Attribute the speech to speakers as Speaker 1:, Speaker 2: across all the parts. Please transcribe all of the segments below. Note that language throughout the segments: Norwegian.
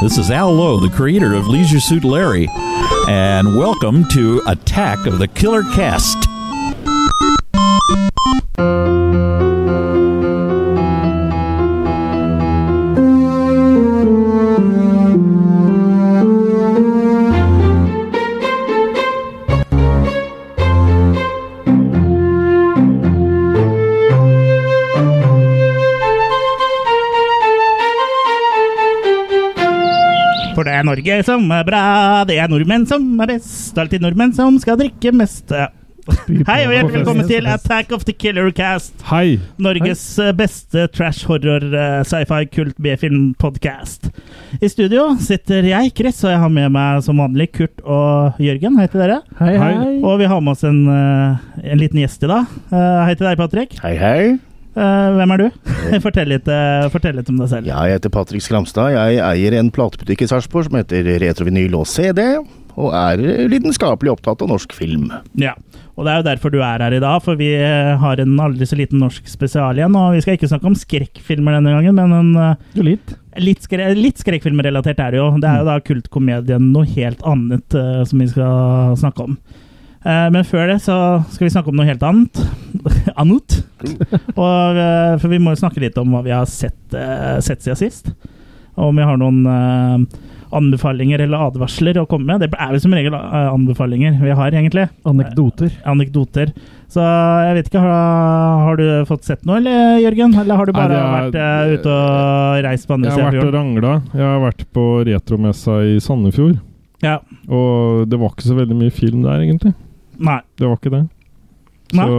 Speaker 1: This is Al Lowe, the creator of Leisure Suit Larry, and welcome to Attack of the Killer Cast.
Speaker 2: For det er Norge som er bra, det er nordmenn som er best. Det er alltid nordmenn som skal drikke mest. Hei og hjertelig velkommen til Attack of the Killer Cast.
Speaker 3: Hei!
Speaker 2: Norges eh, beste trash horror, eh, sci-fi, kult B-film-podkast. I studio sitter jeg, Chris, og jeg har med meg som vanlig Kurt og Jørgen. Hei til dere.
Speaker 4: Hei,
Speaker 3: Hei.
Speaker 4: hei.
Speaker 2: Og vi har med oss en, eh, en liten gjest i dag. Eh, Hei til deg, Patrick.
Speaker 5: Hei, hei.
Speaker 2: Eh, Hvem er du? Fortell litt, eh, fortell litt om deg selv.
Speaker 5: Jeg heter Patrick Skramstad. Jeg eier en platebutikk i Sarpsborg som heter Retrovinyl og CD, og er lidenskapelig opptatt av norsk film.
Speaker 2: Ja, og det er jo derfor du er her i dag, for vi eh, har en aldri så liten norsk spesial igjen. Og vi skal ikke snakke om skrekkfilmer denne gangen, men en, eh,
Speaker 4: Du litt.
Speaker 2: litt, skre litt skrekkfilmrelatert er det jo. Det er jo da kultkomedien noe helt annet eh, som vi skal snakke om. Eh, men før det så skal vi snakke om noe helt annet. annet. Og, eh, for vi må jo snakke litt om hva vi har sett, eh, sett siden sist. Og om vi har noen eh, anbefalinger eller advarsler å komme med. Det er jo som regel eh, anbefalinger vi har, egentlig
Speaker 4: Anekdoter.
Speaker 2: anekdoter. Så jeg vet ikke, har, har du fått sett noe, eller Jørgen? Eller har du bare
Speaker 3: Nei,
Speaker 2: vært
Speaker 3: det er-
Speaker 2: eh, ute og reist på
Speaker 3: Jeg
Speaker 2: andre
Speaker 3: har
Speaker 2: siden av
Speaker 3: vært og
Speaker 2: fjorden?
Speaker 3: rangla. Jeg har vært på retromessa i Sandefjord.
Speaker 2: Ja.
Speaker 3: Og det var ikke så veldig mye film der, egentlig.
Speaker 2: Nei.
Speaker 3: Det var ikke det.
Speaker 2: Nei.
Speaker 3: Så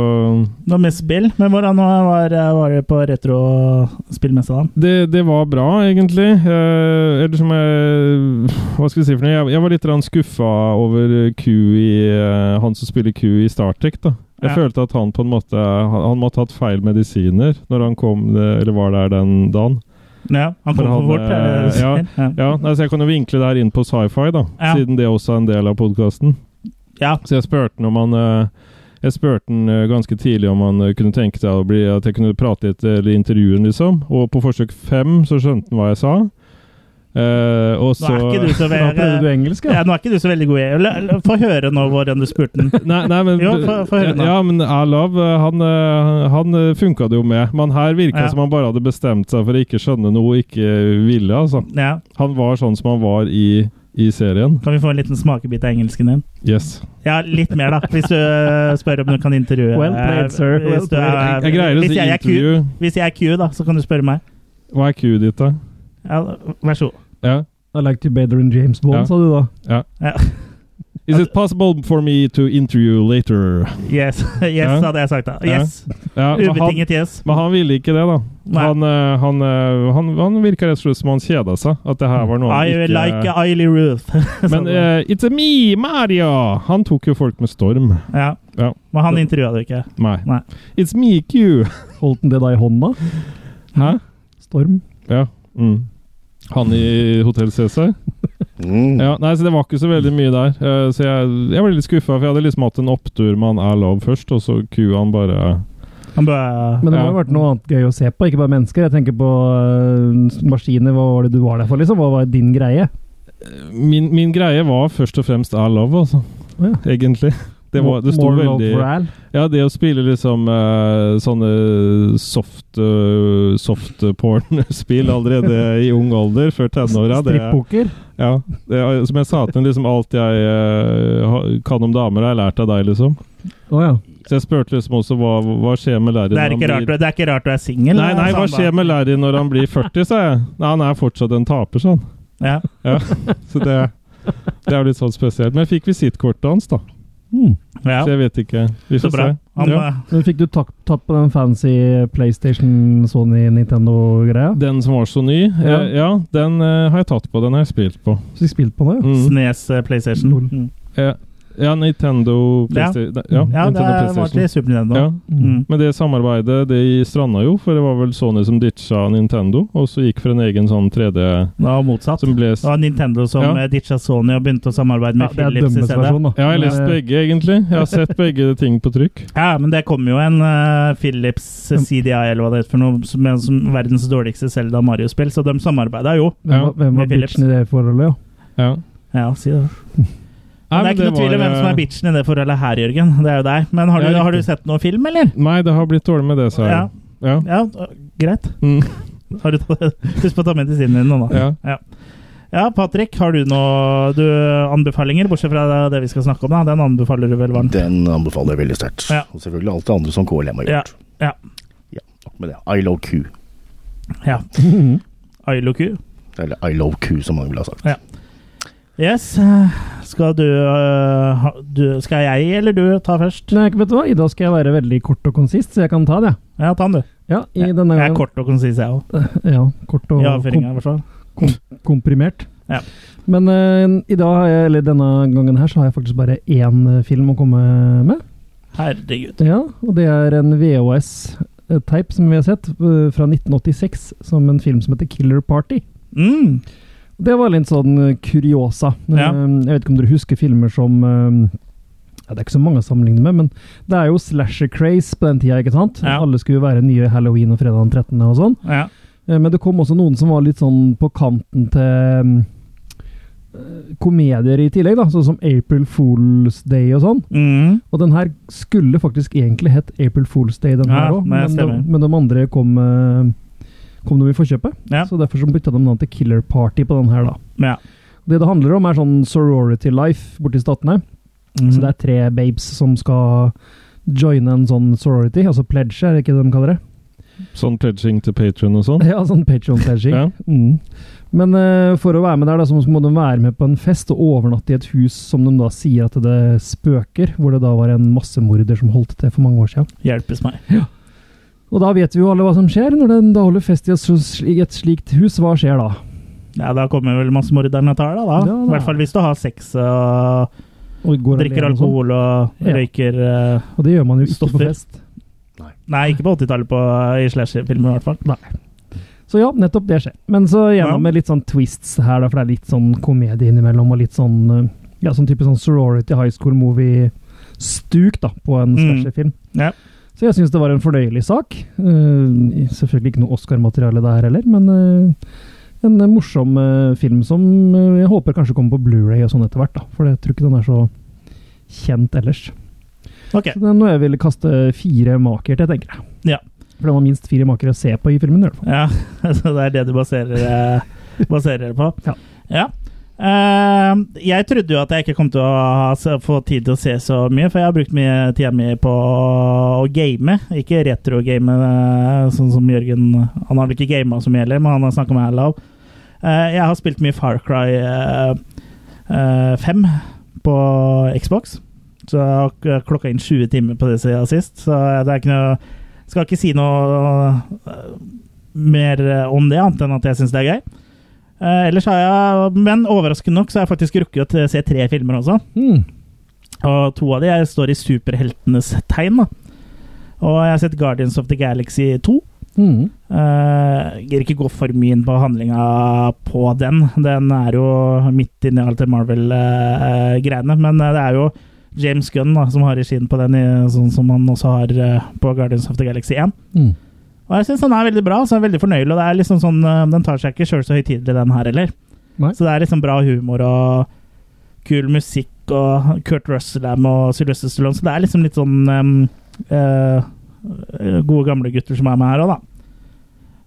Speaker 2: Det var mest spill. Men hvordan var, var det på retrospillmessa da?
Speaker 3: det, det var bra, egentlig. Eh, eller som jeg Hva skal jeg si for noe? Jeg, jeg var litt skuffa over Q i eh, Han som spiller Q i Startech, da. Jeg
Speaker 2: Ja.
Speaker 3: følte at han på en måte Han, han måtte ha hatt feil medisiner når han kom eh, Eller var der den dagen.
Speaker 2: Ja, han kom
Speaker 3: For
Speaker 2: for
Speaker 3: han,
Speaker 2: fort. er det du
Speaker 3: eh, ja,
Speaker 2: sier? ja.
Speaker 3: Ja, nei, så jeg kan jo vinkle det her inn på sci-fi, da.
Speaker 2: Ja.
Speaker 3: Siden det også er en del av podkasten.
Speaker 2: Ja.
Speaker 3: Så jeg spurte han om han eh, Jeg spurte han eh, ganske tidlig om han eh, kunne tenke seg å bli At jeg kunne prate litt eh, eller intervjue han, liksom. Og på forsøk fem så skjønte han hva jeg sa. Eh, og
Speaker 2: Nå
Speaker 3: så
Speaker 2: er ikke du så
Speaker 4: Da prøvde du
Speaker 2: veldig
Speaker 4: engelsk,
Speaker 2: ja,
Speaker 4: ja.
Speaker 2: nå er ikke du så veldig god i Eller- eller Få høre nå hvordan du spurte den.
Speaker 3: Nei, nei, men
Speaker 2: Jo, få- få høre nå.
Speaker 3: Ja, men I Love, eh, han, eh, han eh, funka det jo med. Men her virka
Speaker 2: Ja.
Speaker 3: det som han bare hadde bestemt seg for å ikke skjønne noe og ikke ville, altså.
Speaker 2: Ja.
Speaker 3: Han var sånn som han var i, i serien.
Speaker 2: Kan vi få en liten smakebit av engelsken din?
Speaker 3: Yes.
Speaker 2: Ja, litt mer, da. Hvis du eh, spør om du kan intervjue eh,
Speaker 4: Well played, sir. Well
Speaker 2: Hvis, du er,
Speaker 4: played.
Speaker 3: Jeg greier å
Speaker 2: hvis
Speaker 3: si
Speaker 2: jeg er Q,
Speaker 3: intervju.
Speaker 2: hvis jeg er Q, da, så kan du spørre meg.
Speaker 3: Hva er Q-et ditt, da?
Speaker 2: Ja, vær så god.
Speaker 3: Ja.
Speaker 4: I like you better than James Bond,
Speaker 3: Ja.
Speaker 4: sa du da.
Speaker 3: Is it possible for me to interview later?
Speaker 2: Yes, yes
Speaker 3: Ja.
Speaker 2: hadde jeg sagt da. Yes.
Speaker 3: Ja, men han,
Speaker 2: Ubetinget yes.
Speaker 3: men han ville ikke det, da.
Speaker 2: Nei.
Speaker 3: Han, eh, han, eh, han, han virka rett og slett som han kjeda seg. At det her var noe han
Speaker 2: I
Speaker 3: ikke
Speaker 2: like Eily Ruth. Sånn.
Speaker 3: Men eh, It's a me, Maria! Han tok jo folk med storm.
Speaker 2: ja.
Speaker 3: ja.
Speaker 2: Men han intervjua du ikke.
Speaker 3: Nei.
Speaker 2: Nei.
Speaker 3: It's me, Q!
Speaker 4: Holdt han det da i hånda?
Speaker 3: Hæ?
Speaker 4: Storm.
Speaker 3: Ja. Mm. Han i Hotell Cæsar?
Speaker 5: Mm.
Speaker 3: Ja, nei, så det var ikke så veldig mye der. Eh, så jeg, jeg ble litt skuffa, for jeg hadde liksom hatt en opptur med han er love først, og så Q han bare
Speaker 2: Han bare
Speaker 4: Men det må
Speaker 3: Ja.
Speaker 4: jo ha vært noe annet gøy å se på, ikke bare mennesker. Jeg tenker på øh, maskiner. Hva var det du var der for, liksom? Hva var din greie?
Speaker 3: Min, min greie var først og fremst I love, altså.
Speaker 4: Ja.
Speaker 3: Egentlig. Det, var, det sto
Speaker 4: More love
Speaker 3: veldig
Speaker 4: for Al.
Speaker 3: Ja, det å spille liksom eh, sånne soft, eh, soft porn-spill allerede i ung alder, før tenåra det, er-
Speaker 4: Strippoker.
Speaker 3: ja, det er- Som jeg sa til henne, liksom alt jeg eh, ha- kan om damer, har jeg lært av deg, liksom.
Speaker 4: Å ja.
Speaker 3: Så jeg spurte liksom også hva, hva skjer med Larry
Speaker 2: det er, ikke
Speaker 3: når han
Speaker 2: rart,
Speaker 3: blir
Speaker 2: du- det er ikke rart du er altså. singel.
Speaker 3: Nei, nei,
Speaker 2: sa
Speaker 3: hva
Speaker 2: han
Speaker 3: skjer
Speaker 2: bare.
Speaker 3: med Larry når han blir 40, sa jeg. Nei, han er fortsatt en taper, sånn.
Speaker 2: ja.
Speaker 3: Så det, det er jo litt sånn spesielt. Men jeg fikk visittkortet hans, da.
Speaker 4: Mm.
Speaker 2: ja.
Speaker 3: Så jeg vet ikke. Vi
Speaker 2: Så
Speaker 3: får
Speaker 2: bra.
Speaker 3: se.
Speaker 2: Han,
Speaker 3: Ja.
Speaker 2: eh,
Speaker 4: Men fikk du tatt, tatt på den fancy PlayStation, Sony, Nintendo-greia?
Speaker 3: Den som var så ny?
Speaker 4: Ja.
Speaker 3: Ja, ja eh, den eh, har jeg tatt på. Den har jeg spilt på.
Speaker 4: Så du spilte på den, ja?
Speaker 3: Mm.
Speaker 2: Snes eh, PlayStation.
Speaker 4: Lol.
Speaker 2: Mm.
Speaker 3: Eh, Ja,
Speaker 2: Ja.
Speaker 3: Nintendo PlayStation. Ja,
Speaker 2: Ja, det
Speaker 3: Nintendo
Speaker 2: er- var
Speaker 3: PlayStation.
Speaker 2: til Super Nintendo.
Speaker 3: Ja.
Speaker 2: Mm.
Speaker 3: Men det samarbeidet det stranda jo, for det var vel Sony som ditcha Nintendo, og så gikk for en egen sånn 3D
Speaker 2: Det var motsatt.
Speaker 3: som ble
Speaker 2: Det var Nintendo som
Speaker 3: Ja.
Speaker 2: eh, ditcha Sony og begynte å samarbeide
Speaker 4: Ja,
Speaker 2: med
Speaker 4: det er
Speaker 2: Philips i
Speaker 4: dømmes
Speaker 2: stedet.
Speaker 4: versjon, da.
Speaker 3: Ja, jeg har lest
Speaker 4: Men, eh,
Speaker 3: begge, egentlig. Jeg har sett begge ting på trykk.
Speaker 2: Ja, men det kom jo en eh, Philips
Speaker 3: Mm.
Speaker 2: eh, CDI, eller hva det heter for noe, som er som verdens dårligste Selda Mario-spill, så de samarbeida jo.
Speaker 4: Hvem
Speaker 3: Ja.
Speaker 4: var, hvem var
Speaker 2: Med Philips.
Speaker 4: bitchen i det forholdet, ja?
Speaker 3: Ja.
Speaker 2: Ja, si det. Men det er ikke noe tvil om hvem
Speaker 3: eh,
Speaker 2: som er bitchen i det forholdet her, Jørgen. Det er jo deg. Men har du,
Speaker 3: Ja, riktig.
Speaker 2: har du sett noe film, eller?
Speaker 3: Nei, det har blitt dårlig med det, sa jeg. Ja.
Speaker 2: Ja, øh, greit.
Speaker 3: Mm.
Speaker 2: Har du Husk på å ta med til siden din nå, da.
Speaker 3: ja.
Speaker 2: Ja, Patrick, har du noe du, anbefalinger, bortsett fra det vi skal snakke om? da? Den anbefaler du vel varmt?
Speaker 5: Den anbefaler jeg veldig sterkt.
Speaker 2: Ja.
Speaker 5: Og selvfølgelig alt det andre som KLM har gjort.
Speaker 2: Ja, ja.
Speaker 5: Ja, nok med det. I love Q.
Speaker 2: Ja.
Speaker 3: Mhm.
Speaker 2: Ailoku?
Speaker 5: Eller I love Q, som mange ville ha sagt.
Speaker 2: Yes. eh, Skal du, øh, ha, du Skal jeg eller du ta først?
Speaker 4: Nei, vet du hva? I dag skal jeg være veldig kort og konsist, så jeg kan ta det.
Speaker 2: Ja, ta den, du.
Speaker 4: Ja, i
Speaker 2: Ja,
Speaker 4: denne
Speaker 2: Jeg er
Speaker 4: gangen.
Speaker 2: kort og konsis, jeg òg.
Speaker 4: Ja, kort og
Speaker 2: I avføringa,
Speaker 4: kom,
Speaker 2: i hvert fall.
Speaker 4: komprimert.
Speaker 2: Ja.
Speaker 4: Men eh, i dag, har jeg, eller denne gangen her, så har jeg faktisk bare én eh, film å komme med.
Speaker 2: Herregud.
Speaker 4: Ja, og det er en VHS-teip som vi har sett, eh, fra 1986, som en film som heter Killer Party.
Speaker 2: Mm.
Speaker 4: Det var litt sånn eh, kuriosa.
Speaker 2: Ja.
Speaker 4: Eh, Jeg vet ikke om dere husker filmer som eh, ja, Det er ikke så mange å sammenligne med, men det er jo slasher-craze på den tida. ikke sant?
Speaker 2: Ja.
Speaker 4: Alle skulle jo være nye Halloween og fredag den 13. og sånn.
Speaker 2: Ja.
Speaker 4: Eh, Men det kom også noen som var litt sånn på kanten til mm, eh, komedier i tillegg, da, sånn som April Fools Day og sånn.
Speaker 2: Mm.
Speaker 4: Og den her skulle faktisk egentlig hett April Fools Day, den
Speaker 2: Ja,
Speaker 4: her òg,
Speaker 2: nei,
Speaker 4: men, de-
Speaker 2: stemmer.
Speaker 4: men de andre kom, eh, kom dem i forkjøpet.
Speaker 2: Ja.
Speaker 4: Så derfor så bytta de navn til Killer Party på den her, da.
Speaker 2: ja.
Speaker 4: Det det handler om, er sånn sorority life borti statene.
Speaker 2: Mm.
Speaker 4: Så det er tre babes som skal joine en sånn sorority, altså pledge, er det ikke det de kaller det?
Speaker 3: Sånn pledging til patron og sånn.
Speaker 4: Ja, sånn patron-pledging.
Speaker 3: Ja.
Speaker 4: Mm. Men eh, for å være med der, da, så må- så må de være med på en fest og overnatte i et hus som de da sier at det spøker, hvor det da var en massemorder som holdt til for mange år siden.
Speaker 2: Hjelpes meg.
Speaker 4: Og da vet vi jo alle hva som skjer når den da holder fest i et så- i et slikt hus. Hva skjer da?
Speaker 2: Ja, da kommer vel massemorderne og tar deg, da.
Speaker 4: Ja, da.
Speaker 2: I hvert fall hvis du har sex og
Speaker 4: Og går
Speaker 2: drikker
Speaker 4: alene og sånn.
Speaker 2: alkohol og
Speaker 4: Ja.
Speaker 2: røyker eh,
Speaker 4: Og det gjør man jo ikke på
Speaker 2: Stoffer.
Speaker 4: fest.
Speaker 2: Nei, ikke på 80-tallet på- i slasherfilmer, i hvert fall.
Speaker 4: Så ja, nettopp det skjer. Men så
Speaker 2: Ja.
Speaker 4: gjennom med litt sånn twists her, da, for det er litt sånn komedie innimellom, og litt sånn eh, ja, sånn type sånn sorority high school movie-stuk da, på
Speaker 2: Mm.
Speaker 4: en slasherfilm.
Speaker 2: Ja.
Speaker 4: Så jeg syns det var en fornøyelig sak. Eh, selvfølgelig ikke noe Oscar-materiale der heller, men eh, en eh, morsom eh, film som eh, jeg håper kanskje kommer på Blu-ray og sånn etter hvert, da. For jeg tror ikke den er så kjent ellers.
Speaker 2: Ok.
Speaker 4: Så det er noe jeg ville kaste fire maker til, tenker jeg.
Speaker 2: Ja.
Speaker 4: For det var minst fire maker å se på i filmen, i hvert fall.
Speaker 2: Ja, så det er det du baserer, eh, baserer det på.
Speaker 4: Ja.
Speaker 2: Ja. Eh, jeg trodde jo at jeg ikke kom til å ha, s- få tid til å se så mye, for jeg har brukt mye tida mi på å å game. Ikke retro-game, eh, sånn som Jørgen Han har vel ikke gama så mye heller, men han har snakka med meg lav. Eh, jeg har spilt mye Far Cry eh, eh, 5 på Xbox. Så jeg har k- klokka inn 20 timer på det siden sist, så det er ikke noe Skal ikke si noe eh, mer eh, om det, annet enn at jeg syns det er gøy. Eh, ellers har jeg, Men overraskende nok så har jeg faktisk rukket å se tre filmer også. Og to av de jeg står i superheltenes tegn. da. Og jeg har sett Guardians of the Galaxy 2.
Speaker 4: Mm.
Speaker 2: Uh, Gir ikke gå for mye inn på handlinga på den. Den er jo midt inni alt det Marvel-greiene, men eh, det er jo James Gunn da, som har regien på den, i- sånn som han også har eh, på Guardians of the Galaxy 1.
Speaker 4: Mm.
Speaker 2: Og jeg syns den er veldig bra, så jeg er veldig fornøyelig. Og det er liksom sånn, øh, Den tar seg ikke sjøl så høytidelig, den her heller.
Speaker 4: Nei.
Speaker 2: Så det er liksom bra humor og kul musikk, og Kurt Russell er med, og Sylvester Stallone, så det er liksom litt sånn øhm, øh, øh, Gode gamle gutter som er med her òg, da.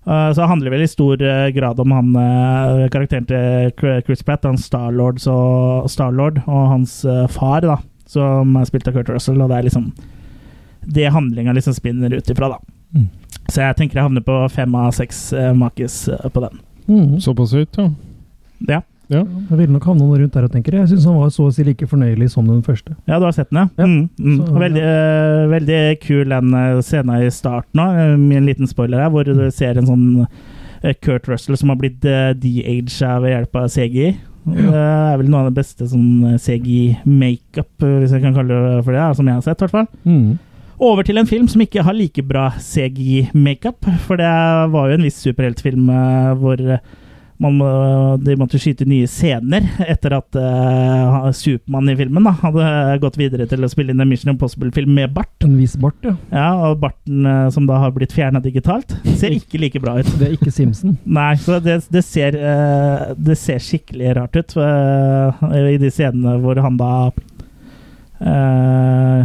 Speaker 2: Øh, så det handler vel i stor øh, grad om han øh, karakteren til Cr- Chris Pratt, han Starlord så- Starlord, og hans øh, far, da, som er spilt av Kurt Russell, og det er liksom det handlinga liksom spinner ut ifra, da. Så jeg tenker jeg havner på fem av seks eh, makis eh, på den.
Speaker 4: Mm.
Speaker 3: Såpass høyt, ja.
Speaker 2: Ja.
Speaker 4: Jeg ville nok havne noen rundt der og tenker jeg. Jeg syns han var så å si like fornøyelig som den første.
Speaker 2: ja, du har sett den, ja?
Speaker 4: Ja.
Speaker 2: Mm, mm.
Speaker 4: Så-
Speaker 2: Og veldig, eh, veldig kul den eh, scenen i starten òg, med en liten spoiler her, hvor du ser en sånn eh, Kurt Russell som har blitt uh, de-aga ved eh, hjelp av CGI. Og Det er vel noe av det beste sånn CGI-makeup, eh, hvis jeg kan kalle det for det, eh, som jeg har sett, i hvert fall.
Speaker 4: Mm.
Speaker 2: Over til en film som ikke har like bra CGI-makeup. For det var jo en viss superheltfilm eh, hvor man, må- de måtte skyte nye scener etter at eh, Supermann i filmen da, hadde gått videre til å spille inn en Mission Impossible-film med bart.
Speaker 4: En viss bart, ja.
Speaker 2: Ja, Og barten eh, som da har blitt fjerna digitalt, ser ikke like bra ut.
Speaker 4: Det er ikke Simpson.
Speaker 2: Nei, så det, det, ser, eh, det ser skikkelig rart ut eh, i de scenene hvor han da eh,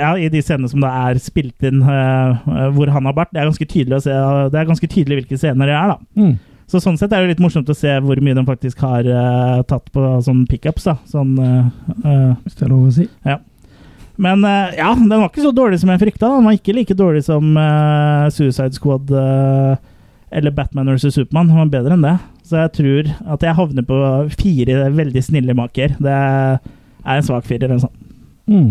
Speaker 2: Ja, i de scenene som da er spilt inn eh, hvor han har bart. Det er ganske tydelig å se, det er ganske tydelig hvilke scener det er, da.
Speaker 4: Mm.
Speaker 2: Så sånn sett er det litt morsomt å se hvor mye de faktisk har eh, tatt på sånn pickups. da, sånn... eh, eh,
Speaker 4: Hvis det er lov å si.
Speaker 2: men eh, ja, den var ikke så dårlig som jeg frykta. da. Den var ikke like dårlig som eh, Suicide Squad eh, eller Batman vs. Supermann. Den var bedre enn det. Så jeg tror at jeg havner på fire veldig snille maker. Det er en svak firer. En sånn.
Speaker 4: Mm.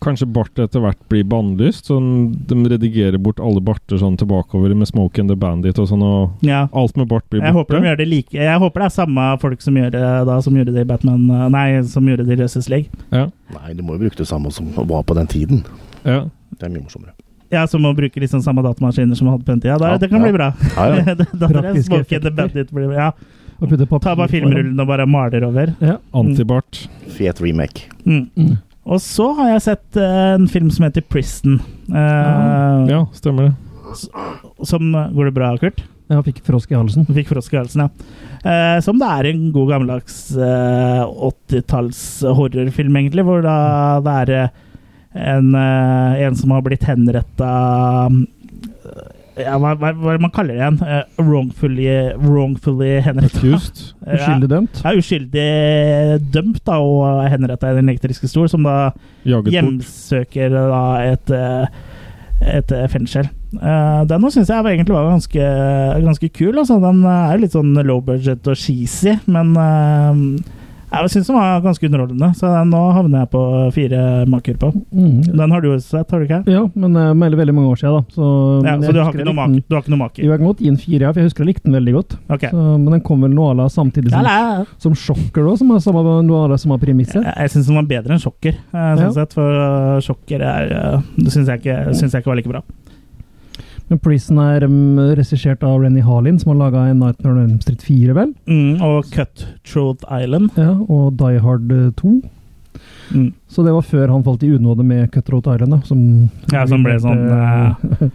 Speaker 3: Kanskje bart etter hvert blir bannlyst? Sånn, de redigerer bort alle barter sånn tilbakeover med Smoke and the Bandit og sånn, og
Speaker 2: Ja.
Speaker 3: alt med bart blir
Speaker 2: Jeg håper, de
Speaker 3: borte?
Speaker 2: gjør det like. jeg håper det er samme folk som gjør det da, som gjorde det i Batman eh, Nei, som gjorde det i Justice League.
Speaker 3: Ja,
Speaker 5: Nei, du må jo bruke det samme som var på den tiden.
Speaker 3: ja.
Speaker 5: Det er mye morsommere.
Speaker 2: Ja, Som å bruke liksom samme datamaskiner som man hadde på den tida. Da,
Speaker 5: Ja,
Speaker 2: det kan
Speaker 5: ja.
Speaker 2: bli bra.
Speaker 5: Ja, ja.
Speaker 2: da, da er det
Speaker 4: Praktiske
Speaker 2: smoke and the
Speaker 4: effekter.
Speaker 2: bandit blir, ja.
Speaker 4: Og putte papir
Speaker 2: Ta bare filmrullen og bare maler over.
Speaker 4: foran. Ja.
Speaker 3: Antibart.
Speaker 5: Fet remake.
Speaker 2: Mm.
Speaker 4: Mm.
Speaker 2: Og så har jeg sett eh, en film som heter Prison. Eh,
Speaker 3: Ja, stemmer det.
Speaker 2: Som eh, Går det bra, Kurt?
Speaker 4: Jeg fikk frosk i halsen.
Speaker 2: Du fikk frosk i halsen, ja. Eh, som det er en god gammeldags eh, 80-talls horrorfilm, egentlig. Hvor da det er eh, en, eh, en som har blitt henretta ja, hva, hva, hva er det man kaller det igjen? Eh, wrongfully, wrongfully henretta.
Speaker 3: Accused.
Speaker 2: Ja,
Speaker 4: Uskyldig dømt.
Speaker 2: ja, uskyldig dømt da, og henretta i den elektriske stol, som da
Speaker 3: Jaget bort.
Speaker 2: hjemsøker da et, eh, et eh, fengsel. Eh, Den syns jeg var egentlig var ganske, ganske kul. Altså. Den eh, er jo litt sånn low budget og cheesy, men eh, jeg syns den var ganske underholdende. Så den, nå havner jeg på fire maker på.
Speaker 4: Mm.
Speaker 2: Den har du også sett, har du ikke?
Speaker 4: Ja, men eh, med veldig mange år siden, da. Så,
Speaker 2: Ja,
Speaker 4: men
Speaker 2: så
Speaker 4: jeg
Speaker 2: du har
Speaker 4: husker
Speaker 2: ikke
Speaker 4: jeg
Speaker 2: noen maker? Du
Speaker 4: likte den.
Speaker 2: har ikke noen
Speaker 4: Jo,
Speaker 2: maker.
Speaker 4: jeg kan godt gi en fire, ja, for jeg husker jeg likte den veldig godt.
Speaker 2: Ok.
Speaker 4: Så, men den kom vel noe à la samtidig som,
Speaker 2: Ja, nei,
Speaker 4: som Shocker, da, som har samme, noe à la samme premisset.
Speaker 2: jeg jeg syns den var bedre enn Sjokker, eh, sånn
Speaker 4: Ja.
Speaker 2: sett, for eh, Sjokker er, eh, det syns jeg, ikke- syns jeg ikke var like bra.
Speaker 4: Men Prison er um, regissert av Renny Harlin, som har laga en Nightmare on Elm Street 4, vel?
Speaker 2: Mm, og Cutthroat Island.
Speaker 4: Ja, og Die Hard eh, 2.
Speaker 2: Mm.
Speaker 4: Så det var før han falt i unåde med Cutthroat Island, da. Som,
Speaker 2: Ja, som ble sånn eh,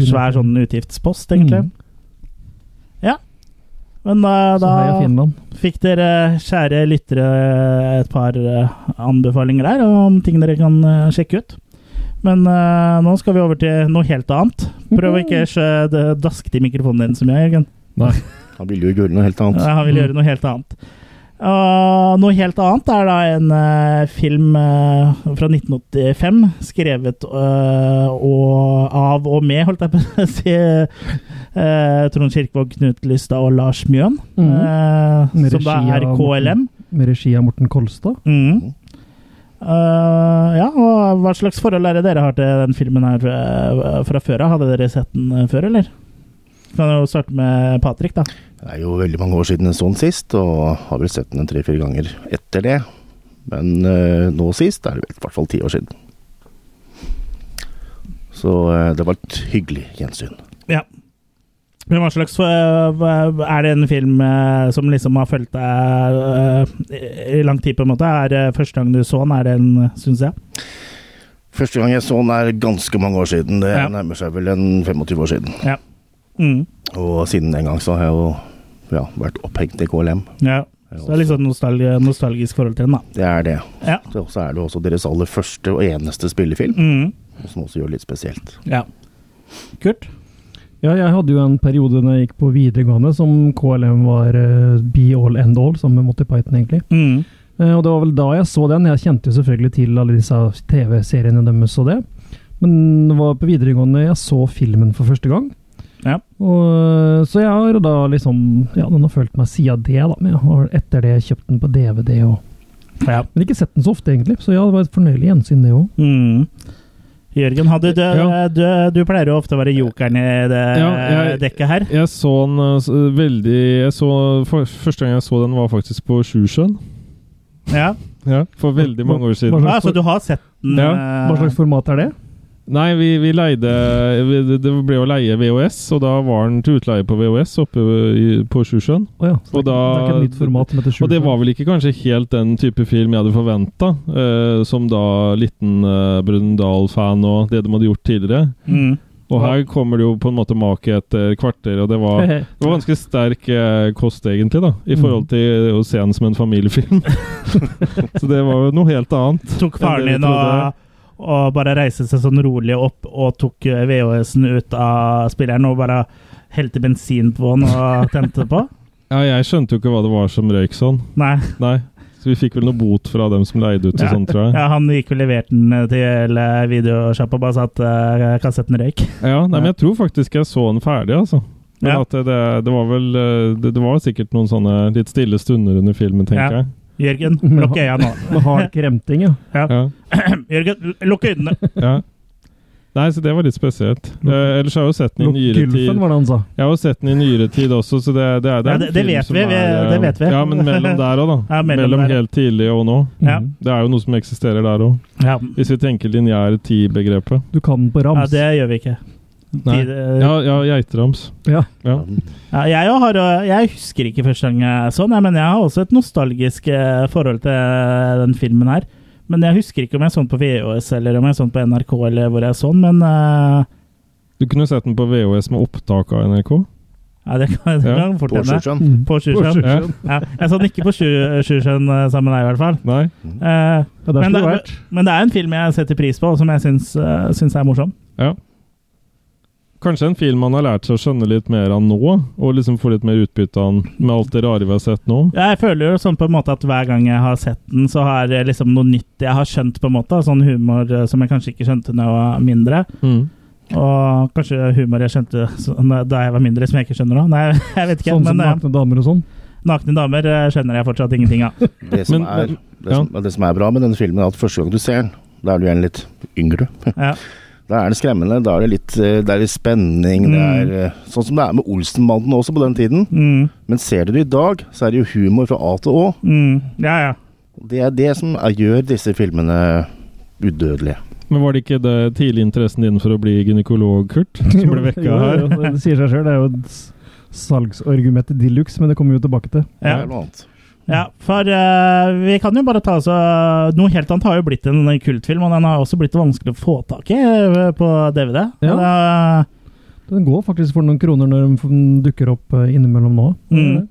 Speaker 2: svær sånn utgiftspost, egentlig.
Speaker 4: Mm.
Speaker 2: Ja. Men da,
Speaker 4: Så heia
Speaker 2: da
Speaker 4: Finland.
Speaker 2: fikk dere, kjære lyttere, et par eh, anbefalinger der om ting dere kan eh, sjekke ut. Men eh, nå skal vi over til noe helt annet. Prøv å ikke skjø- d- daske til mikrofonen din så mye, Jørgen.
Speaker 5: Han ville jo gjøre noe helt annet.
Speaker 2: Ja, Han vil
Speaker 4: Mm.
Speaker 2: gjøre noe helt annet. Og noe helt annet er da en eh, film eh, fra 1985, skrevet eh, og, av og med, holdt jeg på å si, eh, Trond Kirkvaag, Knut Lystad og Lars Mjøen.
Speaker 4: Mm.
Speaker 2: eh,
Speaker 4: Med
Speaker 2: som da
Speaker 4: regi
Speaker 2: er
Speaker 4: av
Speaker 2: KLM.
Speaker 4: Med regi av Morten Kolstad.
Speaker 2: Mm. Eh, ja, og hva slags forhold er det dere har til den filmen her eh, fra før av? Hadde dere sett den eh, før, eller? Kan jo starte med Patrick, da.
Speaker 5: Det er jo veldig mange år siden en sånn sist, og har vel sett den en tre-fire ganger etter det. Men eh, nå sist er det vel i hvert fall ti år siden. Så eh, det var et hyggelig gjensyn.
Speaker 2: Men hva slags øh, hva- Er det en film øh, som liksom har fulgt deg øh, i lang tid, på en måte? Er det første gang du så den, er det en, syns jeg?
Speaker 5: Første gang jeg så den er ganske mange år siden. Det
Speaker 2: Ja.
Speaker 5: nærmer seg vel en 25 år siden.
Speaker 2: Mm.
Speaker 5: Og siden den gang så har jeg jo ja, vært opphengt i KLM.
Speaker 2: Ja.
Speaker 5: Det er
Speaker 2: Så det er litt
Speaker 5: også-
Speaker 2: sånn nostalg nostalgisk forhold til den, da.
Speaker 5: Det er det.
Speaker 2: Ja.
Speaker 5: Det er også- er det også deres aller første og eneste spillefilm,
Speaker 2: Mm.
Speaker 5: som også gjør det litt spesielt.
Speaker 2: ja. Kurt?
Speaker 4: Ja, jeg hadde jo en periode når jeg gikk på videregående som KLM var eh, be all end all, sammen med Monty Python, egentlig.
Speaker 2: Mm.
Speaker 4: Eh, og det var vel da jeg så den. Jeg kjente jo selvfølgelig til alle disse TV-seriene deres og det. Men det var på videregående jeg så filmen for første gang.
Speaker 2: Ja.
Speaker 4: Og, eh, så jeg har da liksom Ja, den har fulgt meg siden det, da. Men jeg har etter det kjøpt den på DVD og
Speaker 2: ja.
Speaker 4: Men ikke sett den så ofte, egentlig. Så ja, det var et fornøyelig gjensyn, det òg.
Speaker 2: Mm. Jørgen, hadde du,
Speaker 3: Ja.
Speaker 2: du, du pleier jo ofte å være jokeren i det
Speaker 3: Ja, jeg-
Speaker 2: dekket her.
Speaker 3: Jeg så den eh, s- veldig jeg så, for, Første gang jeg så den, var faktisk på Sjusjøen.
Speaker 2: Ja.
Speaker 3: Ja, for veldig mange år siden.
Speaker 4: Hva slags-
Speaker 2: Ja, så du har sett den?
Speaker 3: Ja,
Speaker 2: eh,
Speaker 4: Hva slags format er det?
Speaker 3: Nei, vi, vi leide vi, det- Det ble å leie VHS, og da var den til utleie på VHS oppe i, på Sjusjøen.
Speaker 4: Å ja, så
Speaker 3: Og
Speaker 4: det er ikke
Speaker 3: da-
Speaker 4: et nytt format som heter
Speaker 3: Og det
Speaker 4: Skjulsjøen.
Speaker 3: var vel ikke kanskje helt den type film jeg hadde forventa, som da liten uh, Brundal-fan og det de hadde gjort tidligere.
Speaker 2: mm.
Speaker 3: Og her kommer det jo på en måte make etter kvarter, og det var, det var ganske sterk eh, kost, egentlig, da.
Speaker 2: Mm.
Speaker 3: I forhold til å se den som en familiefilm. Så det var jo noe helt annet.
Speaker 2: Tok faren
Speaker 3: Det er det
Speaker 2: din
Speaker 3: vi trodde.
Speaker 2: og, og bare reiste seg sånn rolig opp og tok eh, VHS-en ut av spilleren og bare helte bensin på den og tente på?
Speaker 3: Ja, jeg skjønte jo ikke hva det var som røyk sånn.
Speaker 2: Nei.
Speaker 3: Nei. Så vi fikk vel noe bot fra dem som leide ut og
Speaker 2: Ja.
Speaker 3: sånn, tror jeg.
Speaker 2: Ja, han gikk vel leverte den eh, til eh, videosjappa og bare sa at eh, kassetten røyk.
Speaker 3: Ja, nei, men jeg tror faktisk jeg så den ferdig, altså. Men
Speaker 2: Ja.
Speaker 3: at det, det, det var vel eh, det, det var sikkert noen sånne litt stille stunder under filmen,
Speaker 2: Ja.
Speaker 3: tenker jeg.
Speaker 2: Jørgen, lukk øya nå.
Speaker 4: Med hard kremting, ja.
Speaker 3: Ja.
Speaker 2: Jørgen, l- lukk øynene.
Speaker 3: ja. Nei, så det var litt spesielt. Eh, ellers har jeg jo sett den i nyere tid.
Speaker 4: Lokkulfen var det han sa.
Speaker 3: Jeg har jo sett den i nyere tid også, så det, det er,
Speaker 2: Ja,
Speaker 3: det er en
Speaker 2: det- det
Speaker 3: film
Speaker 2: vet
Speaker 3: som
Speaker 2: vi, vi-
Speaker 3: eh,
Speaker 2: det vet vi.
Speaker 3: Ja, men mellom der òg, da.
Speaker 2: Ja, mellom
Speaker 3: mellom
Speaker 2: der.
Speaker 3: helt tidlig og nå.
Speaker 2: Ja.
Speaker 4: Mhm.
Speaker 3: Det er jo noe som eksisterer der òg.
Speaker 2: Ja.
Speaker 3: Hvis vi tenker lineær tid-begrepet.
Speaker 4: Du kan den på
Speaker 2: ja,
Speaker 4: rams.
Speaker 2: det gjør vi ikke.
Speaker 3: Nei.
Speaker 2: Tid, eh,
Speaker 3: Ja, ja, geiterams.
Speaker 4: Ja.
Speaker 3: Ja.
Speaker 2: Ja, jeg, har, eh, jeg husker ikke første gang jeg så den, jeg, men jeg har også et nostalgisk eh, forhold til eh, den filmen her. Men jeg husker ikke om jeg så den på VHS eller om jeg så den på NRK eller hvor jeg så den, men eh,
Speaker 3: Du kunne sett den på VHS med opptak av NRK.
Speaker 2: ja, det kan, det
Speaker 3: Ja,
Speaker 2: kan fort
Speaker 5: På
Speaker 2: hende.
Speaker 5: Sjusjøen.
Speaker 4: Mm.
Speaker 2: På Sjusjøen.
Speaker 3: Ja.
Speaker 2: Ja, jeg så den ikke på Sju- Sjusjøen eh, sammen med deg, i hvert fall.
Speaker 3: Nei.
Speaker 2: Eh,
Speaker 4: Ja, der
Speaker 2: Men
Speaker 4: skulle
Speaker 2: det-
Speaker 4: det vært.
Speaker 2: men det er en film jeg setter pris på, og som jeg syns, eh, syns er morsom.
Speaker 3: Kanskje en film man har lært seg å skjønne litt mer av nå, og liksom få litt mer utbytte av den med alt det rare vi har sett nå.
Speaker 2: Ja, Jeg føler jo sånn på en måte at hver gang jeg har sett den, så har jeg liksom noe nytt jeg har skjønt, på en måte. Sånn humor eh, som jeg kanskje ikke skjønte da jeg var mindre.
Speaker 4: Mm.
Speaker 2: Og kanskje humor jeg skjønte sånn da jeg var mindre, som jeg ikke skjønner nå. Nei, jeg vet ikke,
Speaker 4: Sånn som
Speaker 2: men eh,
Speaker 4: nakne damer og sånn.
Speaker 2: nakne damer eh, skjønner jeg fortsatt ingenting av.
Speaker 5: Det som,
Speaker 3: Men-
Speaker 5: er, det,
Speaker 3: ja.
Speaker 5: som, det som er bra med denne filmen, er at første gang du ser den, da er du gjerne litt yngre.
Speaker 2: Ja.
Speaker 5: Da er det skremmende, da er det litt, eh, det er litt spenning, det
Speaker 2: Mm.
Speaker 5: er eh, sånn som det er med Olsenbanden også på den tiden.
Speaker 2: Mm,
Speaker 5: Men ser du det i dag, så er det jo humor fra A til Å.
Speaker 2: mm, ja, ja.
Speaker 5: Det er det som er, gjør disse filmene udødelige.
Speaker 3: Men var det ikke det tidlig interessen din for å bli gynekolog, Kurt, som ble
Speaker 4: Jo,
Speaker 3: vekka her?
Speaker 4: jo, jo, Det sier seg sjøl. Det er jo et s- salgsargument de luxe, men det kommer vi jo tilbake til.
Speaker 5: Det
Speaker 2: ja.
Speaker 5: er noe annet.
Speaker 2: ja for eh, vi kan jo bare ta oss av Noe helt annet har jo blitt en kultfilm, og den har også blitt vanskelig å få tak i eh, på DVD.
Speaker 4: Ja.
Speaker 2: Og det-
Speaker 4: Den går faktisk for noen kroner når den f- den dukker opp eh, innimellom nå.
Speaker 2: Mm.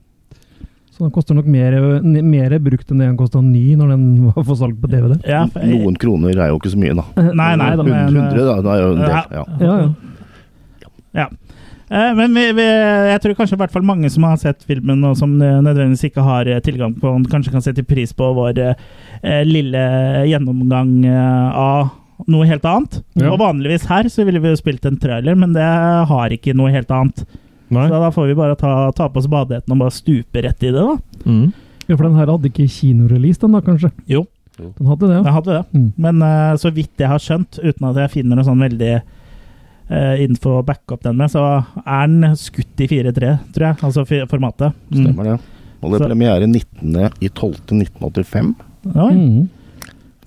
Speaker 4: Så den koster nok mer, eh, n- mer brukt enn det den kosta ny når den var for salg på DVD.
Speaker 2: ja, for-
Speaker 5: Noen kroner er jo ikke så mye, da.
Speaker 2: Nei, nei. da, men-
Speaker 5: 100, da. Det er jo en del. Ja.
Speaker 4: Ja, ja.
Speaker 2: Eh, Men vi, vi, jeg tror kanskje i hvert fall mange som har sett filmen, og som eh, nødvendigvis ikke har eh, tilgang på den, kanskje kan sette pris på vår eh, eh, lille gjennomgang eh, av noe helt annet.
Speaker 3: Ja.
Speaker 2: Og vanligvis her så ville vi jo spilt en trailer, men det har ikke noe helt annet.
Speaker 3: Nei.
Speaker 2: Så da får vi bare ta, ta på oss badehetten og bare stupe rett i det, da.
Speaker 3: Mm.
Speaker 4: Ja, for den her hadde ikke kinorelease, den da, kanskje?
Speaker 2: Jo.
Speaker 4: Den hadde det, ja.
Speaker 2: Da hadde vi det.
Speaker 4: Mm.
Speaker 2: Men eh, så vidt jeg har skjønt, uten at jeg finner noe sånn veldig eh, info å backe opp den med, så er den skutt i 4-3, tror jeg. Altså fi- formatet. Mm.
Speaker 5: Stemmer det. Og det
Speaker 2: Så-
Speaker 5: er premiere 19.12.1985.
Speaker 2: Oi.
Speaker 4: Mhm.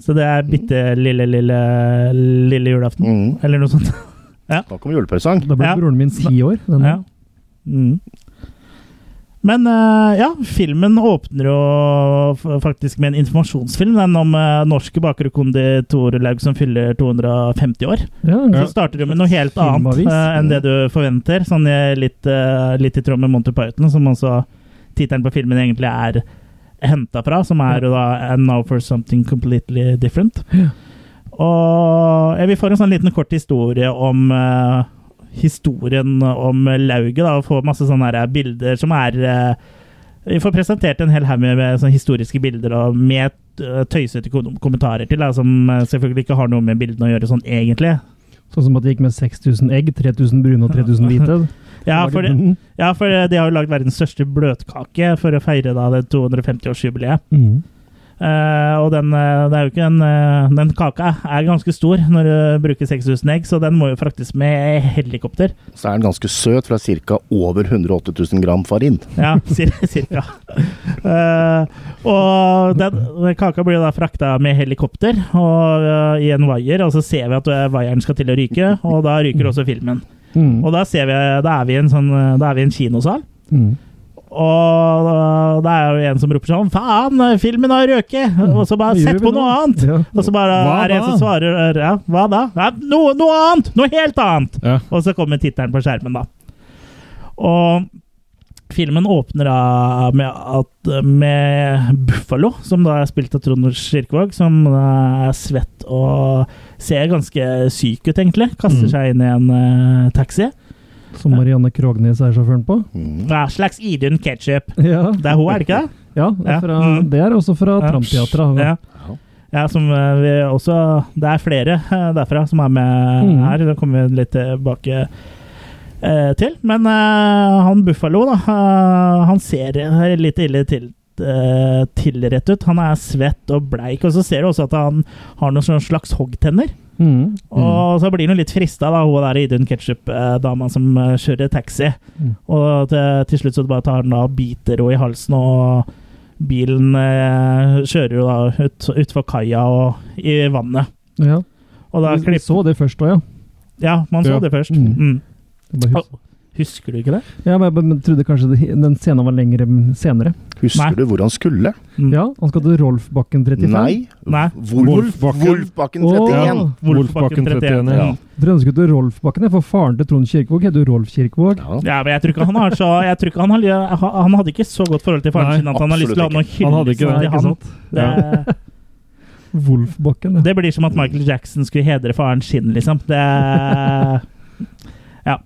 Speaker 2: Så det er bitte lille, lille, lille julaften.
Speaker 5: Mm.
Speaker 2: Eller noe sånt.
Speaker 5: Da kommer julepresang.
Speaker 4: Da ble
Speaker 2: Ja.
Speaker 4: broren min ti år. Den,
Speaker 2: Ja. Mm. Men eh, ja, filmen åpner jo f- faktisk med en informasjonsfilm. Den om eh, norske bakere og konditorlaug som fyller 250 år.
Speaker 4: Ja,
Speaker 2: Så
Speaker 4: ja.
Speaker 2: starter du med noe helt annet
Speaker 4: Filmavis.
Speaker 2: eh, enn det du forventer. Sånn eh, litt, eh, litt i tråd med Monty Python, som også tittelen på filmen egentlig er henta fra, som er jo da And now for something completely different. Og ja, vi får en sånn liten kort historie om eh, historien om lauget, da, og får masse sånne her bilder som er eh, Vi får presentert en hel haug med med sånne historiske bilder og med eh, tøysete kom- kommentarer til, da, som eh, selvfølgelig ikke har noe med bildene å gjøre sånn egentlig.
Speaker 4: Sånn som at det gikk med 6000 egg, 3000 brune og 3000 hvite.
Speaker 2: Ja, for, eh,
Speaker 4: det, Mhm.
Speaker 2: ja,
Speaker 4: Mm.
Speaker 2: for de har jo lagd verdens største bløtkake for å feire da det 250-årsjubileet. Eh, og den, eh, det er jo ikke en, eh, den kaka er ganske stor når du bruker 6000 egg, så den må jo fraktes med helikopter.
Speaker 5: Så er den ganske søt, for det er ca. over 108 000 gram farin.
Speaker 2: Ja, cir cirka. Eh, og den, den kaka blir jo da frakta med helikopter og eh, i en vaier, og så ser vi at eh, vaieren skal til å ryke, og da ryker også filmen.
Speaker 4: Mm.
Speaker 2: Og da, ser vi, da, er, vi i en sånn, eh, da er vi i en kinosal.
Speaker 4: Mm.
Speaker 2: Og eh, det er jo en som roper sånn Faen, filmen har røket! Og så bare
Speaker 4: Hva gjør
Speaker 2: Sett
Speaker 4: vi
Speaker 2: på
Speaker 4: nå?
Speaker 2: noe annet!
Speaker 4: Ja.
Speaker 2: Og så bare
Speaker 3: Hva
Speaker 2: er det en
Speaker 3: da?
Speaker 2: som svarer ja, Hva da? Ja, noe, noe annet! Noe helt annet!
Speaker 3: Ja.
Speaker 2: Og så kommer tittelen på skjermen, da. Og filmen åpner da med, at, med Buffalo, som da er spilt av Trond Kirkevåg, som da er svett og ser ganske syk ut, egentlig. Kaster
Speaker 4: Mm.
Speaker 2: seg inn i en eh, taxi.
Speaker 4: Som Marianne Krognes er sjåføren på.
Speaker 5: Mm.
Speaker 2: Ja, slags Idun Ketchup.
Speaker 4: Ja,
Speaker 2: Det er hun, er det ikke det?
Speaker 4: ja, det
Speaker 2: Ja.
Speaker 4: er fra,
Speaker 2: Mm.
Speaker 4: det er også fra
Speaker 2: Ja.
Speaker 4: Tramteatret.
Speaker 2: Ja. Ja, som eh, vi også Det er flere eh, derfra som er med
Speaker 4: Mm.
Speaker 2: her. Det kommer vi litt tilbake eh, til. Men eh, han Buffalo, da, eh, han ser eh, litt ille til, eh, tilrett ut. Han er svett og bleik, og så ser du også at han har noen sånne slags hoggtenner.
Speaker 4: Mm.
Speaker 2: Og så blir han jo litt frista, da, hun der Idun Ketchup-dama som eh, kjører taxi.
Speaker 4: Mm.
Speaker 2: Og til, til slutt så bare tar han da og biter henne i halsen, og bilen eh, kjører jo da ut, utfor kaia og i vannet.
Speaker 4: Ja.
Speaker 2: Og da
Speaker 4: Vi- Vi
Speaker 2: klipp...
Speaker 4: så det først òg, ja.
Speaker 2: Ja, man så
Speaker 3: Ja.
Speaker 2: det først.
Speaker 4: Mm.
Speaker 2: Mm.
Speaker 4: Jeg bare husker.
Speaker 2: Husker du ikke det?
Speaker 4: Ja, men jeg bare trodde kanskje det, den scenen var lengre senere.
Speaker 5: Husker
Speaker 2: Nei.
Speaker 5: du hvor han skulle?
Speaker 2: Mm.
Speaker 4: Ja, Han skal til Rolfbakken 35.
Speaker 5: Nei.
Speaker 2: Nei.
Speaker 5: Wolf-
Speaker 3: Wolfbakken.
Speaker 5: Wolfbakken
Speaker 4: Åh.
Speaker 5: 31.
Speaker 3: Wolfbakken 31,
Speaker 2: Mm.
Speaker 3: ja.
Speaker 4: Dere ønsker til Rolfbakken, ja, for faren til Trond Kirkevåg heter jo Rolf Kirkevåg.
Speaker 5: Ja.
Speaker 2: Ja, men jeg tror ikke han har så jeg tror ikke han, har, han hadde ikke så godt forhold til faren
Speaker 3: Nei,
Speaker 2: sin at han har lyst til å ha noe
Speaker 5: absolutt
Speaker 3: Han hadde ikke
Speaker 2: hyllest til
Speaker 3: det,
Speaker 4: Nei, ikke
Speaker 2: han.
Speaker 4: sant?
Speaker 2: Det,
Speaker 4: Wolfbakken. ja.
Speaker 2: Det blir som at Michael Jackson skulle hedre faren sin, liksom. Det Ja.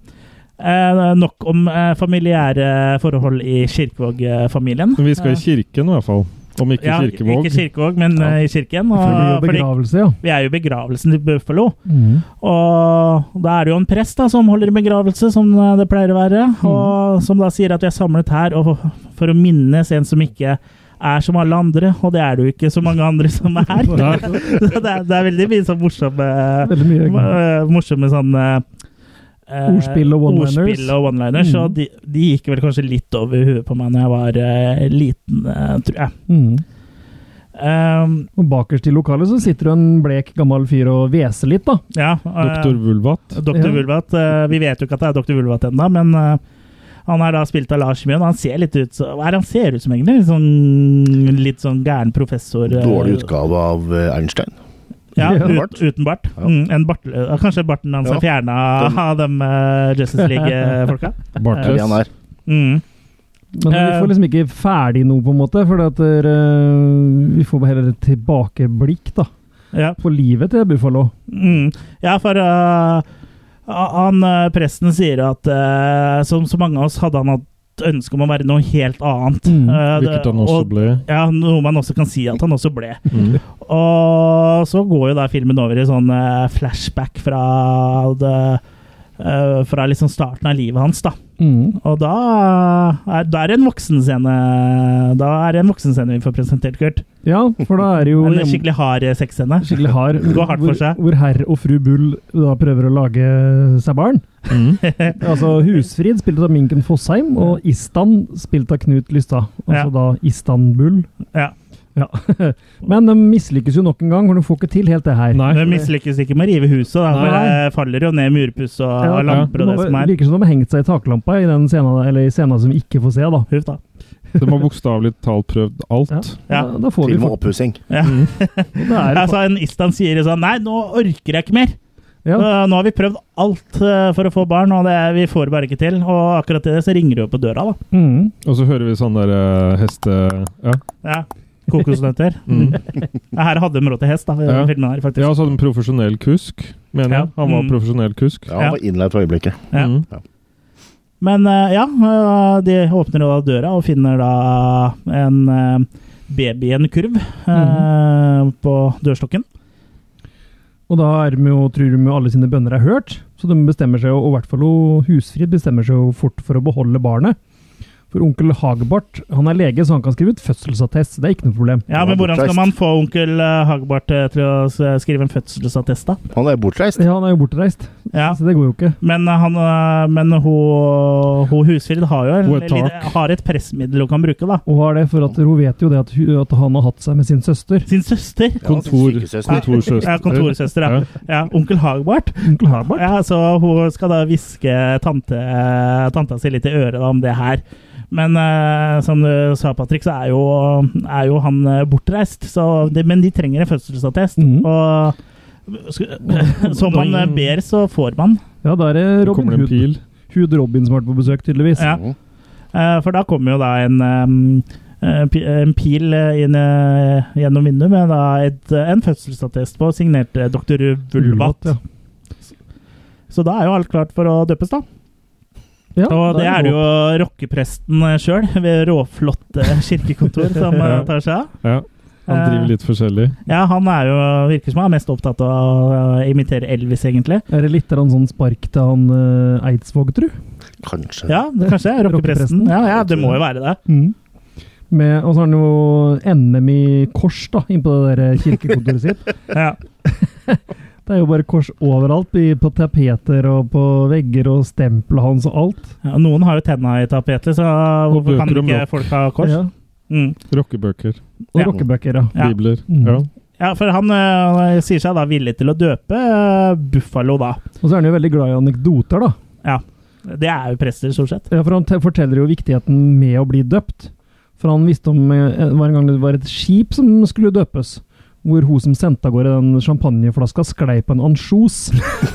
Speaker 2: Eh, nok om eh, familiære forhold i Kirkevåg-familien.
Speaker 3: Men vi skal i kirken, i hvert fall. Om ikke
Speaker 2: Ja,
Speaker 3: Kirkevåg.
Speaker 2: Ikke Kirkevåg, men
Speaker 3: Ja.
Speaker 2: eh, i kirken. Og,
Speaker 4: For det blir jo
Speaker 2: fordi
Speaker 4: begravelse, ja.
Speaker 2: vi er jo i begravelsen til Buffalo.
Speaker 4: Mm.
Speaker 2: Og da er det jo en prest da, som holder begravelse, som eh, det pleier å være.
Speaker 3: Mm.
Speaker 2: Og som da sier at vi er samlet her og for å minnes en som ikke er som alle andre. Og det er det jo ikke så mange andre som er.
Speaker 3: Nei.
Speaker 2: Så det, er, det er veldig mye sånn morsomme
Speaker 4: Veldig mye.
Speaker 2: eh, Morsomme sånne eh,
Speaker 4: Ordspill og one-liners.
Speaker 2: ordspill og one-liners.
Speaker 4: Mm.
Speaker 2: Og de, de gikk vel kanskje litt over huet på meg når jeg var eh, liten, eh, tror jeg.
Speaker 4: Mm.
Speaker 2: Ehm,
Speaker 4: Og bakerst i lokalet så sitter det en blek gammel fyr og hveser litt, da.
Speaker 2: ja, eh,
Speaker 3: Doktor Vulvat.
Speaker 2: Dr.
Speaker 4: Ja.
Speaker 2: Vulvat. eh, vi vet jo ikke at det er Dr. Vulvat ennå, men eh, han er da spilt av Lars Mjøen. Han ser litt ut som Hva er det han ser ut som, egentlig? Litt Sånn, litt sånn gæren professor. eh,
Speaker 5: Dårlig utgave av eh, Einstein.
Speaker 2: Ja,
Speaker 4: Ja.
Speaker 2: ut,
Speaker 5: Bart.
Speaker 2: uten bart.
Speaker 5: Ja.
Speaker 2: Mm, en bart eh, kanskje barten hans
Speaker 5: Ja.
Speaker 2: er fjerna av de eh, Justice League-folka.
Speaker 5: Det er det han
Speaker 3: Bartless.
Speaker 5: er.
Speaker 2: Mm.
Speaker 4: Men
Speaker 2: Eh.
Speaker 4: vi får liksom ikke ferdig noe, på en måte. For at eh, vi får bare heller et tilbakeblikk da,
Speaker 2: Ja.
Speaker 4: på livet til Buffalo.
Speaker 2: Mm. ja, for eh, han, eh, presten sier at eh, som så mange av oss hadde han hatt ønske om å være noe helt annet.
Speaker 4: Mm,
Speaker 2: Eh, det-
Speaker 3: Hvilket han også
Speaker 2: og,
Speaker 3: ble.
Speaker 2: Ja, noe man også kan si at han også ble.
Speaker 3: Mm.
Speaker 2: Og så går jo da filmen over i sånn eh, flashback fra det eh, Fra liksom starten av livet hans, da.
Speaker 4: Mm.
Speaker 2: Og da er, da er det en voksenscene Da er det en voksenscene vi får presentert, Kurt.
Speaker 4: Ja, for da er det jo
Speaker 2: En
Speaker 4: hjemme-
Speaker 2: skikkelig hard eh, sexscene.
Speaker 4: skikkelig hard.
Speaker 2: Går hardt for seg.
Speaker 4: Hvor, hvor herr og fru Bull da prøver å lage seg barn.
Speaker 3: Mm.
Speaker 4: Altså Husfrid, spilt av Minken Fossheim, og Istan, spilt av Knut Lystad. Altså
Speaker 2: Ja.
Speaker 4: da Istanbul.
Speaker 2: Ja.
Speaker 4: Ja. Men de mislykkes jo nok en gang, for de får ikke til helt det her.
Speaker 3: Nei.
Speaker 2: Hun mislykkes ikke med å rive huset, da, for
Speaker 4: Nei.
Speaker 2: det faller jo ned murpuss og,
Speaker 4: Ja,
Speaker 2: og lamper og
Speaker 4: de
Speaker 2: det
Speaker 4: har-
Speaker 2: som er.
Speaker 4: Virker som de har hengt seg i taklampa i den scenen, eller i scenen som vi ikke får se. da.
Speaker 2: Huff, da.
Speaker 3: De har bokstavelig talt prøvd alt.
Speaker 2: Ja.
Speaker 4: Da- Da får vi
Speaker 5: Til og med
Speaker 4: fort.
Speaker 5: oppussing.
Speaker 3: Mm.
Speaker 4: Da er det
Speaker 2: Altså, en Istan sier sånn Nei, nå orker jeg ikke mer!
Speaker 4: Ja.
Speaker 2: Eh, Nå har vi prøvd alt eh, for å få barn, og det, vi får bare ikke til. Og akkurat til det så ringer det jo på døra, da.
Speaker 4: Mm.
Speaker 3: Og så hører vi sånn der eh, heste... Ja.
Speaker 2: Ja. Kokosnøtter.
Speaker 3: Mm.
Speaker 2: Ja, Her hadde de råd til hest, da. i
Speaker 3: Ja.
Speaker 2: den filmen her, faktisk.
Speaker 3: ja, så hadde de profesjonell kusk, mener jeg.
Speaker 2: Ja.
Speaker 3: Han var
Speaker 2: Mm.
Speaker 3: profesjonell kusk.
Speaker 5: Ja, han var innleid fra øyeblikket.
Speaker 2: Ja.
Speaker 3: Mm.
Speaker 2: Men eh, ja, eh, de åpner da døra og finner da en eh, baby i en kurv eh,
Speaker 4: Mhm.
Speaker 2: på dørstokken.
Speaker 4: Og da er de jo, tror de jo alle sine bønner er hørt, så de bestemmer seg jo, og i hvert fall jo Husfrid bestemmer seg jo fort for å beholde barnet. For onkel Hagbart han er lege, så han kan skrive ut fødselsattest. Det er ikke noe problem.
Speaker 2: Ja, men hvordan skal man få onkel eh, Hagbart eh, til å s- skrive en fødselsattest, da?
Speaker 5: Han er bortreist.
Speaker 4: Ja, han er jo bortreist,
Speaker 2: Ja.
Speaker 4: så det går jo ikke.
Speaker 2: Men, eh, han, eh, men hun, hun Husfrid har jo en,
Speaker 3: Hun er tak.
Speaker 2: lille- har et pressmiddel hun kan bruke, da.
Speaker 4: Og hva er det, for at hun vet jo det at, hu- at han har hatt seg med sin søster.
Speaker 2: Sin søster.
Speaker 3: Kontor-
Speaker 5: sykesøster.
Speaker 3: Kontorsøster.
Speaker 2: Ja, kontorsøster, ja. ja. Onkel Hagbart.
Speaker 4: Onkel Hagbart?
Speaker 2: Ja, så hun skal da hviske tante, eh, tanta si litt i øret da, om det her. Men eh, som du sa, Patrick, så er jo, er jo han eh, bortreist. Så det, men de trenger en fødselsattest.
Speaker 4: Mhm.
Speaker 2: Og sk- som man eh, ber, så får man.
Speaker 4: Ja, da er det
Speaker 3: Så
Speaker 4: Robin
Speaker 3: kommer det en
Speaker 4: Hood.
Speaker 3: pil.
Speaker 4: Hood Robin som har vært på besøk, tydeligvis.
Speaker 2: Ja.
Speaker 5: Mm,
Speaker 2: Eh, for da kommer jo da en, eh, eh, pi- en pil eh, inn eh, gjennom vinduet med da et, eh, en fødselsattest på, signert eh, dr. Vulvat.
Speaker 4: Ja.
Speaker 2: Så da er jo alt klart for å døpes, da.
Speaker 4: Ja,
Speaker 2: Og
Speaker 4: da
Speaker 2: det er det
Speaker 4: håp.
Speaker 2: jo rockepresten eh, sjøl, ved råflotte kirkekontor, som eh, tar seg av.
Speaker 3: Ja. Han
Speaker 2: Eh.
Speaker 3: driver litt forskjellig.
Speaker 2: Ja, han er jo, virker som han er mest opptatt av å eh, imitere Elvis, egentlig.
Speaker 4: Er det litt grann sånn spark til han eh, Eidsvåg, tru?
Speaker 5: Kanskje.
Speaker 2: Ja, det kanskje er rockepresten.
Speaker 4: Rockepresten.
Speaker 2: Ja, ja, det må jo være det.
Speaker 4: Mm. Med, og så har han jo NM i kors da, inn på det der eh, kirkekontoret sitt.
Speaker 2: Ja.
Speaker 4: Det er jo bare kors overalt, i- på tapeter og på vegger og stempelet hans og alt.
Speaker 2: Ja, Noen har jo tenna i tapetet, så
Speaker 3: Og
Speaker 2: hvorfor kan
Speaker 3: bøker om
Speaker 2: ikke
Speaker 3: rock.
Speaker 2: folk ha kors?
Speaker 4: Ja.
Speaker 2: Mm.
Speaker 3: Rockebøker.
Speaker 4: Og
Speaker 2: Ja.
Speaker 4: rockebøker, ja.
Speaker 2: Ja.
Speaker 3: Bibler.
Speaker 4: Mm.
Speaker 3: Ja.
Speaker 2: Ja, for han eh, sier seg da villig til å døpe eh, Buffalo, da.
Speaker 4: Og så er han jo veldig glad i anekdoter, da.
Speaker 2: Det er jo prester, stort sett.
Speaker 4: Ja, for han te- forteller jo viktigheten med å bli døpt. For han visste om eh, det var en gang det var et skip som skulle døpes. Hvor hun som sendte av gårde den champagneflaska, sklei på en ansjos.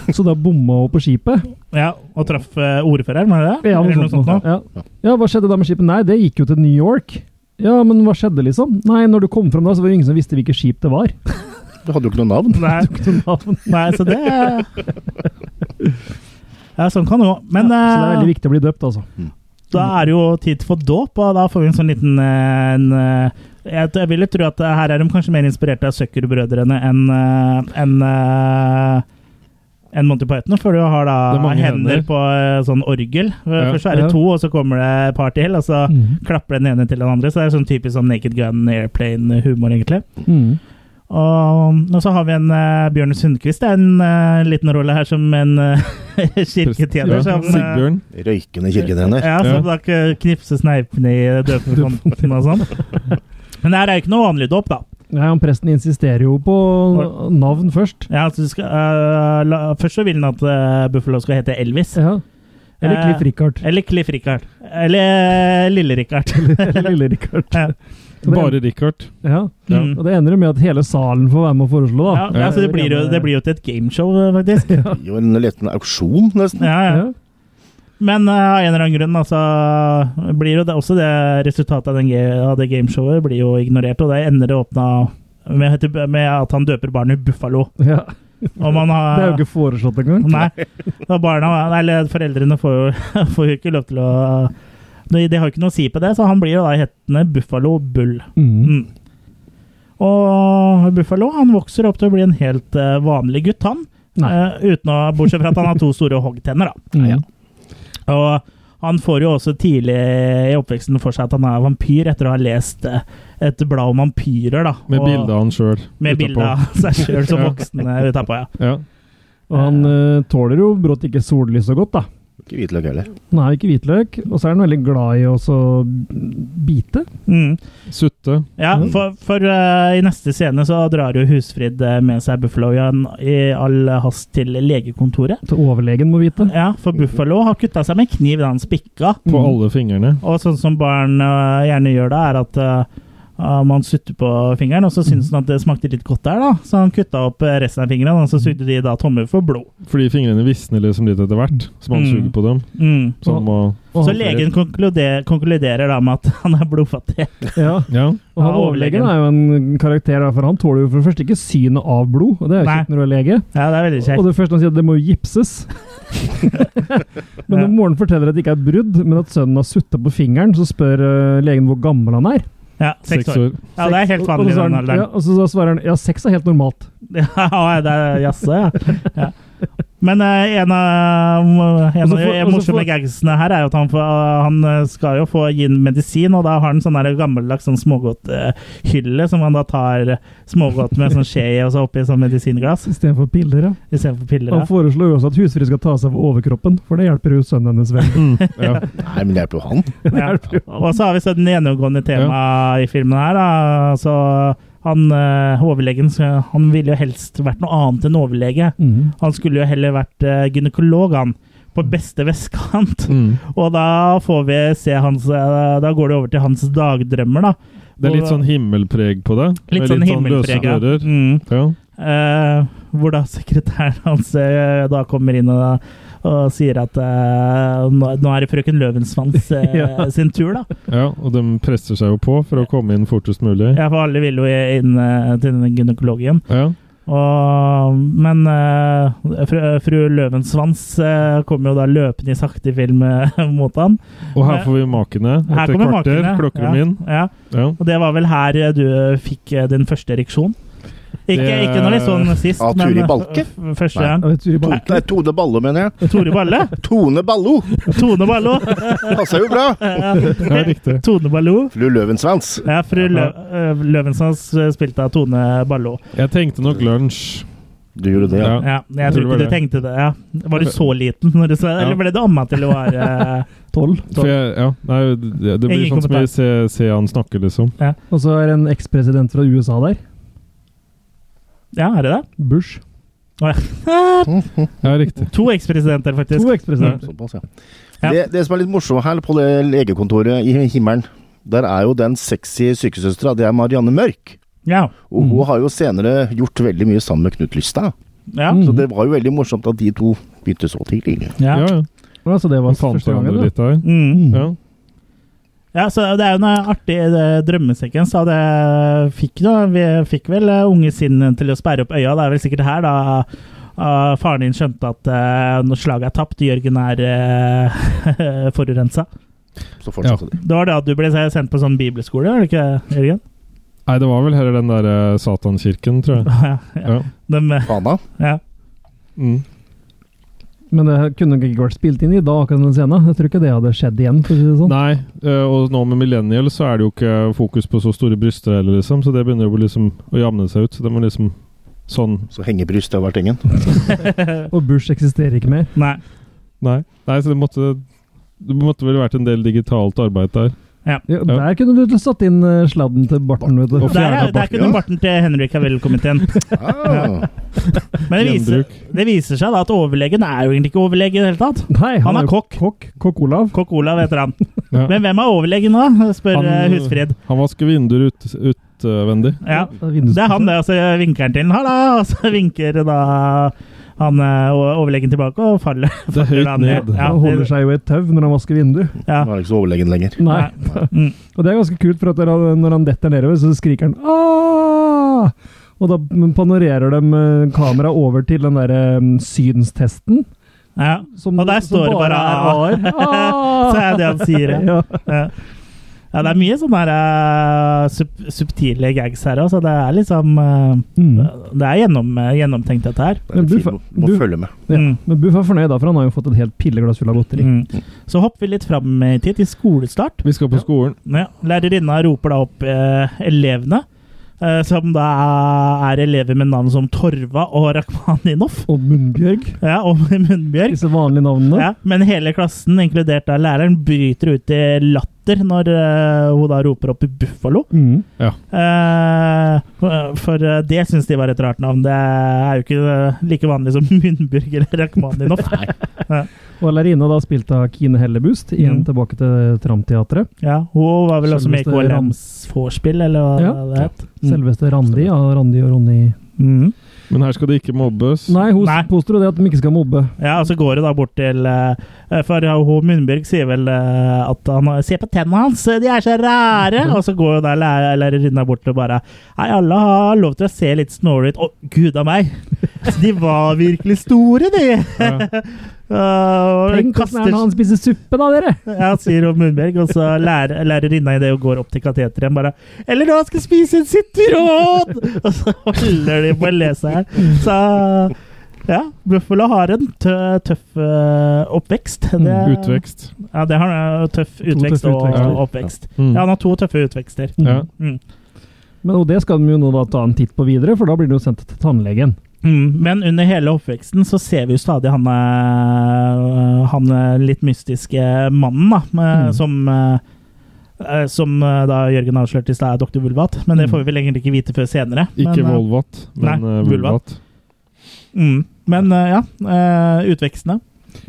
Speaker 4: Så da bomma hun på skipet.
Speaker 2: Ja, Og traff eh, ordføreren, var det det?
Speaker 4: Ja,
Speaker 2: Eller noe sånt noe.
Speaker 4: ja. ja, hva skjedde da med skipet? Nei, det gikk jo til New York. Ja, men hva skjedde, liksom? Nei, når du kom fram da, så var det jo ingen som visste hvilket skip det var.
Speaker 5: Du hadde jo ikke noe navn.
Speaker 2: Nei.
Speaker 4: Sånn navn.
Speaker 2: Nei, så det Ja, sånn kan det gå. Men
Speaker 4: Så det er
Speaker 2: eh,
Speaker 4: veldig viktig å bli døpt, altså.
Speaker 2: Da er det jo tid for dåp, og da får vi en sånn liten eh, en, eh, jeg, jeg vil jo tro at eh, her er de kanskje mer inspirert av Søkkerbrødrene enn eh, enn, eh, enn Monty Python, for du har da
Speaker 3: Det er mange
Speaker 2: hender,
Speaker 3: hender.
Speaker 2: på eh, sånn orgel.
Speaker 3: Ja,
Speaker 2: Først så er det
Speaker 4: ja.
Speaker 2: to, og så kommer det et par til, og så
Speaker 4: Mhm.
Speaker 2: klapper den ene til den andre. Så det er sånn typisk sånn Naked Gun, Airplane-humor, egentlig.
Speaker 4: Mhm.
Speaker 2: Og, og så har vi en eh, Bjørn Sundquist. Det er en eh, liten rolle her som en eh, kirketjener.
Speaker 3: Ja.
Speaker 2: som, eh,
Speaker 3: Sigbjørn.
Speaker 5: Røykende kirketrener.
Speaker 2: Ja,
Speaker 3: Ja.
Speaker 2: som da k- knipses neipene i døpefonten og sånn. Men det her er jo ikke noe vanlig dåp, da.
Speaker 4: Nei, han presten insisterer jo på navn først.
Speaker 2: Ja, altså, du skal, øh, la, først så vil han at øh, Buffalo skal hete Elvis.
Speaker 4: Ja. Eller
Speaker 2: Eh,
Speaker 4: Cliff Richard.
Speaker 2: Eller Cliff Richard. Eller øh, Lille Richard.
Speaker 4: Eller Lille Richard.
Speaker 2: Ja.
Speaker 3: Bare Richard.
Speaker 4: Ja,
Speaker 3: Ja.
Speaker 2: Mm.
Speaker 4: og det ender jo med at hele salen får være med å foreslå, da.
Speaker 2: Ja, altså, det, blir jo, det blir jo til et gameshow, øh, faktisk.
Speaker 5: Jo, en liten auksjon, nesten.
Speaker 2: Ja, ja.
Speaker 4: ja.
Speaker 2: Men øh, av en eller annen grunn altså, blir jo det, også det resultatet av, den, ga- av det gameshowet blir jo ignorert, og det ender det åpna med, å hete- med at han døper barnet Buffalo.
Speaker 4: ja.
Speaker 2: Og man har,
Speaker 4: Det er jo ikke foreslått engang.
Speaker 2: Nei. Da barna, eller foreldrene får jo, får jo ikke lov til å De de har jo ikke noe å si på det, så han blir jo da hettende Buffalo Bull.
Speaker 4: Mm.
Speaker 2: Mm. Og Buffalo han vokser opp til å bli en helt eh, vanlig gutt, han.
Speaker 4: Nei.
Speaker 2: Eh, uten å, bortsett fra at han har to store hoggtenner, da.
Speaker 4: Mm.
Speaker 5: Ja, ja.
Speaker 2: Og han får jo også tidlig i oppveksten for seg at han er vampyr, etter å ha lest eh, et blad om vampyrer. da.
Speaker 3: Med
Speaker 2: Og-
Speaker 3: bilde av han sjøl.
Speaker 2: Med bilde av seg sjøl som voksne utapå, ja.
Speaker 3: Ja.
Speaker 4: Og han eh, tåler jo brått ikke sollys så godt, da.
Speaker 5: Ikke hvitløk heller.
Speaker 4: Han er jo ikke hvitløk, og så er han veldig glad i å så bite.
Speaker 2: Mm.
Speaker 3: Sutte.
Speaker 2: Ja,
Speaker 5: Mm.
Speaker 2: for, for eh, i neste scene så drar jo Husfrid eh, med seg Buffalo igjen i all hast til legekontoret.
Speaker 4: Til overlegen må vite.
Speaker 2: Ja, for Buffalo har kutta seg med kniv da han spikka.
Speaker 3: På
Speaker 4: Mm.
Speaker 3: alle fingrene.
Speaker 2: Og sånn som barn eh, gjerne gjør da, er at eh, eh, man sutter på fingeren, og så syns han at det smakte litt godt der, da. Så han kutta opp eh, resten av fingrene, og så sugde de da tommer for blod.
Speaker 3: Fordi fingrene visner liksom litt etter hvert. Så man
Speaker 2: Mm.
Speaker 3: suger på dem.
Speaker 2: Mm.
Speaker 3: Så han må
Speaker 4: Og
Speaker 2: Så
Speaker 4: han,
Speaker 2: legen konkluderer, konkluderer da med at han er blodfattig.
Speaker 3: Ja.
Speaker 4: ja. og han
Speaker 2: Ja, overlegen.
Speaker 4: overlegen er jo en karakter, da, for han tåler jo for det første ikke synet av blod. Og det er jo
Speaker 2: Nei.
Speaker 4: kjekt når du er lege.
Speaker 2: Ja, det er veldig
Speaker 4: Og
Speaker 2: kjekt.
Speaker 4: det første han sier, at det må jo gipses. men når moren forteller at det ikke er brudd, men at sønnen har sutta på fingeren, så spør eh, legen hvor gammel han er.
Speaker 2: Ja, seks år. Ja, det er helt
Speaker 4: Og- og
Speaker 2: vanlig i
Speaker 4: så svarer
Speaker 2: den
Speaker 4: han-
Speaker 2: alderen.
Speaker 4: Ja, og så så svarer han ja, seks er helt normalt.
Speaker 2: Ja, det er jaså, ja. ja. Men eh, en av, eh, en
Speaker 4: Og så
Speaker 2: av
Speaker 4: får-
Speaker 2: de
Speaker 4: og så
Speaker 2: morsomme
Speaker 4: får-
Speaker 2: gagsene her er jo at han, får, han eh, skal jo få gi en medisin, og da har han sånn der gammeldags sånn smågodthylle som han da tar smågodt med sånn skje i, og så oppi sånn medisinglass
Speaker 4: Istedenfor piller, ja.
Speaker 2: istedenfor piller.
Speaker 4: Han
Speaker 2: da.
Speaker 4: foreslår jo også at husfri skal ta seg av overkroppen, for det hjelper jo sønnen hennes veldig.
Speaker 3: Ja.
Speaker 5: Nei, men det hjelper jo han.
Speaker 2: Ja. Og så har vi så den gjennomgående temaet i filmen her. Da. Så han eh, overlegen så han ville jo helst vært noe annet enn overlege.
Speaker 4: Mm.
Speaker 2: Han skulle jo heller vært eh, gynekolog, han. På beste vestkant.
Speaker 3: Mm.
Speaker 2: Og da får vi se hans eh, Da går det over til hans dagdrømmer, da.
Speaker 3: Det er litt
Speaker 2: Hvor-
Speaker 3: sånn himmelpreg på det.
Speaker 2: Litt
Speaker 3: Med
Speaker 2: sånn himmelpreg,
Speaker 3: løse
Speaker 2: ja.
Speaker 3: dører.
Speaker 2: Mm.
Speaker 3: Ja.
Speaker 2: Eh, hvor da sekretæren hans eh, da kommer inn og, og sier at eh, nå, nå er det frøken Løvensmanns eh,
Speaker 4: Ja.
Speaker 2: sin tur, da.
Speaker 3: ja, og de presser seg jo på for å komme inn fortest mulig.
Speaker 2: Ja, for alle vil jo inn eh, til den gynekologen.
Speaker 3: Ja.
Speaker 2: Og, men eh, fru, fru Løvensvans eh, kommer jo da løpende i sakte film eh, mot han.
Speaker 3: Og her får vi makene.
Speaker 2: Her
Speaker 3: Etter
Speaker 2: kommer
Speaker 3: kvarter
Speaker 2: makene.
Speaker 3: klokker
Speaker 2: ja,
Speaker 3: de inn.
Speaker 2: Ja.
Speaker 3: Ja.
Speaker 2: Og det var vel her eh, du fikk eh, din første ereksjon? Ikke,
Speaker 3: Det-
Speaker 2: ikke noe litt sånn sist,
Speaker 5: Ja, Turi
Speaker 2: men eh,
Speaker 5: Balke?
Speaker 2: f- første gang.
Speaker 4: Ja, Turi Bang-
Speaker 5: Nei, Tone Ballo, mener jeg.
Speaker 2: Tore Balle?
Speaker 5: Tone Ballo!
Speaker 2: Tone Ballo?
Speaker 5: Passer jo bra!
Speaker 3: ja, riktig.
Speaker 2: Tone Ballo?
Speaker 5: Fru Løvensvans.
Speaker 2: Ja, fru Lø eh, Løvensvans eh, spilte av Tone Ballo.
Speaker 3: Jeg tenkte nok lunsj.
Speaker 5: Du gjorde det, ja.
Speaker 3: Ja.
Speaker 2: Ja, jeg
Speaker 3: Tror det
Speaker 2: tror
Speaker 3: var
Speaker 2: ikke du
Speaker 3: det.
Speaker 2: tenkte det. Ja. Var du så liten? Når du sa,
Speaker 3: Ja.
Speaker 2: Eller ble du amma til du var eh,
Speaker 4: Tolv.
Speaker 3: For jeg, ja, nei, det, det blir
Speaker 2: Ingen
Speaker 3: sånn som
Speaker 2: kommentar.
Speaker 3: jeg ser, ser han snakke, liksom.
Speaker 4: Og så er det en ekspresident fra USA der.
Speaker 2: Ja, er det det?
Speaker 4: Bush.
Speaker 3: Ja, riktig.
Speaker 2: To ekspresidenter, faktisk.
Speaker 4: To ekspresidenter.
Speaker 5: Mm. Såpass, ja.
Speaker 2: Ja.
Speaker 5: Det, det som er litt morsomt her på det legekontoret i himmelen, der er jo den sexy sykesøstera, det er Marianne Mørk.
Speaker 2: Ja.
Speaker 5: Og hun har jo senere gjort veldig mye sammen med Knut Lystad.
Speaker 2: Ja.
Speaker 4: Mm.
Speaker 5: Så det var jo veldig morsomt at de to begynte så tidlig.
Speaker 2: Ja.
Speaker 3: Ja, ja.
Speaker 4: Ja, så det var
Speaker 3: Han fant
Speaker 4: første
Speaker 3: hverandre
Speaker 4: gangen, da.
Speaker 3: litt der.
Speaker 2: Mm.
Speaker 3: Ja.
Speaker 2: ja, så det er jo en artig eh, drømmesekvens. da. Det fikk, da. Vi fikk vel eh, unge sinn til å sperre opp øya. Det er vel sikkert her da eh, faren din skjønte at eh, når slaget er tapt, Jørgen er uh, forurensa.
Speaker 5: Så fortsatte det.
Speaker 2: Det var da du ble sendt på sånn bibelskole, var det ikke, Jørgen?
Speaker 3: Nei, det var vel heller den der eh, satankirken, tror jeg.
Speaker 2: ja.
Speaker 3: Ja.
Speaker 2: Dem, eh,
Speaker 5: Fana.
Speaker 2: ja.
Speaker 3: Mm.
Speaker 4: Men det her kunne nok ikke vært spilt inn i dag, akkurat den scenen. Jeg tror ikke det hadde skjedd igjen. for å si det sånn.
Speaker 3: Nei, eh, og nå med millennial så er det jo ikke fokus på så store bryster heller, liksom, så det begynner jo liksom å jamne seg ut. Det må liksom sånn
Speaker 5: Så hengebryst har vært ingen.
Speaker 4: Og Bush eksisterer ikke mer.
Speaker 2: Nei.
Speaker 3: Nei, Nei så det måtte det måtte vel vært en del digitalt arbeid der.
Speaker 4: Ja,
Speaker 3: Ja.
Speaker 4: Der kunne du satt inn eh, sladden til barten, vet
Speaker 3: Og
Speaker 4: du.
Speaker 2: Der, er- der kunne
Speaker 5: Ja.
Speaker 2: barten til Henrik Havell kommet inn.
Speaker 5: Ah.
Speaker 2: Men det viser,
Speaker 3: Gjenbruk.
Speaker 2: det viser seg da at overlegen er jo egentlig ikke overlege i det hele tatt.
Speaker 4: Nei,
Speaker 2: Han er
Speaker 4: jo
Speaker 2: kokk.
Speaker 4: Kokk, kokk Olav.
Speaker 2: Kokk Olav heter han.
Speaker 3: Ja.
Speaker 2: Men hvem er overlegen nå? spør eh, Husfrid.
Speaker 3: Han vasker vinduer ut- utvendig.
Speaker 2: Ja.
Speaker 4: Vindus-
Speaker 2: Det er han, det. Og så vinker han til den. Halla! Og så vinker da han eh, o- overlegen tilbake og faller.
Speaker 3: det er høyt
Speaker 2: han ned.
Speaker 3: ned.
Speaker 2: Ja.
Speaker 4: han holder seg jo i et tau når han vasker vindu.
Speaker 2: Ja.
Speaker 5: Nå er det ikke så overlegen lenger.
Speaker 4: Nei.
Speaker 2: Mm.
Speaker 4: Og det er ganske kult, for at når han- når han detter nedover, så skriker han Aah! Og da panorerer de eh, kameraet over til den derre synstesten.
Speaker 2: Ja.
Speaker 4: Som,
Speaker 2: Og der
Speaker 4: som
Speaker 2: står det bare
Speaker 4: er A-er.
Speaker 2: Så er det han sier. Ja.
Speaker 4: Ja.
Speaker 2: Ja. Ja, det er mye sånne her, eh, sub subtile gags her òg, så det er liksom eh,
Speaker 4: Mm.
Speaker 2: Det er gjennom, eh, gjennomtenkt, dette her.
Speaker 5: Det er
Speaker 4: Men du
Speaker 5: fint
Speaker 4: fa-
Speaker 5: å- må
Speaker 4: du-
Speaker 5: følge med.
Speaker 4: Ja.
Speaker 2: Mm.
Speaker 4: Men Buff er fornøyd, da, for han har jo fått et helt pilleglass full av godteri.
Speaker 2: Mm. Så hopper vi litt fram i tid, til skolestart.
Speaker 3: Vi skal på skolen.
Speaker 2: Ja, lærerinna roper da opp eh, elevene, eh, som da er elever med navn som Torva og Rakhmaninov.
Speaker 4: Og Munnbjørg.
Speaker 2: Ja, og Munnbjørg.
Speaker 4: Disse vanlige navnene.
Speaker 2: Ja, men hele klassen, inkludert da læreren, bryter ut i latter når eh, hun da roper opp Buffalo.
Speaker 4: Mm.
Speaker 2: Eh, for eh, det syns de var et rart navn. Det er jo ikke eh, like vanlig som Munnbjørg eller Rakhmaninov.
Speaker 4: Og lærerinna da spilt av Kine Hellebust, igjen
Speaker 2: Mm.
Speaker 4: tilbake til Tramteatret.
Speaker 2: Ja, hun var vel også med i
Speaker 4: Selveste Ram-
Speaker 2: KLMs vorspiel, eller hva
Speaker 4: Ja.
Speaker 2: det het. Mm.
Speaker 4: Selveste Randi av Randi og Ronny
Speaker 2: Mm.
Speaker 3: Men her skal det ikke mobbes.
Speaker 4: Nei, hun
Speaker 2: Nei.
Speaker 4: påstår jo det at de ikke skal mobbe.
Speaker 2: Ja, og så går det da bort til eh, For hun Munnbjørg sier vel eh, at han har- Se på tennene hans, eh, de er så rare!
Speaker 4: Mhm.
Speaker 2: Og så går jo da lærer- lærerinna bort og bare Nei, alle har lov til å se litt snåle ut. Å, gud a meg! De var virkelig store, de!
Speaker 3: Ja.
Speaker 2: Uh,
Speaker 4: Tenk hvordan er det når han spiser suppe, da, dere!
Speaker 2: Ja, sier hun Munnberg, og så lærer lærerinna i det og går opp til kateteret bare 'Eller nå skal jeg spise en sitteråd!' Og så holder de på å lese her. Så Ja, Buffalo har en tø tøff eh, oppvekst. Det,
Speaker 4: Mm,
Speaker 3: Utvekst.
Speaker 2: Ja, det har han. eh, Tøff utvekst
Speaker 4: tøffe
Speaker 2: og
Speaker 4: utvekster.
Speaker 2: oppvekst.
Speaker 3: Mm.
Speaker 2: Ja, han har to tøffe utvekster.
Speaker 3: Ja.
Speaker 2: Mm.
Speaker 4: Men og det skal de jo nå da ta en titt på videre, for da blir det jo sendt til tannlegen.
Speaker 2: Mm, men under hele oppveksten så ser vi jo stadig han, eh, han eh, litt mystiske mannen, da, med,
Speaker 4: Mm.
Speaker 2: som eh, eh, som eh, da Jørgen avslørte i stad er Dr. Vulvat, men det
Speaker 4: Mm.
Speaker 2: får vi vel egentlig ikke vite før senere.
Speaker 3: Ikke
Speaker 2: men, eh,
Speaker 3: Volvat, men
Speaker 2: nei,
Speaker 3: eh, Vulvat.
Speaker 2: Mm, men eh, ja, eh, utvekstene.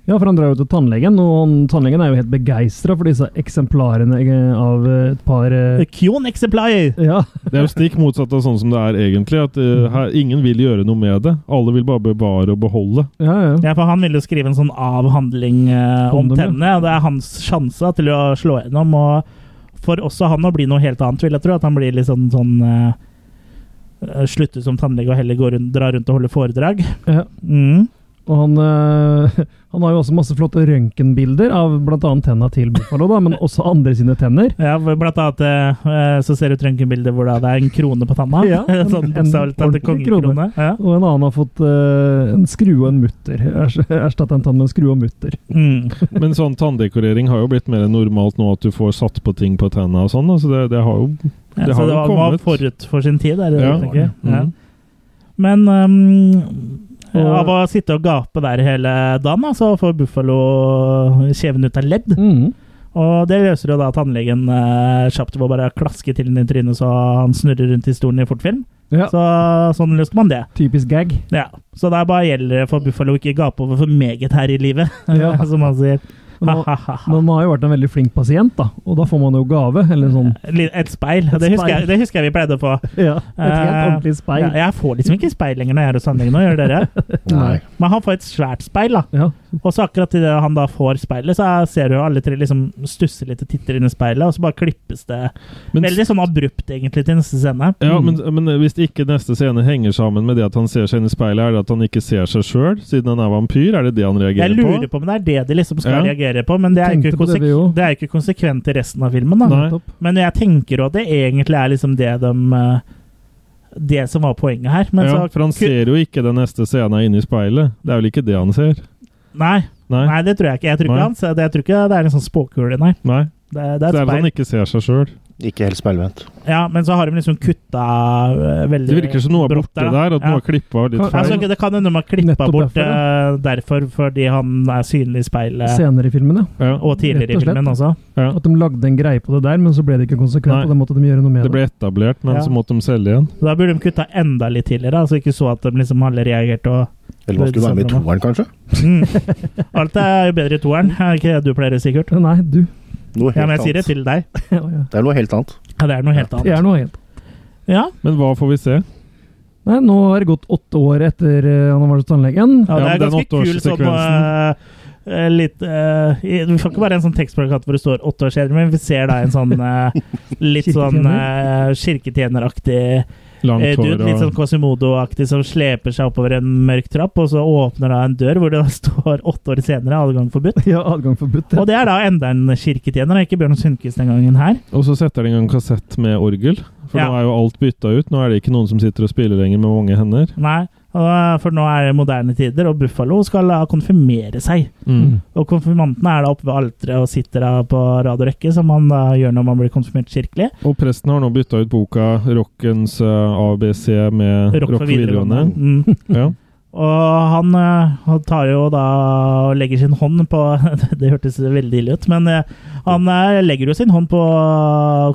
Speaker 4: Ja, for han drar jo til tannlegen, og han, tannlegen er jo helt begeistra for disse eksemplarene eh, av eh, et par eh,
Speaker 2: Kjon Exemplar!
Speaker 4: Ja,
Speaker 3: Det er jo stikk motsatt av sånn som det er egentlig. At eh,
Speaker 2: Mm.
Speaker 3: her, ingen vil gjøre noe med det. Alle vil bare bevare og beholde.
Speaker 4: ja, ja.
Speaker 2: Ja, for Han ville jo skrive en sånn avhandling eh, om
Speaker 4: Om dem, ja.
Speaker 2: tennene, og det er hans sjanse da, til å slå gjennom. Og for også han å bli noe helt annet, vil jeg tro. At han blir litt sånn, sånn eh, eh, Slutte som tannlege og heller gå rundt, dra rundt og holde foredrag.
Speaker 4: ja.
Speaker 2: Mm.
Speaker 4: Og han, eh, han har jo også masse flotte røntgenbilder av bl.a. tenna til Buffalo, da, men også andre sine tenner.
Speaker 2: Ja, for Blant annet eh, eh, så ser du et røntgenbilde hvor da det er en krone på tanna.
Speaker 4: Ja, en-
Speaker 2: sånn
Speaker 4: en
Speaker 2: bokstavelig talt en
Speaker 4: ordentlig
Speaker 2: kongekrone. Ja.
Speaker 4: Og en annen har fått eh, en skrue og en mutter. Erstatta en tann med en skrue og mutter.
Speaker 2: Mm.
Speaker 3: Men sånn tanndekorering har jo blitt mer normalt nå, at du får satt på ting på tenna og sånn. da, Så det, det har jo
Speaker 2: Ja,
Speaker 3: Det
Speaker 2: så
Speaker 3: har
Speaker 2: det
Speaker 3: jo
Speaker 2: var, det var
Speaker 3: kommet.
Speaker 2: forut for sin tid, er det
Speaker 3: Ja.
Speaker 2: det du tenker? Ja.
Speaker 3: Mhm.
Speaker 2: Men ehm,
Speaker 4: Og-
Speaker 2: av å sitte og gape der hele dagen, da, så får Buffalo kjeven ut av ledd.
Speaker 4: Mhm.
Speaker 2: Og det løser jo da tannlegen eh, kjapt ved å bare klaske til den i trynet så han snurrer rundt i stolen i fortfilm.
Speaker 4: Ja,
Speaker 2: Så sånn løste man det.
Speaker 4: typisk gag.
Speaker 2: Ja. Så der bare gjelder det for Buffalo å ikke gape over for meget her i livet,
Speaker 4: Ja.
Speaker 2: som han sier.
Speaker 4: Men han,
Speaker 2: Ha-ha-ha.
Speaker 4: men han har jo vært en veldig flink pasient, da, og da får man jo gave. Eller sånn
Speaker 2: Et speil.
Speaker 4: Et
Speaker 2: Det, husker
Speaker 4: speil.
Speaker 2: jeg, det husker jeg vi pleide å få.
Speaker 4: ja, et helt
Speaker 2: Eh,
Speaker 4: ordentlig speil.
Speaker 2: Ja, jeg får liksom ikke speil lenger når jeg er hos tannlegen nå, gjør dere?
Speaker 5: Nei.
Speaker 2: Men han får et svært speil, da.
Speaker 4: Ja.
Speaker 2: Og så akkurat idet han da får speilet, så ser du jo alle tre liksom stusser litt og titter inn i speilet, og så bare klippes det
Speaker 3: Men,
Speaker 2: veldig Mm. sånn abrupt, egentlig, til neste scene.
Speaker 3: ja, men, men eh, hvis ikke neste scene henger sammen med det at han ser seg inn i speilet, er det at han ikke ser seg sjøl, siden han er vampyr? Er det det han
Speaker 2: Jeg
Speaker 3: reagerer
Speaker 2: lurer
Speaker 3: på?
Speaker 2: på om det er det de liksom skal
Speaker 3: Ja.
Speaker 2: reagere på, men det er, jo ikke
Speaker 4: Tenkte på det,
Speaker 2: konsek-
Speaker 4: vi jo.
Speaker 2: det er jo ikke konsekvent i resten av filmen. da.
Speaker 3: Nei.
Speaker 4: Nettopp.
Speaker 2: Men jeg tenker jo at det egentlig er liksom det de eh, Det som var poenget her. Men
Speaker 3: ja,
Speaker 2: så
Speaker 3: for han ser jo ikke den neste scenen inne i speilet. Det er vel ikke det han ser?
Speaker 2: Nei,
Speaker 3: Nei.
Speaker 2: nei, det tror jeg ikke. Jeg tror ikke,
Speaker 3: Nei.
Speaker 2: han, ser det- jeg tror ikke det er en sånn spåkule, nei.
Speaker 3: Nei.
Speaker 2: Det, det er
Speaker 3: Det sånn er
Speaker 2: et
Speaker 3: at
Speaker 2: speil.
Speaker 3: han ikke ser seg sjøl.
Speaker 5: Ikke helt speilvendt.
Speaker 2: Ja, men så har de liksom kutta eh, veldig
Speaker 3: Det virker som noe er
Speaker 2: brått
Speaker 3: borte der, at
Speaker 2: Ja.
Speaker 3: noe har klippa litt
Speaker 4: Kan-
Speaker 3: feil.
Speaker 2: Altså, det kan hende man klippa
Speaker 4: Nettopp
Speaker 2: bort
Speaker 4: derfor, ja.
Speaker 2: eh, derfor, fordi han er synlig i speilet.
Speaker 4: Senere i filmen, ja.
Speaker 3: Ja.
Speaker 2: Og tidligere
Speaker 4: Rett og
Speaker 2: i
Speaker 4: slett.
Speaker 2: filmen også.
Speaker 3: Ja.
Speaker 4: At de lagde en greie på det der, men så ble det ikke konsekvent,
Speaker 3: Nei.
Speaker 4: og da måtte de gjøre noe med
Speaker 3: Det
Speaker 4: det.
Speaker 3: ble etablert, men
Speaker 2: Ja.
Speaker 3: så måtte de selge igjen.
Speaker 2: Da burde de kutta enda litt tidligere, da, så ikke så at de liksom alle reagerte og
Speaker 5: Eller man skulle være med i toeren, kanskje?
Speaker 2: mm. Alt er jo bedre i toeren, er ikke det du pleier å si, Kurt?
Speaker 4: Eh, Nei, du.
Speaker 5: Noe
Speaker 2: Ja,
Speaker 5: helt
Speaker 2: men jeg sier det
Speaker 5: annet.
Speaker 2: til deg.
Speaker 4: Ja, ja.
Speaker 5: Det er noe helt annet.
Speaker 2: Ja, det er noe helt
Speaker 4: Det
Speaker 2: annet.
Speaker 4: er noe helt
Speaker 2: Ja,
Speaker 3: Men hva får vi se?
Speaker 4: Nei, nå har det gått åtte år etter eh, han har vært hos tannlegen.
Speaker 2: ja det
Speaker 3: Ja,
Speaker 2: er
Speaker 3: men den
Speaker 2: ganske kul sånn
Speaker 3: åtteårssekvensen.
Speaker 2: eh, eh, litt eh, i- Vi får ikke bare en sånn tekstplakat hvor det står åtte år senere, men vi ser da en sånn eh, litt sånn eh, kirketjeneraktig Eh,
Speaker 3: Langt
Speaker 2: Du,
Speaker 3: hår
Speaker 2: litt sånn
Speaker 3: og
Speaker 2: Quasimodo-aktig som sleper seg oppover en mørk trapp, og så åpner da en dør hvor det da står åtte år senere adgang forbudt.
Speaker 4: Ja, adgang forbudt.
Speaker 2: Og det er da enda en kirketjener, da, ikke Bjørn Sundquist den gangen her.
Speaker 3: Og så setter de i gang kassett med orgel. For
Speaker 2: Ja.
Speaker 3: nå er jo alt bytta ut. Nå er det ikke noen som sitter og spiller lenger med mange hender.
Speaker 2: Nei, og- eh, for nå er det moderne tider, og Buffalo skal da konfirmere seg.
Speaker 3: Mm.
Speaker 2: Og konfirmanten er da oppe ved alteret og sitter da på rad og rekke, som han da gjør når man blir konfirmert kirkelig.
Speaker 3: Og presten har nå bytta ut boka 'Rockens eh, ABC' med 'Rock for videregående'.
Speaker 2: Mm.
Speaker 3: Ja.
Speaker 2: Og han, eh, han tar jo da og legger sin hånd på Det hørtes veldig ille ut, men eh, han eh, legger jo sin hånd på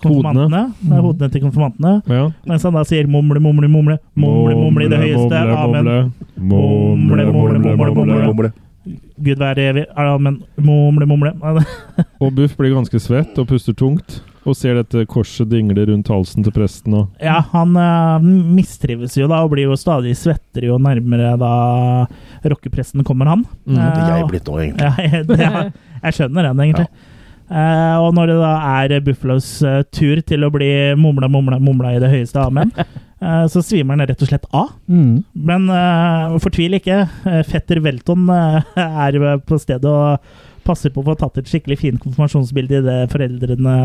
Speaker 2: konfirmantene. Hodene, Mm.
Speaker 4: Mhm.
Speaker 2: hodene til konfirmantene.
Speaker 3: Ja.
Speaker 2: Mens han da sier mumle, mumle, mumle. Mumle, mumle i det høyeste. Amen.
Speaker 3: Mumle, mumle, mumle, mumle.
Speaker 5: Mumle.
Speaker 2: Gud være evig. Amen. Mumle, mumle.
Speaker 3: Og Buff blir ganske svett og puster tungt. Og ser dette korset dingle rundt halsen til presten. Og
Speaker 2: Ja, han eh, mistrives jo da, og blir jo stadig svettere jo nærmere da rockepresten kommer han.
Speaker 3: Mm.
Speaker 5: Det
Speaker 2: Eh,
Speaker 5: er jeg
Speaker 2: og-
Speaker 5: blitt nå, egentlig.
Speaker 2: Ja, jeg, det, er- jeg skjønner den, egentlig. Eh, og når det da er Buffalos eh, tur til å bli mumla, mumla, mumla i det høyeste amen, eh, så svimer han rett og slett av.
Speaker 4: Mm.
Speaker 2: Men eh, fortvil ikke. Eh, Fetter Welton eh, er jo på stedet og passer på å få tatt et skikkelig fint konfirmasjonsbilde idet foreldrene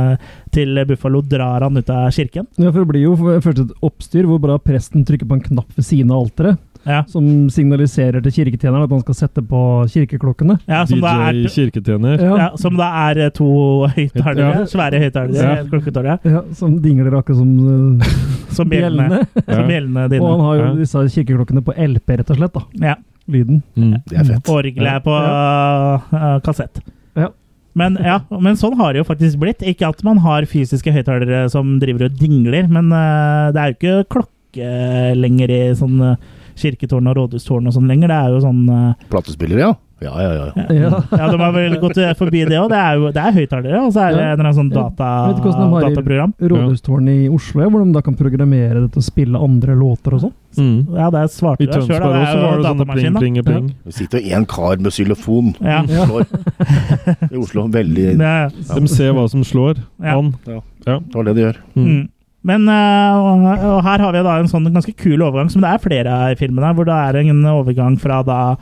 Speaker 2: til Buffalo drar han ut av kirken.
Speaker 4: Ja, for det blir jo f- først et oppstyr hvor bare presten trykker på en knapp ved siden av alteret.
Speaker 2: Ja.
Speaker 4: som signaliserer til kirketjeneren at han skal sette på kirkeklokkene.
Speaker 2: Ja, som da
Speaker 3: DJ
Speaker 2: er,
Speaker 3: Kirketjener.
Speaker 4: Ja,
Speaker 2: ja, som da er eh, to høyttalere,
Speaker 3: Ja.
Speaker 2: svære høyttalere,
Speaker 3: Ja.
Speaker 2: klokketårer,
Speaker 4: ja, som dingler akkurat som eh,
Speaker 2: som bjellene,
Speaker 4: bjellene.
Speaker 2: som
Speaker 3: Ja.
Speaker 2: bjellene
Speaker 4: Og han
Speaker 2: dine.
Speaker 4: har jo
Speaker 3: Ja.
Speaker 4: disse kirkeklokkene på LP, rett og slett. da,
Speaker 2: Ja.
Speaker 4: Lyden.
Speaker 3: Mm.
Speaker 5: Det er fett.
Speaker 2: Orgelet er på eh, kassett.
Speaker 4: Ja.
Speaker 2: Men, ja, men sånn har det jo faktisk blitt. Ikke at man har fysiske høyttalere som driver og dingler, men eh, det er jo ikke klokke lenger i sånn eh, kirketårn og rådhustårn og sånn lenger. Det er jo sånn eh,
Speaker 5: Platespillere, ja. Ja, ja, ja. ja.
Speaker 4: Ja.
Speaker 2: Ja, de har vel gått eh, forbi det òg. Det er jo det er høyttalere, og så er det
Speaker 4: Ja.
Speaker 2: en eller annen sånn
Speaker 4: Jeg
Speaker 2: data,
Speaker 4: vet ikke hvordan de har i-
Speaker 2: dataprogram.
Speaker 4: Rådhustårnet i Oslo, ja, hvor de da kan programmere det til å spille andre låter og sånn.
Speaker 3: Mm.
Speaker 2: Ja, det er
Speaker 3: I
Speaker 2: svarte deg sjøl,
Speaker 3: Tønsberg
Speaker 2: da.
Speaker 3: også
Speaker 2: Det
Speaker 3: var
Speaker 2: er jo
Speaker 3: det sånne pling,
Speaker 2: datamaskin, da.
Speaker 3: pling, pling.
Speaker 5: Det sitter jo én kar med xylofon
Speaker 2: Ja.
Speaker 4: Ja.
Speaker 5: slår. i Oslo. Veldig
Speaker 2: Det,
Speaker 5: Det
Speaker 2: er-
Speaker 3: De ser hva som slår
Speaker 2: Ja.
Speaker 3: an.
Speaker 5: var det de gjør.
Speaker 3: Mm.
Speaker 2: mm. Men eh, og, og her har vi da en sånn ganske kul overgang, som det er flere av i filmen her, hvor det er en overgang fra da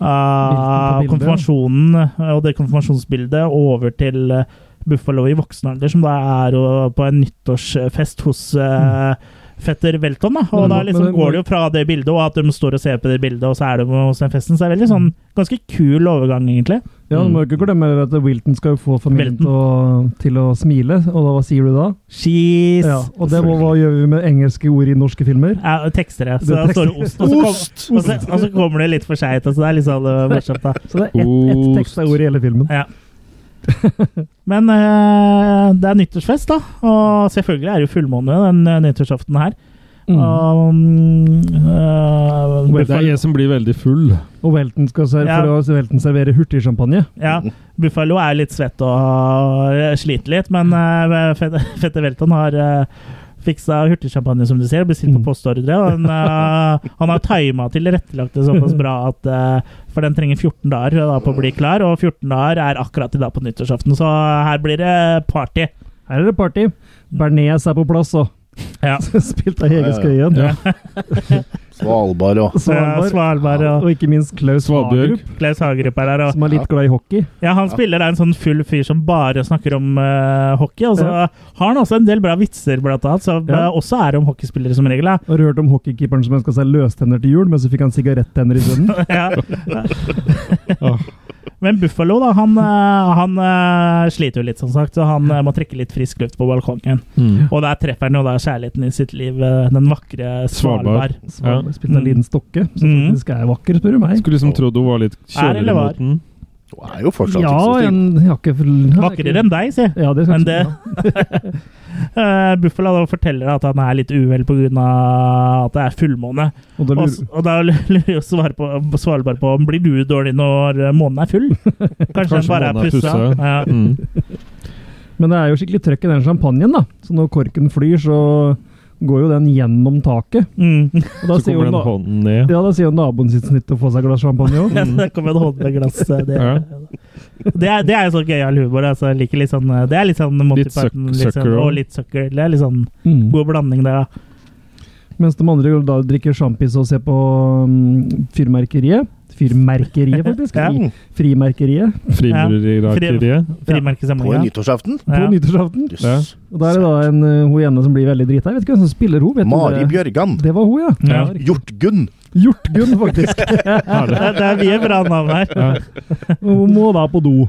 Speaker 2: ah,
Speaker 4: Bilden på bildet.
Speaker 2: konfirmasjonen eh, og det konfirmasjonsbildet over til eh, Buffalo i voksen alder, som da er jo på en nyttårsfest hos eh, fetter Velton. da, Og
Speaker 4: Mm. Men-
Speaker 2: da
Speaker 4: men-
Speaker 2: liksom
Speaker 4: men-
Speaker 2: går det jo fra det bildet, og at de står og ser på det bildet, og så er de hos den festen. Så det er veldig sånn ganske kul overgang, egentlig.
Speaker 4: Ja, Du må jo ikke glemme at Wilton skal jo få familien
Speaker 2: Mm. Wilton.
Speaker 4: til å, til å smile, og da, hva sier du da?
Speaker 2: Cheese!
Speaker 4: Ja, og det, hva, hva gjør vi med engelske ord i norske filmer?
Speaker 2: Ja, og tekster det. Så
Speaker 4: Det er
Speaker 2: da står det ost.
Speaker 4: tekster.
Speaker 2: Og så, kom,
Speaker 5: Ost!
Speaker 2: og, så, og så kommer det litt for seint. Så det er litt sånn eh, morsomt, da.
Speaker 4: Så det er ett et
Speaker 3: Ost.
Speaker 4: teksta ord i hele filmen.
Speaker 2: Ja. Men eh, det er nyttårsfest, da. Og selvfølgelig er det jo fullmåne den eh, nyttårsaften her.
Speaker 3: Mm.
Speaker 2: Og, mm, eh,
Speaker 4: Well,
Speaker 3: Det er jeg som blir veldig full.
Speaker 4: Og Welton skal servere,
Speaker 2: Ja.
Speaker 4: for å Welton servere hurtigsjampanje.
Speaker 2: ja, Buffalo er litt svett og eh, sliter litt, men
Speaker 4: Mm.
Speaker 2: eh, Fette Fette Welton har eh, fiksa hurtigsjampanje, som du ser, bestilt på
Speaker 4: Mm.
Speaker 2: postordre. Og den, eh, han har tima tilrettelagt det såpass bra at eh, For den trenger 14 dager eh, da, på å bli klar, og 14 dager er akkurat i dag på nyttårsaften, så her blir det party.
Speaker 4: Her er det party. Bernes er på plass, og
Speaker 2: Ja.
Speaker 4: spilt av Hege
Speaker 5: Ja, ja.
Speaker 4: Skøyen.
Speaker 3: Ja.
Speaker 5: Svalbard og
Speaker 2: Svalbard,
Speaker 4: Svalbard. Og ikke minst Klaus
Speaker 3: Svalbjørg.
Speaker 4: Hagerup,
Speaker 2: Klaus Hagerup er der. Og,
Speaker 4: som er litt glad i hockey.
Speaker 2: ja, han spiller er en sånn full fyr som bare snakker om eh, hockey. Og så har han også en del bra vitser, blant annet, som
Speaker 4: Ja.
Speaker 2: eh, også er om hockeyspillere, som regel. da.
Speaker 4: Har du hørt om hockeykeeperen som ønska seg løstenner til jul, men så fikk han sigarettenner isteden?
Speaker 2: Ja. Men Buffalo, da, han, eh, han eh, sliter jo litt, som sagt, så han eh, må trekke litt frisk luft på balkongen.
Speaker 3: Mm.
Speaker 2: Og der treffer han jo da kjærligheten i sitt liv, eh, den vakre Svalbard.
Speaker 3: Svalbard. Ja.
Speaker 4: Svalbard Spilt av
Speaker 2: Mm.
Speaker 4: Liden Stokke, som
Speaker 2: Mhm.
Speaker 4: faktisk er vakker, spør du meg.
Speaker 3: Skulle liksom trodd hun var litt
Speaker 2: Er eller
Speaker 3: kjøligere
Speaker 2: var?
Speaker 3: mot den.
Speaker 5: Du er jo fortsatt
Speaker 4: Ja,
Speaker 5: ikke
Speaker 4: en jakke
Speaker 2: Vakrere enn deg, sier jeg.
Speaker 4: Ja, det skal
Speaker 2: Men
Speaker 4: jeg
Speaker 2: det-
Speaker 4: ikke si, ja.
Speaker 2: Eh, Buffalo da forteller at han er litt uhell pga. at det er fullmåne.
Speaker 4: Og da
Speaker 2: Og,
Speaker 4: lurer,
Speaker 2: og da lurer jo Svar på- Svalbard på om blir du dårlig når eh, månen er full. Kanskje den
Speaker 3: Kanskje
Speaker 2: bare er
Speaker 3: månen er
Speaker 2: pussa.
Speaker 3: pussa,
Speaker 2: Ja.
Speaker 3: Mm.
Speaker 4: men det er jo skikkelig trøkk i den champagnen, da. Så når korken flyr, så går jo den gjennom taket.
Speaker 2: Mm.
Speaker 4: Og da
Speaker 3: Så
Speaker 4: sier jo
Speaker 3: kommer den
Speaker 4: na-
Speaker 3: hånden ned.
Speaker 4: ja, da sier jo naboen sitt snitt å få seg et glass champagne òg.
Speaker 2: Ja, Det kommer en hånd med glass. Det,
Speaker 3: Ja.
Speaker 2: det, er, det er jo sånn gøyal humor. Altså. Jeg liker litt sånn, det er litt sånn Monty
Speaker 3: Litt suck-
Speaker 2: Python litt sånn,
Speaker 3: sucker også.
Speaker 2: og litt sucker. Det er litt sånn god blanding der, da.
Speaker 4: Mens de andre da drikker sjampis og ser på mm, fyrmerkeriet. Fyrmerkeriet, faktisk.
Speaker 2: Ja.
Speaker 5: Mm.
Speaker 4: Fri- Frimerkeriet
Speaker 3: Frimurerirakeriet.
Speaker 5: På en
Speaker 2: Frimerkesamlinga.
Speaker 5: nyttårsaften?
Speaker 4: på
Speaker 2: Ja.
Speaker 4: nyttårsaften.
Speaker 5: Jøss.
Speaker 4: Og da er det da en eh, hun ene som blir veldig drita. Jeg vet ikke hvem som spiller hun. Vet du
Speaker 5: Mari
Speaker 4: det?
Speaker 5: Bjørgan.
Speaker 4: Det var hun, ja.
Speaker 2: Ja.
Speaker 4: riktig.
Speaker 5: Hjortgunn.
Speaker 4: Hjortgunn, faktisk.
Speaker 2: Det, er- det er mye bra navn her.
Speaker 3: Ja.
Speaker 4: Hun må da på do.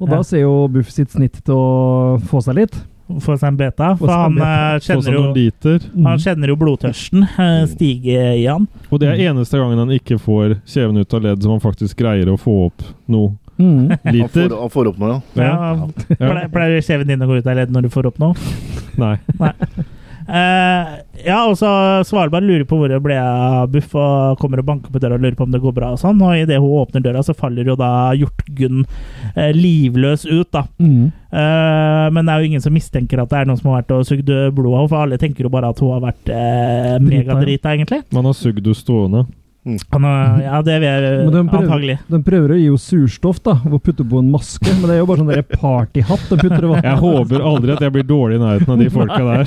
Speaker 4: Og da
Speaker 2: Ja.
Speaker 4: ser jo Buff sitt snitt til å få seg litt.
Speaker 2: Få seg en beta.
Speaker 4: Få
Speaker 2: For
Speaker 4: seg en
Speaker 2: han
Speaker 4: beta.
Speaker 2: eh,
Speaker 3: Få seg
Speaker 2: kjenner
Speaker 3: noen
Speaker 2: jo
Speaker 3: liter.
Speaker 2: han kjenner jo blodtørsten eh, stige i han.
Speaker 3: Og det
Speaker 2: Mm.
Speaker 3: er eneste gangen han ikke får kjeven ut av ledd, så han faktisk greier å få opp noe
Speaker 4: Mm.
Speaker 5: Han får,
Speaker 3: liter.
Speaker 5: han får opp noe, ja.
Speaker 2: Ja,
Speaker 5: Ja.
Speaker 2: ple- Pleier kjeven din å gå ut av ledd når du får opp noe?
Speaker 3: Nei.
Speaker 2: Eh, ja, og så Svalbard lurer på hvor det ble av Buff, og kommer og banker på døra og lurer på om det går bra. Og sånn, og idet hun åpner døra, så faller jo da Hjortgunn eh, livløs ut. da.
Speaker 4: Mm.
Speaker 2: Eh, men det er jo ingen som mistenker at det er noen som har vært og sugd blod av henne, for alle tenker jo bare at hun har vært eh, megadrita, egentlig.
Speaker 3: Man har sugd henne stående.
Speaker 2: Han, har- ja, det vil jeg
Speaker 4: Mhm. Men de prøver-
Speaker 2: antagelig.
Speaker 4: De prøver å gi henne surstoff da, og putte på en maske, men det er jo bare sånn der partyhatt de putter i
Speaker 3: Jeg
Speaker 4: vannet.
Speaker 3: håper aldri at jeg blir dårlig i nærheten av de folka der.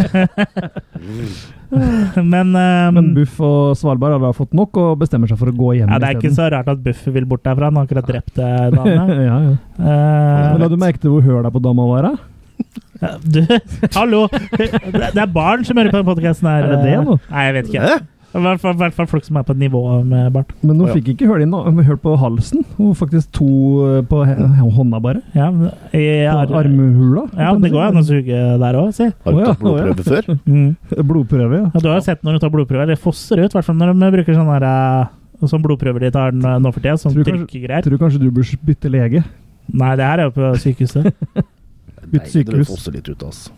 Speaker 2: Men, eh,
Speaker 4: Men Buff og Svalbard har da fått nok og bestemmer seg for å gå hjem
Speaker 2: ja, det er ikke så
Speaker 4: isteden.
Speaker 2: rart at Buff vil bort derfra. Han har akkurat drept eh, dame.
Speaker 4: ja, ja. Men la
Speaker 2: Eh,
Speaker 4: du merke til hvor høla på dama var? da?
Speaker 2: Ja, Du, hallo! Det det er barn som hører på den podkasten her.
Speaker 4: Er det det nå?
Speaker 2: Nei, jeg vet ikke.
Speaker 5: Hæ?
Speaker 2: I hvert fall- i hvert fall folk som er på et nivå med Bart.
Speaker 4: Men hun
Speaker 5: Ja.
Speaker 4: fikk ikke hørt, inn, da. hørt på halsen. Hun faktisk to eh, på he- hånda, bare.
Speaker 2: Ja, men eh, jeg
Speaker 4: På
Speaker 2: har-
Speaker 4: armhula.
Speaker 2: Ja, men det går an å suge der òg, si.
Speaker 5: Har du
Speaker 4: Å, ja,
Speaker 5: tatt blodprøve før?
Speaker 4: Mhm.
Speaker 2: Mm.
Speaker 4: Blodprøve, ja.
Speaker 2: Ja, du har jo sett når du tar blodprøver. Det fosser ut, i hvert fall når de bruker sånne her, eh, sånn blodprøver de tar nå nå for tida. Sånn
Speaker 4: Tror du kanskje-
Speaker 2: trykkegreier.
Speaker 4: Jeg tror kanskje du bør bytte lege.
Speaker 2: Nei, det her er jo på sykehuset.
Speaker 4: Bytt
Speaker 5: Nei, det
Speaker 4: sykehus.
Speaker 5: fosser litt ut, altså.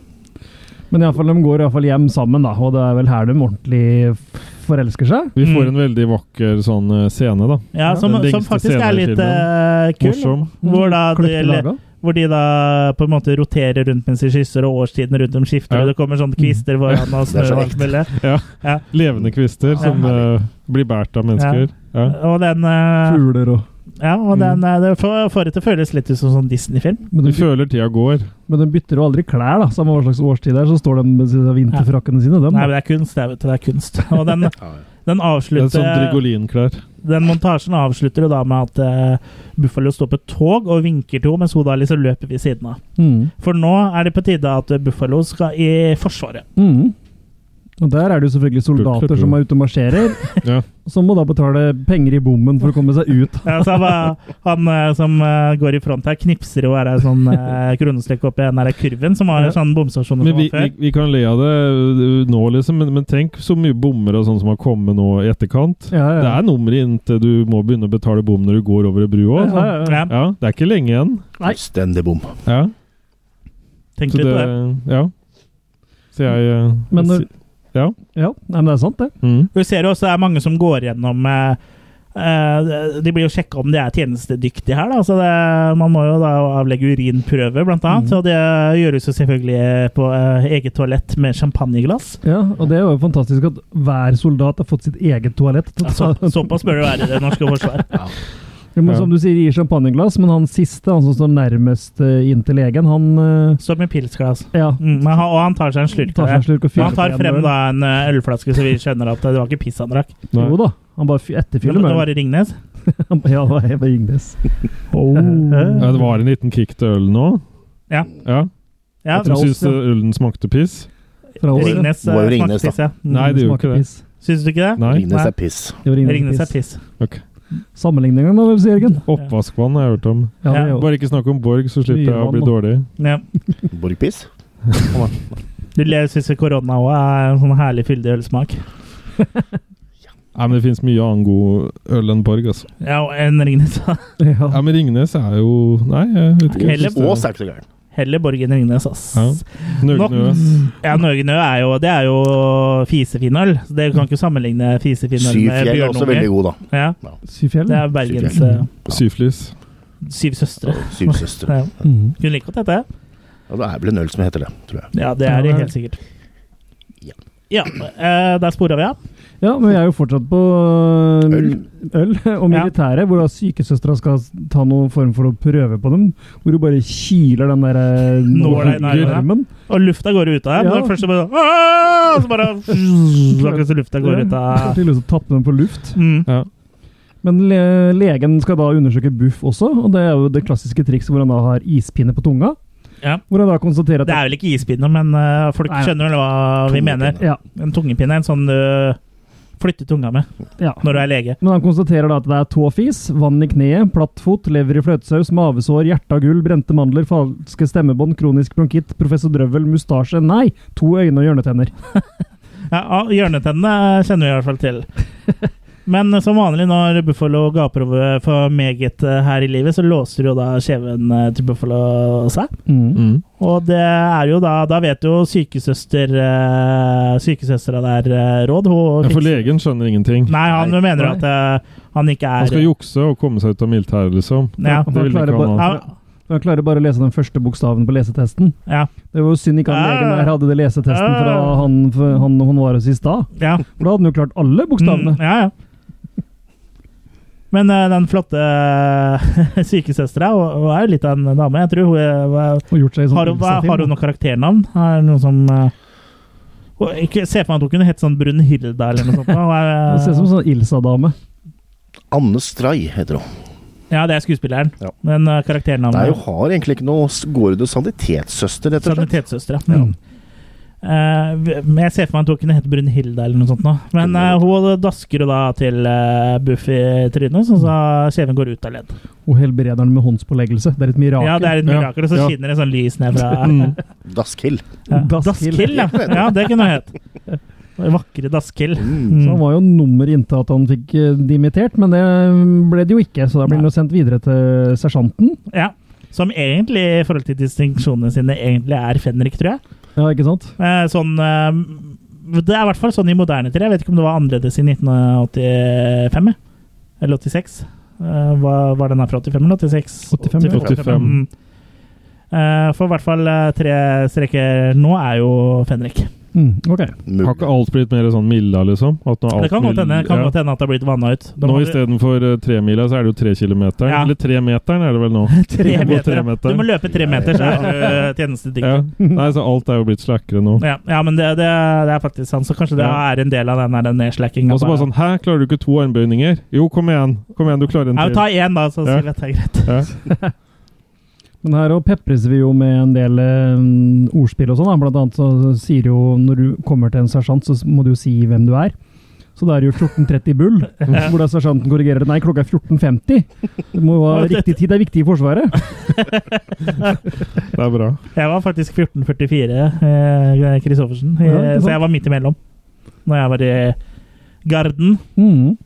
Speaker 4: Men i alle fall, de går i alle fall hjem sammen, da. Og det er vel her de ordentlig f- forelsker seg.
Speaker 3: Vi
Speaker 2: Mm.
Speaker 3: får en veldig vakker sånn eh, scene, da.
Speaker 2: Ja, som,
Speaker 3: Den
Speaker 2: som
Speaker 3: diggeste
Speaker 2: faktisk
Speaker 3: scenen i
Speaker 2: er litt
Speaker 3: filmen.
Speaker 2: eh, kul.
Speaker 3: Morsom.
Speaker 2: Hvor da det
Speaker 4: Kløpte
Speaker 2: gjelder-
Speaker 4: laga.
Speaker 2: Hvor de da på en måte roterer rundt mens de kysser, og årstiden rundt dem skifter,
Speaker 3: Ja.
Speaker 2: og det kommer sånne kvister foran og
Speaker 5: Det
Speaker 2: snø
Speaker 5: er så
Speaker 2: og alt
Speaker 5: ekte.
Speaker 2: mulig.
Speaker 3: Levende kvister som eh, blir båret av mennesker. Ja.
Speaker 2: Og den eh,
Speaker 4: Fugler og
Speaker 2: Ja, og den eh, det får får det til å føles litt ut som sånn Disney-film.
Speaker 4: men
Speaker 3: Du
Speaker 4: de, by-
Speaker 3: føler tida går.
Speaker 4: men de bytter jo aldri klær, da. Samme hva slags årstid det er, så står de med disse vinterfrakkene sine. Dem,
Speaker 2: Nei, men
Speaker 4: da.
Speaker 2: det er kunst, det er, vet du, det er kunst. Og den,
Speaker 5: Ja, ja.
Speaker 2: den
Speaker 3: Det er
Speaker 4: eh,
Speaker 3: sånn
Speaker 2: avslutter
Speaker 3: Drigolin-klær.
Speaker 2: Den montasjen avslutter jo da med at eh, Buffalo står på et tog og vinker til henne, mens hun da liksom løper ved siden av.
Speaker 4: Mm.
Speaker 2: For nå er det på tide at Buffalo skal i Forsvaret.
Speaker 4: Mm. Og der er det jo selvfølgelig soldater som er ute og marsjerer,
Speaker 3: Ja.
Speaker 4: som må da betale penger i bommen for å komme seg ut.
Speaker 2: Ja, så han, bare- han eh, som eh, går i front her, knipser jo her ei sånn eh, kronestykke oppi den der kurven, som var en sånn bomstasjon som
Speaker 3: Men vi,
Speaker 2: var
Speaker 3: vi,
Speaker 2: før.
Speaker 3: vi kan le av det øh, nå, liksom, men, men tenk så mye bommer og sånn som har kommet nå i etterkant.
Speaker 4: Ja, ja.
Speaker 3: Det er nummer inntil du må begynne å betale bom når du går over ei bru òg.
Speaker 4: ja, ja, ja.
Speaker 2: Ja,
Speaker 3: Ja, det er ikke lenge igjen.
Speaker 2: Nei.
Speaker 5: Fullstendig bom.
Speaker 3: Ja,
Speaker 2: tenk
Speaker 3: så
Speaker 2: litt
Speaker 3: det,
Speaker 2: på det.
Speaker 3: ja. Så jeg eh,
Speaker 4: Men når-
Speaker 3: si- Ja.
Speaker 4: ja. Nei, men det er sant, det.
Speaker 3: Mm.
Speaker 2: Vi ser jo også det er mange som går gjennom eh, eh, De blir jo sjekka om de er tjenestedyktige her. Da. Så det, man må jo da avlegge urinprøve, blant annet. Og det gjøres jo selvfølgelig på eh, eget toalett med champagneglass.
Speaker 4: Ja, og det er jo fantastisk at hver soldat har fått sitt eget toalett.
Speaker 2: Ja, Så, såpass bør det være i det norske forsvaret.
Speaker 4: Ja,
Speaker 3: Ja.
Speaker 4: men Som du sier, gir champagneglass, men han siste, han som står nærmest eh, inn til legen, han eh,
Speaker 2: Som i pilsglass.
Speaker 4: ja,
Speaker 2: Mm, men han, og han tar seg en slurk.
Speaker 4: tar seg en
Speaker 2: av det.
Speaker 4: slurk og
Speaker 2: Men
Speaker 4: fyller
Speaker 2: han tar
Speaker 4: på
Speaker 2: frem
Speaker 4: igjen.
Speaker 2: da en eh, ølflaske, så vi skjønner at det var ikke piss han drakk.
Speaker 3: Nei.
Speaker 4: Jo da, han bare fy-
Speaker 2: Det
Speaker 4: etterfyller
Speaker 2: det var
Speaker 4: med
Speaker 2: i Ringnes.
Speaker 4: Ja, det var Eva Ingnes.
Speaker 3: Ja, det var en liten kick til ølen nå.
Speaker 2: Ja.
Speaker 3: ja.
Speaker 2: Ja,
Speaker 3: Du
Speaker 4: Fra oss,
Speaker 3: syns
Speaker 4: ja.
Speaker 3: ølen smakte piss?
Speaker 4: Fra oss.
Speaker 2: Ringnes
Speaker 5: Det var jo
Speaker 2: eh,
Speaker 5: Ringnes,
Speaker 2: smakte piss, ja. Mm.
Speaker 3: Nei, det gjorde ikke
Speaker 4: Smaker
Speaker 3: det.
Speaker 4: piss.
Speaker 2: Syns du ikke det?
Speaker 3: Nei.
Speaker 5: Ringnes
Speaker 2: Nei.
Speaker 5: er piss.
Speaker 4: Det var
Speaker 2: Ringnes er piss.
Speaker 3: Ok.
Speaker 4: Sammenligningen da, vil du si, Jørgen?
Speaker 3: Oppvaskvann har jeg hørt om.
Speaker 4: Ja, det
Speaker 2: Ja.
Speaker 4: er jo.
Speaker 3: Bare ikke snakk om Borg, så slipper jeg å bli
Speaker 4: Mye vann,
Speaker 3: dårlig.
Speaker 2: Ja.
Speaker 5: Borgpiss?
Speaker 2: Du syns korona òg er en sånn herlig fyldig ølsmak?
Speaker 3: Nei, men Det fins mye annen god øl enn Borg, altså.
Speaker 2: Ja, og en Ringnes.
Speaker 3: Ja,
Speaker 4: Ja.
Speaker 3: Men Ringnes er jo Nei, jeg vet ikke. Jeg
Speaker 2: Heller
Speaker 3: synes det-
Speaker 5: Ås er ikke så gæren.
Speaker 2: Heller Borg enn Ringnes, ass.
Speaker 3: Ja. Nøgnø.
Speaker 2: Ja, Norgenø er jo Det er jo fisefin øl. Så Dere kan ikke sammenligne fisefin øl med
Speaker 5: Syfjell er også veldig
Speaker 2: Bjørnunger.
Speaker 5: god, da.
Speaker 2: Ja,
Speaker 4: Syfjell?
Speaker 2: det er Bergens
Speaker 5: Syvfjell.
Speaker 2: eh,
Speaker 3: Syflis.
Speaker 2: Syv søstre.
Speaker 5: Syv søstre.
Speaker 2: Ja.
Speaker 4: Mhm.
Speaker 2: Kunne like godt hete det.
Speaker 5: Ja, det er vel en øl som heter det, tror jeg.
Speaker 2: Ja, det er det helt sikkert.
Speaker 5: Ja.
Speaker 2: Ja, eh, der spora vi av.
Speaker 4: Ja, men vi er jo fortsatt på øh,
Speaker 5: Øl.
Speaker 4: øl og militæret, hvor da sykesøstera skal ta noen form for å prøve på dem. Hvor hun bare kiler den der øh,
Speaker 2: Nåla i neglen, ja.
Speaker 4: armen.
Speaker 2: Og lufta går ut av her.
Speaker 4: Ja.
Speaker 2: men Først så bare Åh! Så bare Akkurat som lufta går ut
Speaker 4: Ja,
Speaker 2: av
Speaker 4: Til å tappe den på luft.
Speaker 2: mm.
Speaker 3: Ja.
Speaker 4: Men le legen skal da undersøke Buff også, og det er jo det klassiske trikset hvor han da har ispinne på tunga.
Speaker 2: Ja.
Speaker 4: Hvor han da konstaterer at
Speaker 2: Det er vel ikke ispinner, men eh, folk
Speaker 4: Nei, nei.
Speaker 2: skjønner vel hva vi mener.
Speaker 5: Tungepinne.
Speaker 4: ja,
Speaker 2: En tungepinne er en sånn du flytter tunga med
Speaker 4: ja.
Speaker 2: når du er lege.
Speaker 4: Men han konstaterer da at det er tåfis, vann i kneet, platt fot, lever i fløtesaus, mavesår, hjerte av gull, brente mandler, falske stemmebånd, kronisk bronkitt, professor Drøvel, mustasje Nei! To øyne og hjørnetenner.
Speaker 2: Ja, ah, Hjørnetennene kjenner vi i hvert fall til. Men eh, som vanlig når Buffalo gaper over for meget eh, her i livet, så låser jo da kjeven eh, til Buffalo seg.
Speaker 3: Mm.
Speaker 2: Og det er jo da Da vet jo sykesøster eh, sykesøstera der eh, råd. Hun
Speaker 3: Ja, For
Speaker 2: fikser-
Speaker 3: legen skjønner ingenting.
Speaker 2: Nei, han
Speaker 5: Nei.
Speaker 2: mener at eh, han ikke er
Speaker 3: Han skal jukse og komme seg ut av militæret, liksom.
Speaker 2: Ja.
Speaker 3: Det vil
Speaker 4: Forklare
Speaker 3: ikke han ha.
Speaker 2: Ja,
Speaker 4: Han klarer bare å lese den første bokstaven på lesetesten.
Speaker 2: ja,
Speaker 4: Det var jo synd ikke han legen der hadde det lesetesten fra han, han hun var hos i stad.
Speaker 2: ja.
Speaker 4: For da hadde han jo klart alle bokstavene.
Speaker 2: Mm, ja, ja. Men eh, den flotte uh, sykesøstera hun, hun er jo litt av en dame. Jeg tror hun er, hva-
Speaker 4: Og gjort seg i sånn
Speaker 2: har, hun, hva,
Speaker 4: Ibsen-film.
Speaker 2: har hun noe karakternavn? Er det noe som eh, hun, ikke, Se for meg at hun kunne hett sånn Brunhilda eller noe sånt. da. Hun er, eh,
Speaker 4: Det ser ut som en sånn Ilsa-dame.
Speaker 5: Anne Stray heter hun.
Speaker 2: ja, det er skuespilleren.
Speaker 5: Ja.
Speaker 2: Men uh,
Speaker 5: Nei,
Speaker 2: karakternavnet
Speaker 5: hun har egentlig ikke noe Går det sanitetsøster, rett og slett?
Speaker 2: Sanitetsøstera. Mm. Eh, men jeg ser for meg at hun kunne hett Brunhilde eller noe sånt. Nå. Men eh, hun dasker jo da til eh, Buffy i trynet, sånn at kjeven går ut av ledd.
Speaker 4: Og helbreder den med håndspåleggelse. Det er et mirakel.
Speaker 2: Ja, det er et
Speaker 3: Ja,
Speaker 2: mirakel, og så
Speaker 3: ja.
Speaker 2: skinner det sånn lys ned fra
Speaker 3: Mm.
Speaker 5: Daskill.
Speaker 2: ja.
Speaker 4: Daskill.
Speaker 2: Daskill, ja. ja. Det kunne hun hett. Vakre Daskill.
Speaker 5: Mm.
Speaker 4: Så han var jo nummer inntil at han fikk eh, dimittert, men det ble det jo ikke. Så da ble han jo sendt videre til sersjanten.
Speaker 2: Ja. Som egentlig, i forhold til distinksjonene sine, egentlig er fenrik, tror jeg.
Speaker 4: Ja, ikke sant?
Speaker 2: Eh, sånn eh, Det er i hvert fall sånn i moderne tid. Jeg vet ikke om det var annerledes i 1985 jeg. eller 86. Eh, hva var den her fra 85 eller 86?
Speaker 4: 85, ja.
Speaker 3: 85.
Speaker 2: Mm. Eh, for i hvert fall eh, tre streker nå er jo Fenrik.
Speaker 4: Mm, ok.
Speaker 3: Har ikke alt blitt mer sånn milla, liksom? At nå er alt
Speaker 2: Det kan godt hende
Speaker 3: mild-
Speaker 2: kan
Speaker 3: ja.
Speaker 2: godt hende at det har blitt vanna ut. Da
Speaker 3: Nå
Speaker 2: må du-
Speaker 3: istedenfor eh, tremila, så er det jo trekilometeren.
Speaker 2: Ja.
Speaker 3: Eller tremeteren er det vel nå.
Speaker 2: tre
Speaker 3: du må
Speaker 2: meter,
Speaker 3: tre
Speaker 2: ja.
Speaker 3: meter.
Speaker 2: Du må løpe tre meter, så er du eh, tjenestedyktig.
Speaker 3: Ja. Nei, så alt er jo blitt slakkere nå.
Speaker 2: Ja. ja, men det, det, det er faktisk sant. Så kanskje det
Speaker 3: Ja.
Speaker 2: er en del av den der nedslackinga.
Speaker 3: Og så bare sånn Hæ, klarer du ikke to armbøyninger? Jo, kom igjen! Kom igjen, du klarer en
Speaker 2: Ja,
Speaker 3: til.
Speaker 2: ta én, da, så
Speaker 3: Ja.
Speaker 2: sier vi at det er greit.
Speaker 3: Ja.
Speaker 4: Men her og pepres vi jo med en del eh, ordspill og sånn. da. Blant annet så sier jo når du kommer til en sersjant, så må du jo si hvem du er. Så da er det jo 14.30 bull, hvor da sersjanten korrigerer det. Nei, klokka er 14.50! Det må jo ha riktig tid. Det er viktig i Forsvaret.
Speaker 3: Det er bra.
Speaker 2: Jeg var faktisk 1444, eh, Kristoffersen, eh,
Speaker 4: Ja, ikke sant.
Speaker 2: så jeg var midt imellom. Når jeg var i Garden.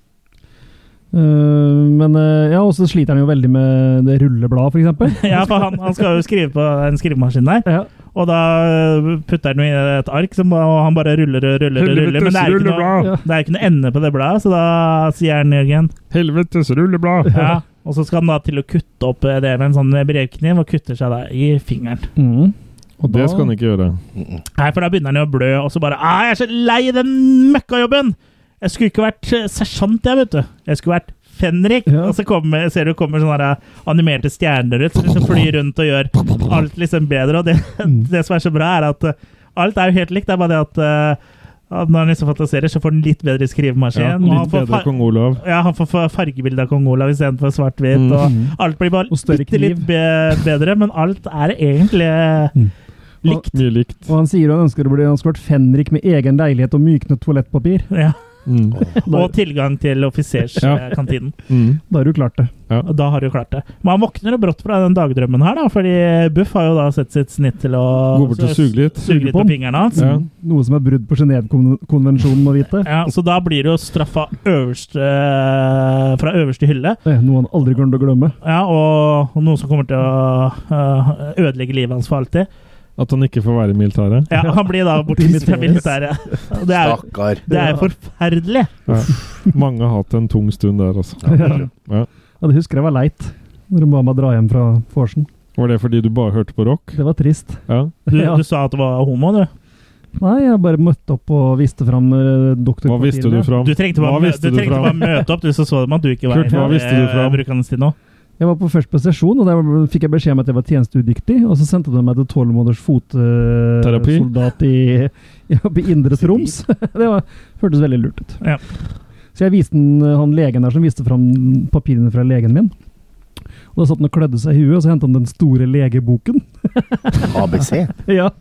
Speaker 4: Mm. Eh, men eh, ja, og så sliter han jo veldig med det rullebladet, for eksempel.
Speaker 2: Ja, for han, han skal jo skrive på en skrivemaskin der,
Speaker 4: Ja.
Speaker 2: og da eh, putter han jo i et ark, som, ba- og han bare ruller og ruller og ruller. Men det er jo ikke noe,
Speaker 3: rulleblad!
Speaker 4: Ja.
Speaker 2: det er jo ikke noe ende på det bladet, så da sier han Jørgen
Speaker 3: Helvetes rulleblad!
Speaker 2: ja. Og så skal han da til å kutte opp eh, det med en sånn brevkniv, og kutter seg da i fingeren.
Speaker 4: Mm.
Speaker 3: Og det skal han ikke gjøre.
Speaker 2: Nei, for da begynner han jo å blø, og så bare «Ah, jeg er så lei den møkkajobben! Jeg skulle ikke vært eh, sersjant, jeg, vet du. Jeg skulle vært fenrik.
Speaker 4: Ja.
Speaker 2: Og så kommer, ser du kommer sånne der, eh, animerte stjerner ut som liksom flyr rundt og gjør alt liksom bedre. Og det,
Speaker 3: Mm.
Speaker 2: det som er så bra, er at eh, alt er jo helt likt. Det er bare det at eh, at når han liksom fantaserer, så får han litt bedre skrivemaskin.
Speaker 3: Ja,
Speaker 2: og han
Speaker 3: litt
Speaker 2: får
Speaker 3: bedre
Speaker 2: far-
Speaker 3: kong Olav.
Speaker 2: ja, han får fa- fargebilde av kong Olav istedenfor svart-hvitt.
Speaker 3: Mm.
Speaker 2: Og alt blir bare
Speaker 4: Og større
Speaker 2: bitte litt
Speaker 4: kniv.
Speaker 2: be bedre, men alt er egentlig likt.
Speaker 3: Mye likt.
Speaker 4: Og han sier han ønsker å bli han skulle vært fenrik med egen leilighet og myknet toalettpapir.
Speaker 2: Ja.
Speaker 3: Mm.
Speaker 4: Da,
Speaker 2: Og tilgang til offiserskantinen.
Speaker 3: Mm.
Speaker 4: da er du klart det.
Speaker 2: Og Da har du klart det. Men han våkner jo brått fra den dagdrømmen her, da, fordi Buff har jo da sett sitt snitt til å
Speaker 3: Gå bort og suge litt.
Speaker 2: suge litt på fingrene hans.
Speaker 3: Ja.
Speaker 4: Noe som er brudd på Genévekonvensjonen, må vite.
Speaker 2: Ja, så da blir det jo straffa øverste, fra øverste hylle.
Speaker 4: Det er noe han aldri kommer til å glemme.
Speaker 2: Ja, og noe som kommer til å øh, ødelegge livet hans for alltid.
Speaker 3: At han ikke får være i militæret.
Speaker 2: Ja, Han blir da bortvist fra militæret. Og Det er,
Speaker 5: Stakkar.
Speaker 2: det er forferdelig.
Speaker 3: Ja. Mange har hatt en tung stund der, altså. Ja.
Speaker 4: Ja, det husker jeg var leit, når hun ba meg dra hjem fra vorsen.
Speaker 3: Var det fordi du bare hørte på rock?
Speaker 4: Det var trist.
Speaker 3: Ja.
Speaker 2: Du,
Speaker 4: Ja.
Speaker 2: du sa at du var homo, du.
Speaker 4: Nei, jeg bare møtte opp og viste fram eh, doktor
Speaker 3: Hva visste du
Speaker 4: Cortilia.
Speaker 3: fram?
Speaker 2: Du trengte
Speaker 3: Hva
Speaker 2: bare, mø-
Speaker 3: visste
Speaker 2: du
Speaker 3: du
Speaker 2: trengte
Speaker 3: fra?
Speaker 2: bare møte opp, du, så så de at du ikke var
Speaker 3: Kurt, hva visste du fra?
Speaker 2: eh, brukende stil nå.
Speaker 4: Jeg var på først på sesjon, og der fikk jeg beskjed om at jeg var tjenesteudyktig. Og så sendte de meg til tolv måneders
Speaker 3: Terapi?
Speaker 4: fotsoldat i, ja, i Indre Troms. Det var, hørtes veldig lurt ut.
Speaker 2: Ja.
Speaker 4: Så jeg viste den, eh, han legen der som viste fram papirene fra legen min. Og Da satt han og klødde seg i huet, og så hentet han den store legeboken.
Speaker 5: ABC.
Speaker 4: Ja.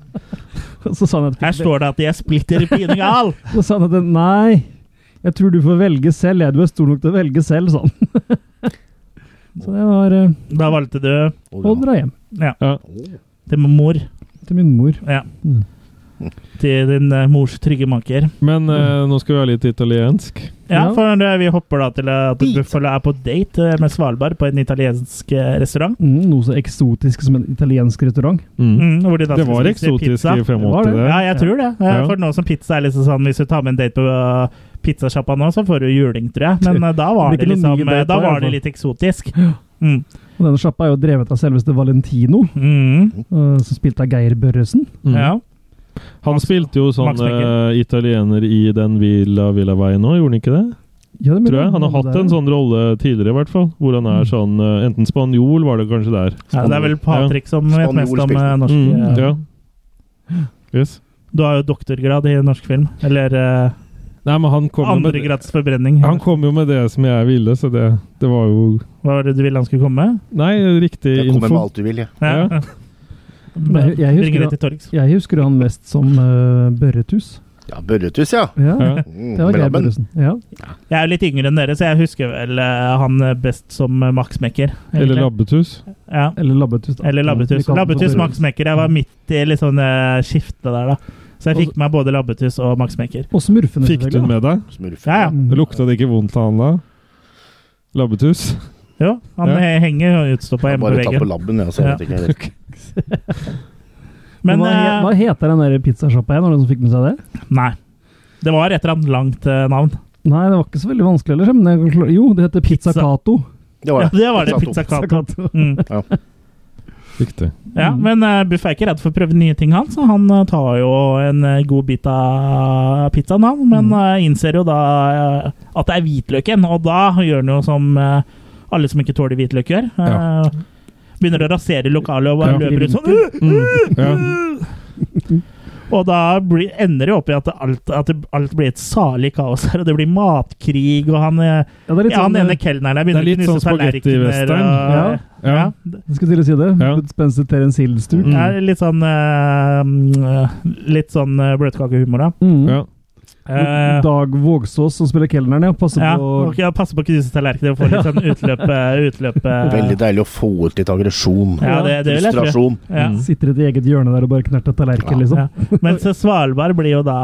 Speaker 4: Og så sa han at
Speaker 2: Her står det at jeg er splitter pinegal!
Speaker 4: Så sa han at nei, jeg tror du får velge selv. Jeg, du er stor nok til å velge selv, sa han. Så det var eh,
Speaker 2: Da valgte du
Speaker 4: å dra hjem
Speaker 2: til mor.
Speaker 4: til min mor.
Speaker 2: Ja.
Speaker 4: Mm.
Speaker 2: Til din eh, mors trygge maker.
Speaker 3: Men eh, nå skal vi ha litt italiensk.
Speaker 2: Ja,
Speaker 4: Ja.
Speaker 2: for eh, vi hopper da til eh, at Buffalo er på date eh, med Svalbard på en italiensk eh, restaurant.
Speaker 4: Mm, noe så eksotisk som en italiensk restaurant.
Speaker 3: Mm.
Speaker 2: Mm, hvor de da
Speaker 3: Det
Speaker 2: skal
Speaker 3: var
Speaker 2: spise
Speaker 3: eksotisk
Speaker 2: pizza.
Speaker 3: i 85,
Speaker 4: Det var det.
Speaker 3: det.
Speaker 2: Ja, jeg tror det. Eh,
Speaker 3: Ja.
Speaker 2: For nå som pizza er liksom sånn, hvis du tar med en date på eh, pizzasjappa nå, så får du juling, tror jeg. Men eh, da var
Speaker 4: Det
Speaker 2: det,
Speaker 4: blir ikke noen
Speaker 2: liksom
Speaker 4: ny date
Speaker 2: eh, Da
Speaker 4: da, i
Speaker 2: var
Speaker 3: altså.
Speaker 4: hvert fall.
Speaker 2: det litt eksotisk. Mm.
Speaker 4: Og denne sjappa er jo drevet av selveste Valentino,
Speaker 2: Mm.
Speaker 4: eh, som spilte av Geir Børresen.
Speaker 3: Mm.
Speaker 2: Ja.
Speaker 3: Han
Speaker 2: Max-
Speaker 3: spilte jo sånn
Speaker 2: Max Becker.
Speaker 3: eh, italiener i den Villa Villaveien nå, gjorde han ikke det?
Speaker 4: Ja, det mener
Speaker 3: Tror jeg.
Speaker 4: jeg.
Speaker 3: Han har hatt
Speaker 4: Det er-
Speaker 3: en sånn rolle tidligere, i hvert fall. Hvor han er sånn eh, Enten spanjol, var det kanskje der.
Speaker 2: Ja, det er vel Patrick som vet
Speaker 5: Spanjol
Speaker 2: mest om
Speaker 5: spilte.
Speaker 2: eh, norsk
Speaker 3: Mm,
Speaker 2: eh,
Speaker 3: ja. Yes.
Speaker 2: Du har jo doktorgrad i norsk film. Eller eh,
Speaker 3: Nei, men han kom, jo med,
Speaker 2: andregrads forbrenning.
Speaker 3: han kom jo med det som jeg ville, så det, det var jo
Speaker 2: Hva var det du ville han skulle komme med?
Speaker 3: Nei, riktig
Speaker 5: Jeg kommer med
Speaker 3: info.
Speaker 5: alt du vil, jeg.
Speaker 2: Ja.
Speaker 3: Ja.
Speaker 4: Men jeg- jeg husker
Speaker 2: Bringer
Speaker 4: at-
Speaker 2: det til torgs.
Speaker 4: Jeg husker han mest som eh, Børretus.
Speaker 5: Ja, Børretus, ja.
Speaker 4: Ja,
Speaker 3: Ja.
Speaker 5: Mm,
Speaker 4: det var Geir
Speaker 5: Brabben.
Speaker 4: Børresen. Ja.
Speaker 2: Jeg er jo litt yngre enn dere, så jeg husker vel eh, han best som eh, Max Mekker. egentlig.
Speaker 3: Eller labbetuss.
Speaker 2: Ja.
Speaker 4: Eller Labbetus. da.
Speaker 2: Eller
Speaker 4: Vi
Speaker 2: labbetuss.
Speaker 4: kaller den for
Speaker 2: Labbetuss,
Speaker 4: Børre-
Speaker 2: Max Mekker. Jeg var midt i litt sånn eh, skifte der, da. Så jeg fikk med meg både labbetuss og Max Mekker.
Speaker 4: Og Smurfene,
Speaker 3: Fikk du den
Speaker 4: selvfølgelig.
Speaker 3: med deg?
Speaker 5: Smurf.
Speaker 2: Ja, ja.
Speaker 4: Mm.
Speaker 3: Det lukta det ikke vondt av han da? Labbetuss?
Speaker 2: Jo, han
Speaker 3: Ja.
Speaker 2: eh, henger utstoppa
Speaker 5: Jeg
Speaker 2: hjemme på
Speaker 5: bare ta på
Speaker 2: veggen.
Speaker 5: labben, jeg, så jeg
Speaker 2: Ja.
Speaker 5: vet ikke helt.
Speaker 2: Men
Speaker 4: Men hva, he- hva
Speaker 2: eh,
Speaker 4: heter den der pizzasjappa igjen? Var det noen som fikk med seg det?
Speaker 2: nei. Det var et eller annet langt eh, navn.
Speaker 4: Nei, det var ikke så veldig vanskelig ellers. Men jeg, klar- jo, det heter Pizza
Speaker 2: Pizza.
Speaker 4: Cato.
Speaker 5: Det var
Speaker 2: Ja,
Speaker 5: det.
Speaker 2: det var det.
Speaker 5: Satt opp.
Speaker 2: Pizza
Speaker 4: Pizza
Speaker 2: Cato.
Speaker 4: Cato.
Speaker 2: Mm.
Speaker 3: Riktig.
Speaker 2: Ja,
Speaker 4: Mm.
Speaker 2: men eh, Buff er ikke redd for å prøve nye ting, han. Så han eh, tar jo en eh, god bit av pizzaen, han.
Speaker 3: Mm.
Speaker 2: Men eh, innser jo da eh, at det er hvitløken, og da gjør han jo som eh, alle som ikke tåler hvitløk, gjør. Eh, Begynner å rasere lokalet og bare
Speaker 3: Ja.
Speaker 2: løper ut sånn. «Øh,
Speaker 3: Mm. Ja.
Speaker 2: Og da blir, ender det jo opp i at det alt, at det, alt blir et salig kaos her, og det blir matkrig, og han, eh,
Speaker 4: Ja, det er litt
Speaker 2: ja, han
Speaker 4: sånn,
Speaker 2: ene kelneren der
Speaker 3: Det er
Speaker 2: begynner å
Speaker 3: litt
Speaker 2: knuse
Speaker 3: sånn
Speaker 2: tallerkener.
Speaker 3: spagetti-western.
Speaker 2: og-
Speaker 3: Ja.
Speaker 2: Ja.
Speaker 4: Jeg skulle til å si det.
Speaker 3: Ja.
Speaker 4: Spencer Terence Hill-stuk.
Speaker 3: Mm.
Speaker 2: Ja, litt sånn eh, Litt sånn eh, bløtkakehumor, da.
Speaker 4: Mm.
Speaker 3: Ja.
Speaker 2: Eh,
Speaker 4: Dag Vågsås som spiller kelneren, ja. Passer
Speaker 2: ja,
Speaker 4: på
Speaker 2: og ja, passe på å knuse tallerkener og få litt sånn utløp. eh, utløp eh,
Speaker 5: Veldig deilig å få ut litt aggresjon.
Speaker 2: ja, det, det vil jeg tro.
Speaker 5: Frustrasjon.
Speaker 2: Ja.
Speaker 3: Mm.
Speaker 4: Sitter i et eget hjørne der og bare knerter tallerken,
Speaker 5: Ja.
Speaker 4: liksom.
Speaker 2: Ja. Men så Svalbard blir jo da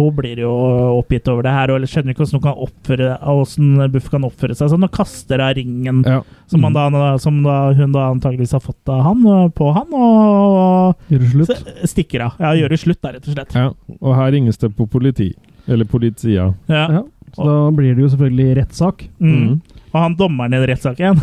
Speaker 2: Hun blir jo oppgitt over det her og skjønner ikke hvordan hun kan oppføre Hvordan Buff kan oppføre seg. Sånn, og kaster av ringen
Speaker 3: Ja.
Speaker 2: som, han da, som da, hun da antageligvis har fått av han, og på han, og,
Speaker 4: Gjør det
Speaker 2: og
Speaker 4: slutt.
Speaker 2: så stikker av. Ja, gjør det slutt, da, rett og slett.
Speaker 3: ja. Og her ringes det på politi. Eller politia.
Speaker 2: Ja.
Speaker 4: Ja. Så da blir det jo selvfølgelig rettssak.
Speaker 2: Mm. Og han dommeren i rettssaken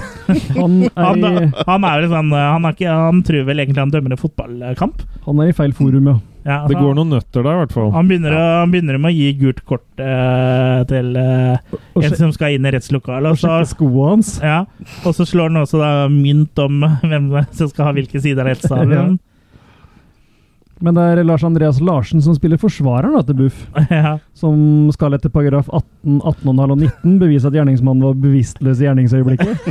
Speaker 4: Han er,
Speaker 2: Han,
Speaker 4: i,
Speaker 2: han er vel sånn han, er ikke, han tror vel egentlig han dømmer en fotballkamp.
Speaker 4: han er i feil forum, ja.
Speaker 2: Ja,
Speaker 3: Det
Speaker 2: så
Speaker 3: går noen nøtter der, i hvert fall.
Speaker 2: han begynner, å, han begynner med å gi gult kort eh, til eh,
Speaker 4: Og
Speaker 2: en
Speaker 4: sjekker
Speaker 2: som skal inn i rettslokalet. Og så,
Speaker 4: skoa hans.
Speaker 2: ja, og så slår han også da mynt om hvem som skal ha hvilke sider av rettssalen.
Speaker 4: Men det er Lars Andreas Larsen som spiller forsvareren da, til Buff,
Speaker 2: Ja.
Speaker 4: som skal etter paragraf 18, 18,5 og 19 bevise at gjerningsmannen var bevisstløs i gjerningsøyeblikket.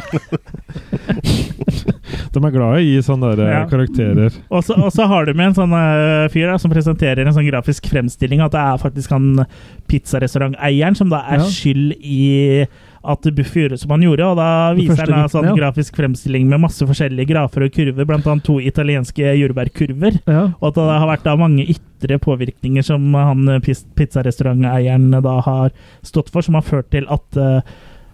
Speaker 3: De er glad i å gi sånne der, eh,
Speaker 2: Ja.
Speaker 3: karakterer.
Speaker 2: Og så og så har du med en sånn eh, fyr da, som presenterer en sånn grafisk fremstilling at det er faktisk han pizzarestauranteieren som da er
Speaker 4: Ja.
Speaker 2: skyld i at Buff gjorde som han gjorde. Og da
Speaker 4: Det
Speaker 2: viser
Speaker 4: første
Speaker 2: han da sånn
Speaker 4: diktene, ja.
Speaker 2: grafisk fremstilling med masse forskjellige grafer og kurver, blant annet to italienske jordbærkurver.
Speaker 4: Ja.
Speaker 2: Og at det har vært da mange ytre påvirkninger som han eh, pis- pizzarestauranteieren eh, da har stått for, som har ført til at eh,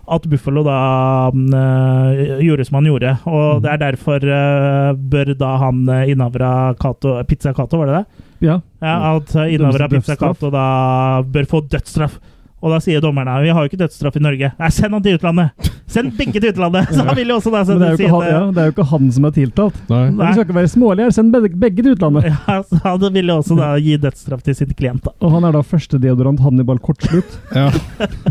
Speaker 2: at Buffalo da eh, gjorde som han gjorde.
Speaker 4: Mm.
Speaker 2: Og det er derfor eh, bør da han eh, innehaver av Cato Pizza Cato, var det det?
Speaker 4: ja.
Speaker 2: Ja, at eh, innehaver av
Speaker 4: Døms-
Speaker 2: Pizza Cato da bør få dødsstraff. Og da sier dommerne vi har jo ikke dødsstraff i Norge. Nei, send han til utlandet! Send begge til utlandet! Så han vil jo også da
Speaker 4: Men det er, jo
Speaker 2: si
Speaker 4: ikke han, ja, det er jo ikke han som er tiltalt.
Speaker 3: Nei.
Speaker 4: Vi skal ikke være smålige her, send begge, begge til utlandet.
Speaker 2: Ja, så han vil jo også da gi dødsstraff til sin klient, da.
Speaker 4: Og han er da første deodorant Hannibal Kortslutt.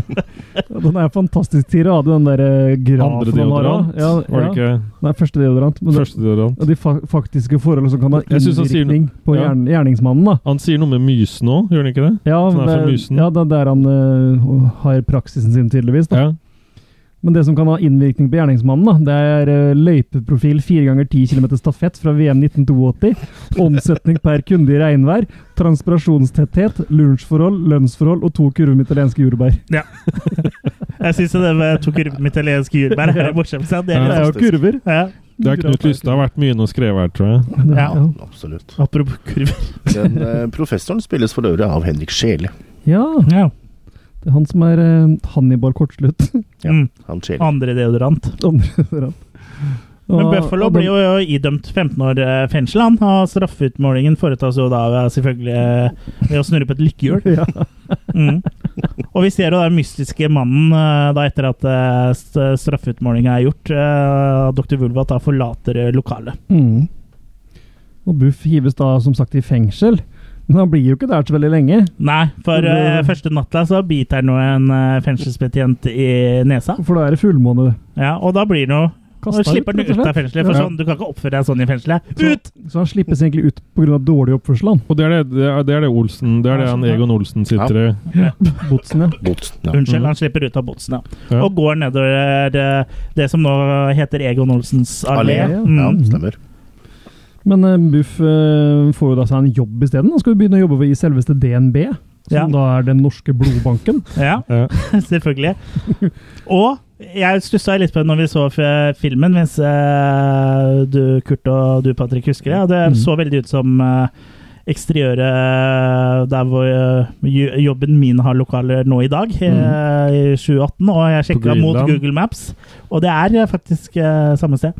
Speaker 3: Ja.
Speaker 4: Den er en fantastisk tirade, den der eh, grafen
Speaker 3: Andre
Speaker 4: han har.
Speaker 3: deodorant,
Speaker 4: Ja,
Speaker 3: var det
Speaker 4: ja.
Speaker 3: ikke?
Speaker 4: Nei, første deodorant. Men det,
Speaker 3: Første deodorant.
Speaker 4: og de fa faktiske forhold som kan ha
Speaker 3: Jeg synes han sier
Speaker 4: innvirkning på
Speaker 3: Ja.
Speaker 4: gjern gjerningsmannen, da.
Speaker 3: Han sier noe med mysen òg, gjør han ikke det?
Speaker 4: Ja,
Speaker 3: Han er fra
Speaker 4: det,
Speaker 3: Mysen.
Speaker 4: ja, det er der han eh, har praksisen sin, tydeligvis. Da.
Speaker 3: Ja.
Speaker 4: Men det som kan ha innvirkning på gjerningsmannen, da, det er eh, løypeprofil 4 ganger 10 km stafett fra VM 1982, omsetning per kunde i regnvær, transpirasjonstetthet, lunsjforhold, lønnsforhold og to kurver med italienske jordbær.
Speaker 2: Jeg syns det med to kurver med italienske jordbær er det morsomste. Det er
Speaker 4: Det
Speaker 2: litt,
Speaker 4: er jo kurver.
Speaker 2: ja.
Speaker 3: Det er Knut Lystad. Det har vært mye inne og skrevet her, tror jeg.
Speaker 2: Ja.
Speaker 5: Ja, absolutt.
Speaker 2: Apropos kurver.
Speaker 5: Den eh, professoren spilles for øvrig av Henrik Schele.
Speaker 4: Ja,
Speaker 2: Ja.
Speaker 4: det er han som er eh, Hannibal Kortslutt.
Speaker 2: Mm.
Speaker 5: Han Schele.
Speaker 2: Andre deodorant.
Speaker 4: Andre foran.
Speaker 2: Men
Speaker 4: Og-
Speaker 2: Buffalo
Speaker 4: og den-
Speaker 2: blir jo idømt 15 år eh, fengsel, han. Og straffeutmålingen foretas jo da eh, selvfølgelig eh, ved å snurre på et lykkehjul.
Speaker 4: ja.
Speaker 2: Mm. Og vi ser jo den mystiske mannen eh, da etter at eh, st- straffeutmålinga er gjort. eh, Dr. Vulvat da forlater eh, lokalet.
Speaker 4: mm. Og Buff hives da som sagt i fengsel. Men han blir jo ikke der så veldig lenge.
Speaker 2: Nei, for eh,
Speaker 4: Mm.
Speaker 2: første natta så biter han jo en eh, fengselsbetjent i nesa.
Speaker 4: For da er det fullmåne.
Speaker 2: Ja, Og da blir det jo Og
Speaker 4: Kastet
Speaker 2: slipper den
Speaker 4: rett og
Speaker 2: ut av
Speaker 4: slett.
Speaker 2: fengselet. For
Speaker 3: Ja.
Speaker 2: sånn, Du kan ikke oppføre deg sånn i fengselet.
Speaker 4: Så-
Speaker 2: Ut!
Speaker 4: Så han slippes egentlig ut pga. dårlig oppførsel, han.
Speaker 3: Og det er det, det, er, det, er det Olsen Det er det han Egon Olsen sitter i.
Speaker 4: Botsen, ja. Mhm.
Speaker 5: Botsen, ja.
Speaker 2: Unnskyld, han slipper ut av botsen, ja.
Speaker 3: Ja.
Speaker 2: Og går nedover eh, det som nå heter Egon Olsens allé.
Speaker 5: Allé,
Speaker 4: ja.
Speaker 2: Mm.
Speaker 5: Ja, stemmer.
Speaker 4: Men eh, Buff eh, får jo da seg en jobb isteden. Han skal jo begynne å jobbe i selveste DNB, som
Speaker 2: Ja.
Speaker 4: da er den norske blodbanken.
Speaker 2: Ja,
Speaker 3: Ja.
Speaker 2: selvfølgelig. Og jeg stussa litt på det når vi så f- filmen, mens eh, du, Kurt, og du, Patrick, husker det. Og det
Speaker 4: Mhm.
Speaker 2: så veldig ut som eh, eksteriøret der hvor eh, jo- jobben min har lokaler nå i dag, eh, i 2018. Og jeg sjekka mot
Speaker 3: Greenland.
Speaker 2: Google Maps, og det er eh, faktisk eh, samme sted.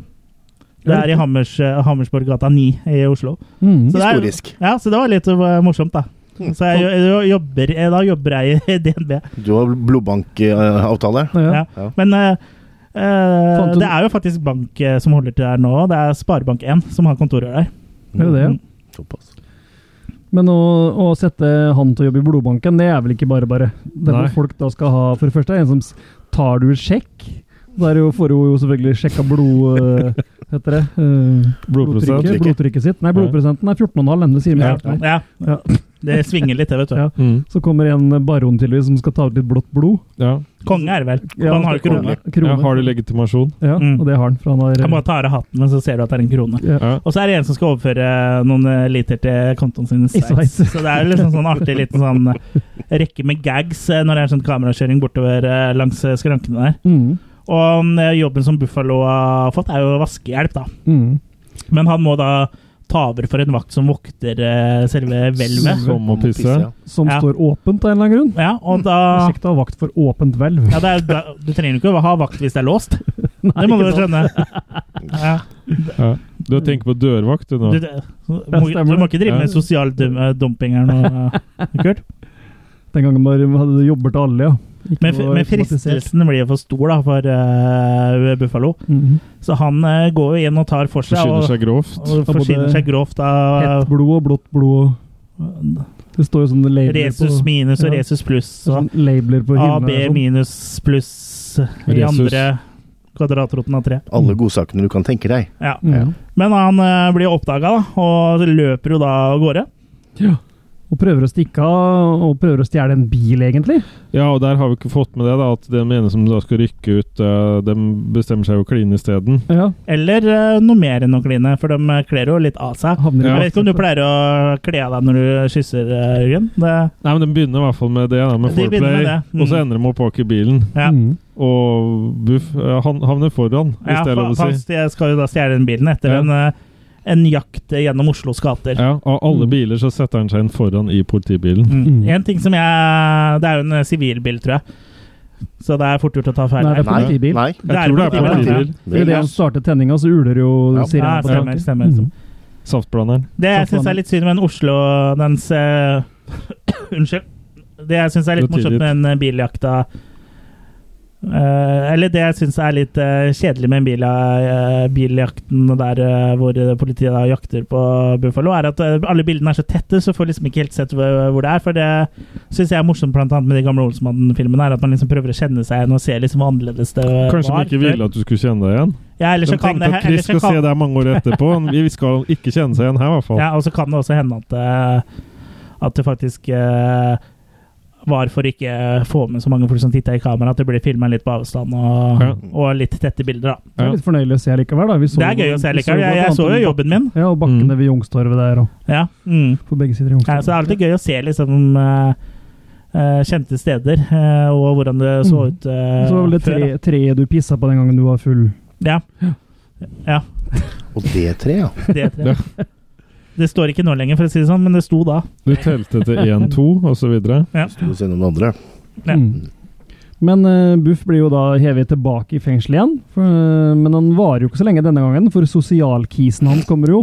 Speaker 2: Det er i Hammers, eh, Hammersborggata 9 i Oslo.
Speaker 4: Mm.
Speaker 2: Så det er-
Speaker 5: Historisk.
Speaker 2: Ja, så det var litt eh, morsomt, da. Så jeg, jo- jobber, eh, da jobber jeg i DNB.
Speaker 5: Du har blodbankavtale.
Speaker 4: Ja.
Speaker 2: Ja.
Speaker 5: Ja.
Speaker 2: Men eh, eh,
Speaker 4: Fant hun-
Speaker 2: det er jo faktisk bank eh, som holder til der nå. Det er Sparebank1 som har kontorer der.
Speaker 4: Det er jo det.
Speaker 2: Mm.
Speaker 5: Såpass.
Speaker 4: Men å, å sette han til å jobbe i blodbanken, det er vel ikke bare bare. Det er
Speaker 3: Nei.
Speaker 4: hvor folk da skal ha For det første er det en som s- tar du et sjekk. Der jo får hun jo selvfølgelig sjekka blod... eh, Hva heter det? Eh,
Speaker 3: Blodprosent.
Speaker 4: Blodtrykket, blodtrykket sitt. Nei, blodprosenten er 14,5. Endre sier
Speaker 2: Ja.
Speaker 4: meg rett.
Speaker 2: Ja.
Speaker 4: Ja.
Speaker 2: Det svinger litt, det, vet du.
Speaker 4: Ja.
Speaker 3: Mm.
Speaker 4: Så kommer en baron tydeligvis som skal ta ut litt blått blod.
Speaker 3: Ja.
Speaker 2: Konge er det vel.
Speaker 4: Ja,
Speaker 2: han har jo krone.
Speaker 5: konge.
Speaker 3: ja. Har de legitimasjon?
Speaker 4: Ja,
Speaker 2: Mm.
Speaker 4: og det har han. For han har
Speaker 2: Han bare tar av hatten, men så ser du at det er en krone.
Speaker 4: Ja.
Speaker 3: Ja.
Speaker 2: Og så er det en som skal overføre noen eh, liter til kontoen sin i Sveits.
Speaker 4: Sveits.
Speaker 2: Så det er jo liksom sånn artig liten sånn eh, rekke med gags eh, når det er sånn kamerakjøring bortover eh, langs eh, skrankene der.
Speaker 4: Mm.
Speaker 2: Og eh, jobben som Buffalo har fått, er jo vaskehjelp, da.
Speaker 4: Mm.
Speaker 2: Men han må da ta over for en vakt som vokter eh, selve hvelvet.
Speaker 3: Som å pisse?
Speaker 4: Som
Speaker 2: Ja.
Speaker 4: står åpent av en eller annen grunn.
Speaker 2: Ja, og da
Speaker 4: Sjekk da vakt for åpent hvelv.
Speaker 2: ja, det er, da, Du trenger jo ikke å ha vakt hvis det er låst. det må du jo skjønne. Ja,
Speaker 3: Ja. Du tenker på dørvakt, du nå?
Speaker 2: du, du, må,
Speaker 4: stemmer
Speaker 2: du må ikke
Speaker 4: det.
Speaker 2: drive med
Speaker 3: Ja.
Speaker 2: sosial dum, dumping her nå, eh, Kurt.
Speaker 4: Den gangen bare hadde du jobber til alle, ja. Ikke
Speaker 2: Men,
Speaker 4: noe
Speaker 2: men
Speaker 4: automatisert.
Speaker 2: fristelsen blir jo for stor da, for eh, Buffalo.
Speaker 4: Mhm.
Speaker 2: Så han eh, går jo inn og tar for seg,
Speaker 3: Forsyner
Speaker 2: og,
Speaker 3: seg grovt?
Speaker 2: og
Speaker 4: Ja,
Speaker 2: forsyner
Speaker 4: både
Speaker 2: seg grovt
Speaker 4: Hett
Speaker 2: av
Speaker 4: blod og blått blod og Det står jo sånne labler
Speaker 2: Resus
Speaker 4: på
Speaker 2: minus og
Speaker 4: Ja.
Speaker 2: Resus pluss. Og
Speaker 4: sånn labler på
Speaker 2: A,
Speaker 4: hyllene.
Speaker 2: B
Speaker 4: og sånn.
Speaker 2: minus pluss i
Speaker 3: Resus.
Speaker 2: andre kvadratroten av tre.
Speaker 5: Alle godsakene du kan tenke deg.
Speaker 2: Ja.
Speaker 4: Ja.
Speaker 2: Mm. Men han eh, blir oppdaga, og løper jo da av gårde.
Speaker 4: Og prøver å stikke av, og prøver å stjele en bil, egentlig.
Speaker 3: Ja, og der har vi ikke fått med det, da, at den ene som da skal rykke ut, eh, dem bestemmer seg jo å kline isteden.
Speaker 4: Ja,
Speaker 2: Eller eh, noe mer enn å kline, for de eh, kler jo litt av seg.
Speaker 4: havner i
Speaker 3: Ja.
Speaker 2: Jeg vet ikke om du pleier å kle av deg når du kysser, eh, Jørgen. Det,
Speaker 3: Nei, men de begynner i hvert fall med det, da, med
Speaker 2: De begynner
Speaker 3: foreplay,
Speaker 2: med det, mm.
Speaker 3: og så ender de opp bak i bilen.
Speaker 2: ja.
Speaker 4: Mm.
Speaker 3: Og buff, eh, han havner foran, hvis
Speaker 2: Ja,
Speaker 3: det er lov å
Speaker 2: for-
Speaker 3: si.
Speaker 2: for jeg skal jo da stjele den bilen etter
Speaker 3: Ja.
Speaker 2: en, eh, en jakt gjennom Oslos gater.
Speaker 3: Ja, Av alle
Speaker 4: Mm.
Speaker 3: biler så setter han seg inn foran i politibilen.
Speaker 2: Mm.
Speaker 4: Mm.
Speaker 2: En ting som jeg Det er jo en eh, sivilbil, tror jeg. Så det er fort gjort å ta feil.
Speaker 4: Nei, det
Speaker 2: her.
Speaker 4: er Politibil.
Speaker 5: Nei.
Speaker 3: Jeg tror det er
Speaker 2: jo politibil,
Speaker 3: politibil.
Speaker 4: Det er jo det han
Speaker 5: Nei.
Speaker 4: startet tenninga, så uler jo
Speaker 5: Ja.
Speaker 2: Ja,
Speaker 4: sirenen på
Speaker 2: stemmer,
Speaker 4: taket.
Speaker 2: stemmer.
Speaker 4: Mm.
Speaker 3: Saftblanderen.
Speaker 2: Det jeg
Speaker 4: Sånn
Speaker 2: syns er
Speaker 4: planer.
Speaker 2: litt synd med den Oslo dens eh, Unnskyld. Det jeg syns er litt
Speaker 3: Det er
Speaker 2: morsomt med den eh, biljakta eh, Eller det jeg syns er litt eh, kjedelig med den bila, eh, biljakten der eh, hvor eh, politiet da jakter på Buffalo, er at eh, alle bildene er så tette, så får liksom ikke helt sett hvor, hvor det er. For det syns jeg er morsomt blant annet med de gamle Olsmann-filmene, er at man liksom prøver å kjenne seg igjen og se liksom hvor annerledes det var.
Speaker 3: Kanskje de ikke ville at du skulle kjenne deg igjen?
Speaker 2: ja,
Speaker 3: De
Speaker 2: eller så kan
Speaker 3: tenkte
Speaker 2: det,
Speaker 3: at Chris
Speaker 2: eller
Speaker 3: skal
Speaker 2: så kan
Speaker 3: se deg mange år etterpå. Han- Vi skal ikke kjenne seg igjen her, i hvert fall.
Speaker 2: Ja, og så kan det også hende at det, at det faktisk eh, var for ikke eh, få med så mange folk som titta i kamera, at det ble filma litt på avstand og,
Speaker 3: Ja.
Speaker 2: og litt tette bilder, da.
Speaker 4: Det er litt fornøyelig å se likevel, da. Vi så
Speaker 2: Det er
Speaker 4: jo-
Speaker 2: gøy å se
Speaker 4: vi
Speaker 2: likevel. Jeg,
Speaker 4: blant
Speaker 2: jeg
Speaker 4: annet
Speaker 2: så jo
Speaker 4: om
Speaker 2: jobben min.
Speaker 4: bak- Ja, og bakkene
Speaker 3: Mm.
Speaker 4: ved Youngstorget der og
Speaker 2: Ja. Mm.
Speaker 4: på begge sider av
Speaker 2: ja. Så det er
Speaker 4: Youngstorget.
Speaker 2: alltid gøy å se liksom eh, eh, kjente steder, eh, og hvordan det så
Speaker 4: Mm.
Speaker 2: ut eh,
Speaker 4: Så var vel det
Speaker 2: før. da.
Speaker 4: tre- treet du pissa på den gangen du var full.
Speaker 2: Ja. ja.
Speaker 5: Og det treet, ja.
Speaker 2: Det treet. Det står ikke nå lenger, for å si det sånn, men det sto da.
Speaker 3: Du telte til 1, 2 osv.
Speaker 5: Sto ved siden av den andre.
Speaker 2: Ja.
Speaker 4: Mm. Men eh, Buff blir jo da hevet tilbake i fengsel igjen. For, eh, men han varer jo ikke så lenge denne gangen, for sosialkisen hans kommer jo.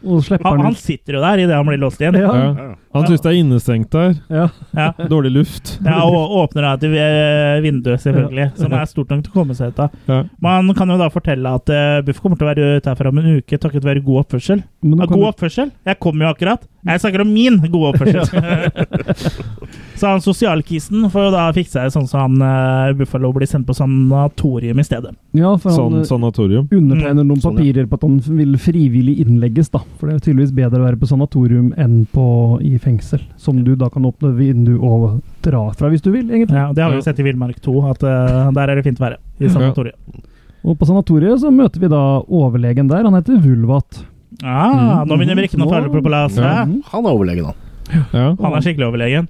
Speaker 4: Og slipper
Speaker 2: Han,
Speaker 4: han
Speaker 2: han
Speaker 4: ut.
Speaker 2: sitter jo der idet han blir låst igjen.
Speaker 4: Ja.
Speaker 3: Ja. Han syns det er innestengt der.
Speaker 4: Ja.
Speaker 2: Ja.
Speaker 3: Dårlig luft.
Speaker 2: Ja, og åpner da et eh, vindu, selvfølgelig, som er stort nok til å komme seg ut av.
Speaker 3: Ja.
Speaker 2: Man kan jo da fortelle at eh, Buff kommer til å være ute herfra om en uke takket være god oppførsel.
Speaker 4: Men nå
Speaker 2: Ja,
Speaker 4: kan
Speaker 2: god
Speaker 4: du-
Speaker 2: oppførsel? Jeg kom jo akkurat. Jeg snakker om min gode oppførsel. så han sosialkisen får jo da fikse seg sånn som han eh, Buffalo blir sendt på sanatorium i stedet.
Speaker 4: ja, for han
Speaker 3: Sånn Mm,
Speaker 4: eh,
Speaker 3: sanatorium.
Speaker 4: undertegner noen
Speaker 5: Sånn, ja.
Speaker 4: papirer på at han vil frivillig innlegges, da. For det er jo tydeligvis bedre å være på sanatorium enn på i fengsel. Som du da kan åpne vindu og dra fra hvis du vil, egentlig.
Speaker 2: Ja, det har vi jo sett i Villmark 2, at eh, der er det fint å være. I sanatoriet.
Speaker 4: Og på sanatoriet så møter vi da overlegen der. Han heter Vulvat.
Speaker 2: Ah, nå begynner brikkene å falle på plass.
Speaker 3: Ja.
Speaker 2: hæ?
Speaker 5: Han er overlegen, han.
Speaker 3: Ja.
Speaker 2: Han er skikkelig overlegen.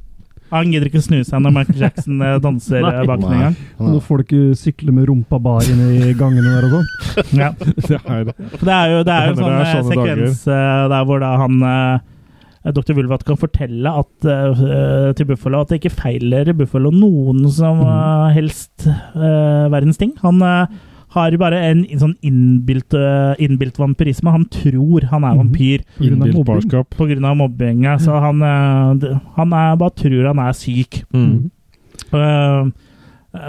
Speaker 2: Han gidder ikke å snu seg når Michael Jackson eh, danser eh, bak den engang.
Speaker 5: Han
Speaker 4: Når
Speaker 5: er-
Speaker 4: folk eh, sykler med rumpa bar inn i gangene der og sånn.
Speaker 2: Ja.
Speaker 3: Det er,
Speaker 2: For Det er jo, det er jo en
Speaker 3: Det
Speaker 2: sånn
Speaker 3: er
Speaker 2: eh,
Speaker 3: sånne
Speaker 2: sekvens eh, der hvor da han eh, Dr. Vulvat kan fortelle at, eh, til Buffalo at det ikke feiler Buffalo noen som
Speaker 3: Mm.
Speaker 2: eh, helst eh, verdens ting. Han eh, har bare en in- sånn innbilt, eh, innbilt vampirisme. Han tror han er
Speaker 4: Mhm.
Speaker 2: vampyr
Speaker 4: På grunn av
Speaker 3: Innbilt
Speaker 4: mobbing.
Speaker 3: barskap.
Speaker 2: på grunn av mobbinga, så han, eh, d- han er, bare tror han er syk.
Speaker 3: Mm.
Speaker 2: Eh,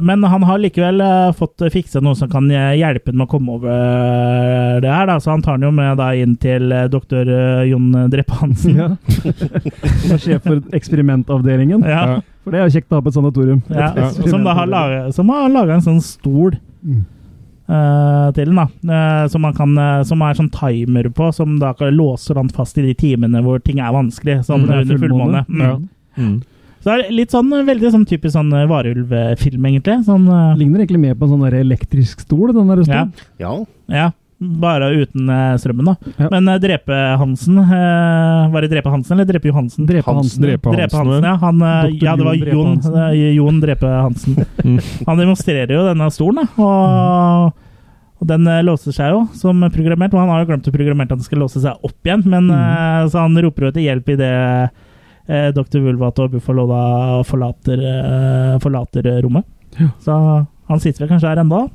Speaker 2: Men han har likevel eh, fått fiksa noe som kan eh, hjelpe ham med å komme over det her. Da. Så han tar den jo med da, inn til eh, doktor eh, Jon Dreppe Hansen.
Speaker 4: Ja. Som er sjef for eksperimentavdelingen.
Speaker 2: Ja,
Speaker 3: Ja.
Speaker 4: For det er jo kjekt å ha på et sanatorium.
Speaker 2: ja. Som da har laget- som har laga en sånn stol
Speaker 4: Mm.
Speaker 2: eh, til den, da. Eh, som, man kan, eh, som er sånn timer på, som da kan låser han fast i de timene hvor ting er vanskelig. Sånn
Speaker 4: Mm, det er
Speaker 2: under fullmåne.
Speaker 4: fullmåne.
Speaker 2: Mm.
Speaker 3: Ja. Mm.
Speaker 2: Så det er litt sånn eh, veldig sånn typisk sånn eh, varulvfilm, egentlig. Sånn, eh,
Speaker 4: Ligner egentlig mer på en sånn der elektrisk stol. den
Speaker 2: ja.
Speaker 4: der stolen.
Speaker 5: Ja,
Speaker 2: Ja, bare uten eh, strømmen, da.
Speaker 4: Ja.
Speaker 2: Men eh, Drepe Hansen eh, Var det Drepe Hansen eller Drepe Johansen?
Speaker 4: Drepe
Speaker 5: Hans
Speaker 4: Hansen.
Speaker 3: Drepe Hansen.
Speaker 2: Drepe Hansen, ja. Han, eh,
Speaker 4: Dr.
Speaker 2: ja, det var
Speaker 4: Jon Drepe
Speaker 2: Jon,
Speaker 4: Hansen.
Speaker 2: eh, Jon Drepe Hansen.
Speaker 3: Mm.
Speaker 2: Han demonstrerer jo denne stolen, da. Og, og den eh, låser seg jo som programmert. Og han har jo glemt å programmere at den skal låse seg opp igjen, men
Speaker 4: Mm.
Speaker 2: eh, så han roper jo til hjelp i det eh, Dr. Vulvat og Buffalo da forlater, eh, forlater eh, rommet.
Speaker 4: Ja.
Speaker 2: Så han sitter vel kanskje her ennå.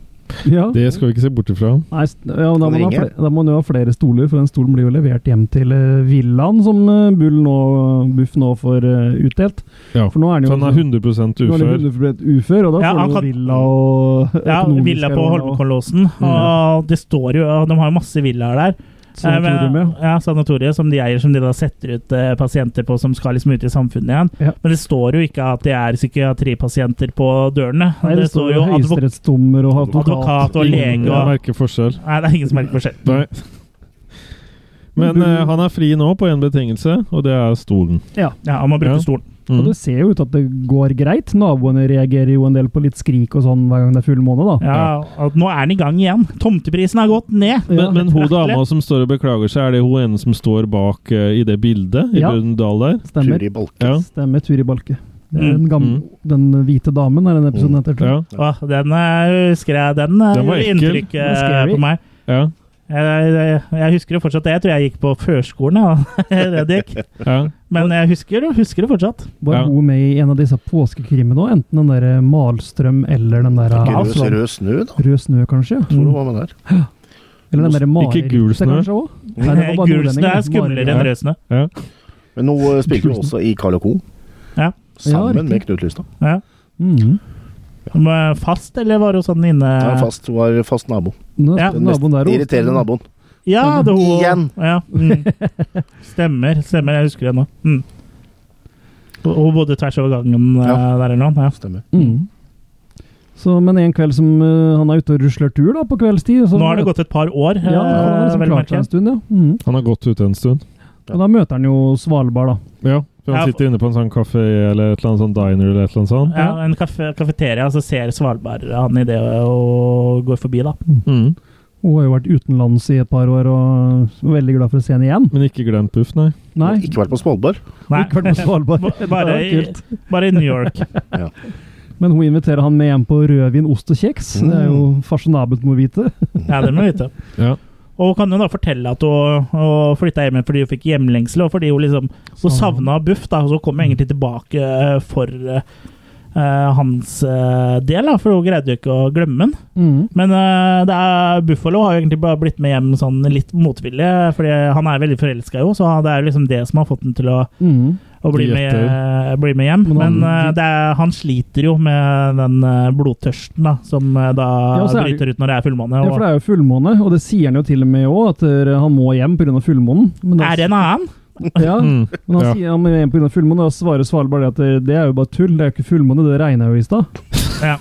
Speaker 4: Ja.
Speaker 3: Det skal vi ikke se bort ifra.
Speaker 4: Nei, s- ja,
Speaker 5: Kan det
Speaker 4: men da, må man ha
Speaker 5: ringe?
Speaker 4: flere, da må man jo ha flere stoler, for den stolen blir jo levert hjem til eh, villaen som eh, Bull nå, Buff nå får eh, utdelt.
Speaker 3: Ja.
Speaker 4: For nå er han
Speaker 3: Så
Speaker 4: jo liksom-
Speaker 3: han er 100
Speaker 4: nå er han
Speaker 3: ufør.
Speaker 4: 100% ufør, og da
Speaker 2: Ja, han
Speaker 4: får han jo
Speaker 2: kan-
Speaker 4: villa og
Speaker 2: Ja,
Speaker 4: økonomiske
Speaker 2: villa på
Speaker 4: roller og
Speaker 2: Holmenkollåsen.
Speaker 4: Mm.
Speaker 2: Og det står jo, og de har jo masse villaer der. Eh,
Speaker 4: sanatorium,
Speaker 2: men-
Speaker 4: ja.
Speaker 2: ja, sanatoriet som de eier, som de da setter ut eh, pasienter på som skal liksom ut i samfunnet igjen.
Speaker 4: Ja.
Speaker 2: Men det står jo ikke at det er psykiatripasienter på dørene.
Speaker 4: Nei, det står jo
Speaker 2: advok-
Speaker 4: høyesterettsdommer og advokat.
Speaker 2: advokat og
Speaker 3: Ingen
Speaker 2: lege og
Speaker 3: merker forskjell.
Speaker 2: Nei, det er ingen som merker forskjell.
Speaker 3: Nei. Men eh, han er fri nå på én betingelse, og det er stolen.
Speaker 2: Ja, Han må bruke
Speaker 3: Ja.
Speaker 2: stolen.
Speaker 4: Og
Speaker 3: Mm.
Speaker 4: det ser jo ut at det går greit. Naboene reagerer jo en del på litt skrik og sånn hver gang det er full måned, da.
Speaker 2: Ja, og nå er den i gang igjen. Tomteprisen har gått ned.
Speaker 4: Ja,
Speaker 3: Men, men hun
Speaker 2: betraktelig.
Speaker 3: dama som står og beklager seg, er det hun ene som står bak eh, i det bildet i
Speaker 4: Ja. Mhm.
Speaker 3: Brumunddal der?
Speaker 4: Stemmer.
Speaker 5: Turi Balke.
Speaker 3: Ja.
Speaker 4: Stemmer. Turi Balke. Det er
Speaker 2: Mm.
Speaker 4: den, gamle, den hvite damen, er den episoden heter. tror jeg.
Speaker 3: Ja,
Speaker 2: Åh, den eh, husker jeg. Den, eh,
Speaker 3: Den var
Speaker 2: gjorde
Speaker 3: ekkel.
Speaker 2: inntrykk
Speaker 4: Den var
Speaker 2: eh,
Speaker 4: scary.
Speaker 2: på meg.
Speaker 3: ja,
Speaker 2: Jeg, jeg, jeg husker jo fortsatt det. Jeg tror jeg gikk på førskolen, ja. Redd jeg gikk.
Speaker 3: ja.
Speaker 2: Men jeg husker, husker det fortsatt.
Speaker 4: Var
Speaker 3: Ja.
Speaker 4: hun med i en av disse påskekrimene òg? Enten den der eh, Malstrøm eller den der
Speaker 5: Ikke
Speaker 4: eh,
Speaker 5: rød,
Speaker 2: Aslan.
Speaker 5: rød snø, Mm. da.
Speaker 4: Rød snø,
Speaker 5: Tror
Speaker 4: kanskje?
Speaker 5: du hva med der?
Speaker 4: Eller den der
Speaker 3: Ikke gul
Speaker 4: marerittet,
Speaker 3: snø.
Speaker 4: kanskje òg?
Speaker 2: Gul snø er skumlere enn rød snø.
Speaker 5: Men nå eh, spilte hun også i Carl Co.
Speaker 2: Ja.
Speaker 5: Sammen
Speaker 4: Ja, riktig.
Speaker 5: med Knut Lystad.
Speaker 2: Ja.
Speaker 4: Mm.
Speaker 2: Men Fast, eller var hun sånn inne
Speaker 5: Ja, fast, var fast nabo.
Speaker 4: Nå
Speaker 2: Ja.
Speaker 4: er naboen der også.
Speaker 5: irriterende naboen.
Speaker 2: Ja, det hun
Speaker 5: Sånn Igjen.
Speaker 2: Ja. Mm. Stemmer, stemmer. Jeg husker det nå. Mm. Hun bodde tvers over gangen eh,
Speaker 5: Ja.
Speaker 2: der eller noe. Ja.
Speaker 5: Stemmer.
Speaker 4: Mm. Så, men en kveld som eh, han er ute og rusler tur da, på kveldstid så
Speaker 2: Nå har Sånn det gått et par år.
Speaker 4: Ja, han har liksom
Speaker 2: eh, vel
Speaker 4: klart
Speaker 2: merket.
Speaker 4: seg en stund, ja. Mm.
Speaker 3: Han har gått ute en stund.
Speaker 4: Og da møter han jo Svalbard, da.
Speaker 3: Ja, for
Speaker 2: Ja,
Speaker 3: han sitter inne på en sånn kafé eller et eller annet sånn diner eller et eller annet sånt.
Speaker 2: ja, en kaffe, kafeteria, så ser Svalbard han i det og går forbi, da.
Speaker 3: Mm.
Speaker 4: Hun har jo vært utenlands i et par år og er veldig glad for å se henne igjen.
Speaker 3: Men ikke glemt Buff, nei.
Speaker 4: Nei,
Speaker 5: Og Ikke vært på Svalbard.
Speaker 2: Nei,
Speaker 4: ikke vært på Svalbard. Det
Speaker 2: bare,
Speaker 4: var
Speaker 2: i,
Speaker 4: kult.
Speaker 2: bare i New York.
Speaker 4: Men hun inviterer han med hjem på rødvin, ost og kjeks. Det er jo fasjonabelt, må vite.
Speaker 2: Ja, det må vi vite.
Speaker 3: Ja.
Speaker 2: Og hun kan jo da fortelle at hun, hun flytta hjem igjen fordi hun fikk hjemlengsel, og fordi hun liksom Hun
Speaker 4: Sånn.
Speaker 2: savna Buff, da, og så kom hun egentlig tilbake eh, for eh, eh, hans eh, del, da, for hun greide jo ikke å glemme han.
Speaker 4: Mm.
Speaker 2: Men eh, det er, Buffalo har jo egentlig bare blitt med hjem sånn litt motvillig, fordi han er veldig forelska jo, så det er jo liksom det som har fått han til å,
Speaker 4: Mm.
Speaker 2: å bli,
Speaker 3: Det
Speaker 2: med,
Speaker 3: gjetter
Speaker 2: bli med hjem.
Speaker 4: Men han-
Speaker 2: Men eh, det er, han sliter jo med den eh, blodtørsten da, som eh, da
Speaker 4: Ja, så er det-
Speaker 2: bryter ut når det er fullmåne.
Speaker 4: Ja,
Speaker 2: og-
Speaker 4: for det er jo fullmåne, og det sier han jo til og med òg, at eh, han må hjem pga. fullmånen. Men da-
Speaker 2: Er det en annen?
Speaker 4: Ja,
Speaker 3: Mm.
Speaker 4: men han
Speaker 3: Ja.
Speaker 4: sier han må hjem pga. fullmåne, og da svarer Svalbard at eh, det er jo bare tull, det er jo ikke fullmåne, det regna jo i stad.
Speaker 2: Ja.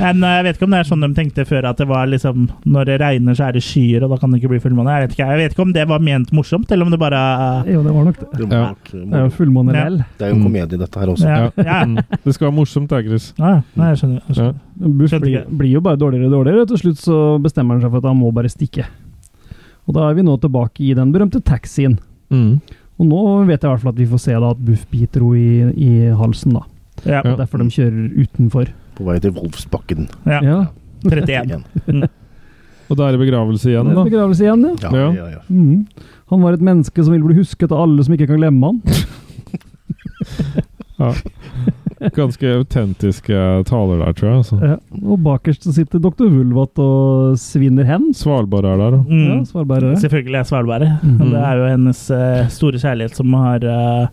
Speaker 2: Men eh, jeg vet ikke om det er sånn de tenkte før, at det var liksom Når det regner, så er det skyer, og da kan det ikke bli fullmåne. Jeg vet ikke, jeg vet ikke om det var ment morsomt, eller om det bare eh,
Speaker 4: Jo, det var nok det.
Speaker 5: Det,
Speaker 3: Ja.
Speaker 5: var, nok- eh,
Speaker 4: Det er jo fullmåne
Speaker 2: Ja.
Speaker 4: lell.
Speaker 5: det er jo en komedie, dette her også.
Speaker 2: Ja.
Speaker 3: Ja. Mm. Det skal være morsomt, da, Chris.
Speaker 2: Ja, ah, nei, jeg skjønner. Jeg skjønner.
Speaker 3: Ja.
Speaker 4: Buff
Speaker 2: Skjønte
Speaker 4: blir,
Speaker 2: ikke.
Speaker 4: blir jo bare dårligere og dårligere, og til slutt så bestemmer han seg for at han må bare stikke. Og da er vi nå tilbake i den berømte taxien.
Speaker 3: Mm.
Speaker 4: Og nå vet jeg i hvert fall at vi får se da at Buff biter henne i, i halsen, da.
Speaker 2: Ja.
Speaker 3: Ja.
Speaker 4: Det er derfor de kjører utenfor.
Speaker 5: På vei til Wolfsbakken.
Speaker 2: ja.
Speaker 4: Ja.
Speaker 2: 31.
Speaker 5: igjen.
Speaker 3: Og da er det begravelse igjen,
Speaker 4: Det er
Speaker 3: da.
Speaker 4: Begravelse igjen, ja.
Speaker 5: Ja,
Speaker 3: Ja.
Speaker 5: ja, ja.
Speaker 4: Mhm. Han var et menneske som vil bli husket av alle som ikke kan glemme han.
Speaker 3: Ganske autentiske eh, taler der, tror jeg. Altså.
Speaker 4: Ja. Og bakerst så sitter doktor Vulvat og svinner hen.
Speaker 3: Svalbard er der, da.
Speaker 4: Ja,
Speaker 2: Mm.
Speaker 4: Svalbard.
Speaker 2: Selvfølgelig er Svalbard
Speaker 4: Mhm.
Speaker 2: Det er jo hennes eh, store kjærlighet som har eh,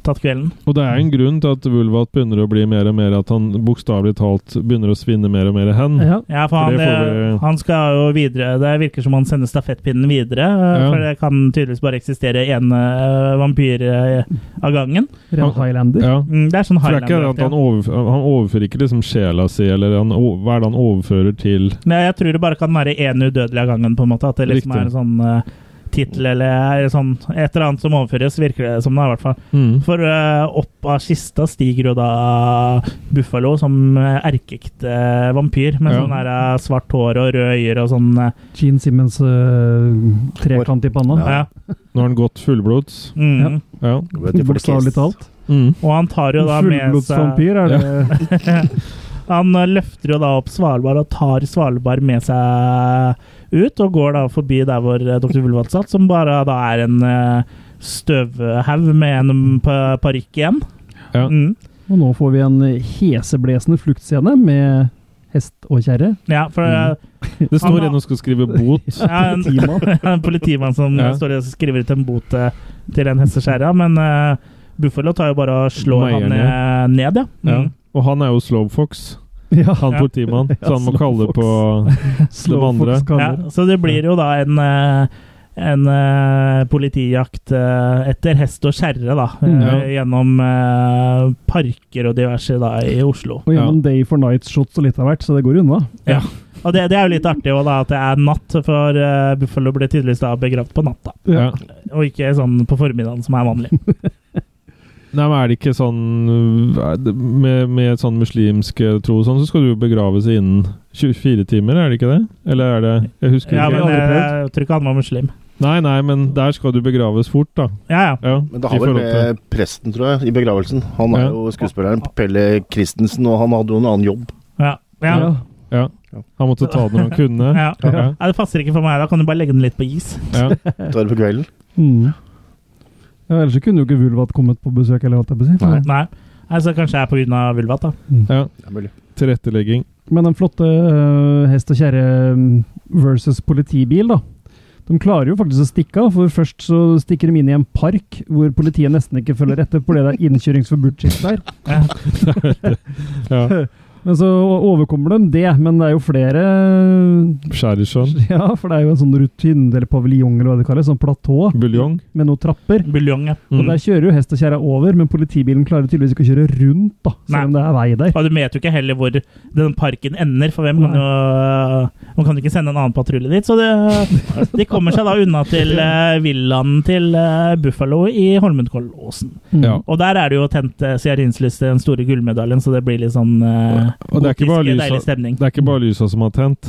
Speaker 2: tatt kvelden.
Speaker 3: Og det er en grunn til at Vulvat begynner å bli mer og mer at han bokstavelig talt begynner å svinne mer og mer hen.
Speaker 4: Ja.
Speaker 2: Ja, for
Speaker 3: For
Speaker 2: han,
Speaker 3: det får
Speaker 2: eh,
Speaker 3: vi-
Speaker 2: han skal jo videre Det virker som han sender stafettpinnen videre. eh,
Speaker 3: Ja.
Speaker 2: For det kan tydeligvis bare eksistere én eh, vampyr eh, av gangen.
Speaker 4: Ren Highlander.
Speaker 3: Ja.
Speaker 2: Mm, det er sånn
Speaker 3: For det er ikke at
Speaker 2: Highlander-aktig.
Speaker 3: han, overf han overfører ikke liksom sjela si, eller han, o- hva er det han overfører til
Speaker 2: Nei, jeg tror det bare kan være én udødelig av gangen, på en måte. At det liksom er
Speaker 3: Riktig.
Speaker 2: en sånn eh, tittel eller er sånn, et eller annet som overføres, virker det som det er, i hvert fall. For eh, opp av kista stiger jo da Buffalo som eh, erkeekte vampyr, med
Speaker 3: Ja.
Speaker 2: sånn der eh, svart hår og røde øyer og sånn. eh,
Speaker 4: Gene Simmons øh, trekant i panna.
Speaker 5: Ja.
Speaker 2: ja.
Speaker 3: Nå har han gått fullblods.
Speaker 2: Mm.
Speaker 4: Ja.
Speaker 3: Ja.
Speaker 5: På vei til Folkehest.
Speaker 4: Bokstavelig talt.
Speaker 3: Mm.
Speaker 2: Og han tar jo da med seg
Speaker 4: Fullblodsvampyr, er det
Speaker 2: Han eh, løfter jo da opp Svalbard og tar Svalbard med seg ut, og går da forbi der hvor eh, dr. Vulvat satt, som bare da er en eh, støvhaug med en pa- parykk igjen.
Speaker 3: Ja.
Speaker 2: Mm.
Speaker 4: Og nå får vi en heseblesende fluktscene med hest og kjerre.
Speaker 2: ja, for
Speaker 3: Mm. Det
Speaker 2: Han
Speaker 3: står
Speaker 2: har-
Speaker 3: en og skal skrive bot.
Speaker 2: ja, en,
Speaker 4: Politimann.
Speaker 2: en politimann som
Speaker 3: Mm. Ja.
Speaker 2: står og skriver ut en bot eh, til en hesteskjæra, men eh, Buffalo tar jo bare og slår
Speaker 3: Meier
Speaker 2: han eh, ned, ja.
Speaker 3: Ja.
Speaker 2: Mm.
Speaker 3: Og han er jo Slowfox,
Speaker 4: Ja,
Speaker 3: han
Speaker 2: Ja.
Speaker 3: politimannen, så han må
Speaker 4: Ja,
Speaker 3: kalle
Speaker 4: Slowfox.
Speaker 3: på
Speaker 4: Slowfox
Speaker 3: andre.
Speaker 4: kaller.
Speaker 2: Ja, så det blir jo da en, eh, en eh, politijakt eh, etter hest og kjerre, da.
Speaker 4: Mm.
Speaker 2: eh, Gjennom eh, parker og diverse da, i Oslo.
Speaker 4: Og gjennom Day for Night-shots og litt av hvert, så det går unna.
Speaker 2: Og det, det er jo litt artig også, da, at det er natt, for eh, Buffalo ble tydeligvis da begravd på natta.
Speaker 3: Ja.
Speaker 2: Og ikke sånn på formiddagen, som er vanlig.
Speaker 3: Nei, men er det ikke sånn er det- Med, med sånn muslimsk tro og sånn, så skal du jo begraves innen 24 timer, er det ikke det? Eller er det Jeg husker
Speaker 2: Ja,
Speaker 3: ikke.
Speaker 2: men eh,
Speaker 4: aldri
Speaker 2: jeg,
Speaker 4: prøvd.
Speaker 2: jeg tror ikke han var muslim.
Speaker 3: Nei, nei, men der skal du begraves fort, da.
Speaker 2: Ja, ja.
Speaker 3: Ja,
Speaker 5: Men det
Speaker 3: i
Speaker 5: har vel
Speaker 3: forhold til-
Speaker 5: med presten, tror jeg, i begravelsen. Han er
Speaker 3: Ja.
Speaker 5: jo skuespilleren Pelle Christensen, og han hadde jo en annen jobb.
Speaker 2: ja. ja. ja.
Speaker 3: ja. Han måtte ta det når han kunne.
Speaker 2: ja.
Speaker 3: Ja.
Speaker 2: det passer ikke for meg. Da kan du bare legge den litt på is.
Speaker 3: Ja.
Speaker 5: Tar det på kvelden.
Speaker 4: Mm. Ja, ellers så kunne jo ikke Vulvat kommet på besøk, eller hva jeg på å si.
Speaker 5: Nei.
Speaker 2: Nei. Altså, kanskje det er på grunn av vulvat, da.
Speaker 3: ja.
Speaker 5: Det er mulig.
Speaker 3: Tilrettelegging.
Speaker 4: Men den flotte øh, hest og kjerre øh, versus politibil, da. De klarer jo faktisk å stikke av, for først så stikker de inn i en park hvor politiet nesten ikke følger etter fordi det er innkjøringsforbudsskilt der.
Speaker 2: Ja.
Speaker 3: Ja.
Speaker 4: Men så overkommer de det, men det er jo flere
Speaker 3: Sherryshon.
Speaker 4: Ja, for det er jo en sånn rutine, eller paviljong, eller hva det kalles, sånn platå
Speaker 3: Buljong.
Speaker 4: med noen trapper.
Speaker 2: Buljong, ja.
Speaker 4: Og der kjører jo hest og kjerre over, men politibilen klarer tydeligvis ikke å kjøre rundt, da,
Speaker 2: Nei.
Speaker 4: selv om det er vei der.
Speaker 2: Og du vet jo ikke heller hvor den parken ender, for hvem kan
Speaker 4: Nei.
Speaker 2: jo Man kan jo ikke sende en annen patrulje dit. Så det, de kommer seg da unna til eh, villaen til eh, Buffalo i Holmenkollåsen.
Speaker 3: Ja.
Speaker 2: Og der er det jo tent uh, stearinslys til den store gullmedaljen, så det blir litt sånn uh,
Speaker 3: Og det er ikke bare lysa-
Speaker 2: deilig stemning.
Speaker 3: Det er ikke bare lysa som har tent.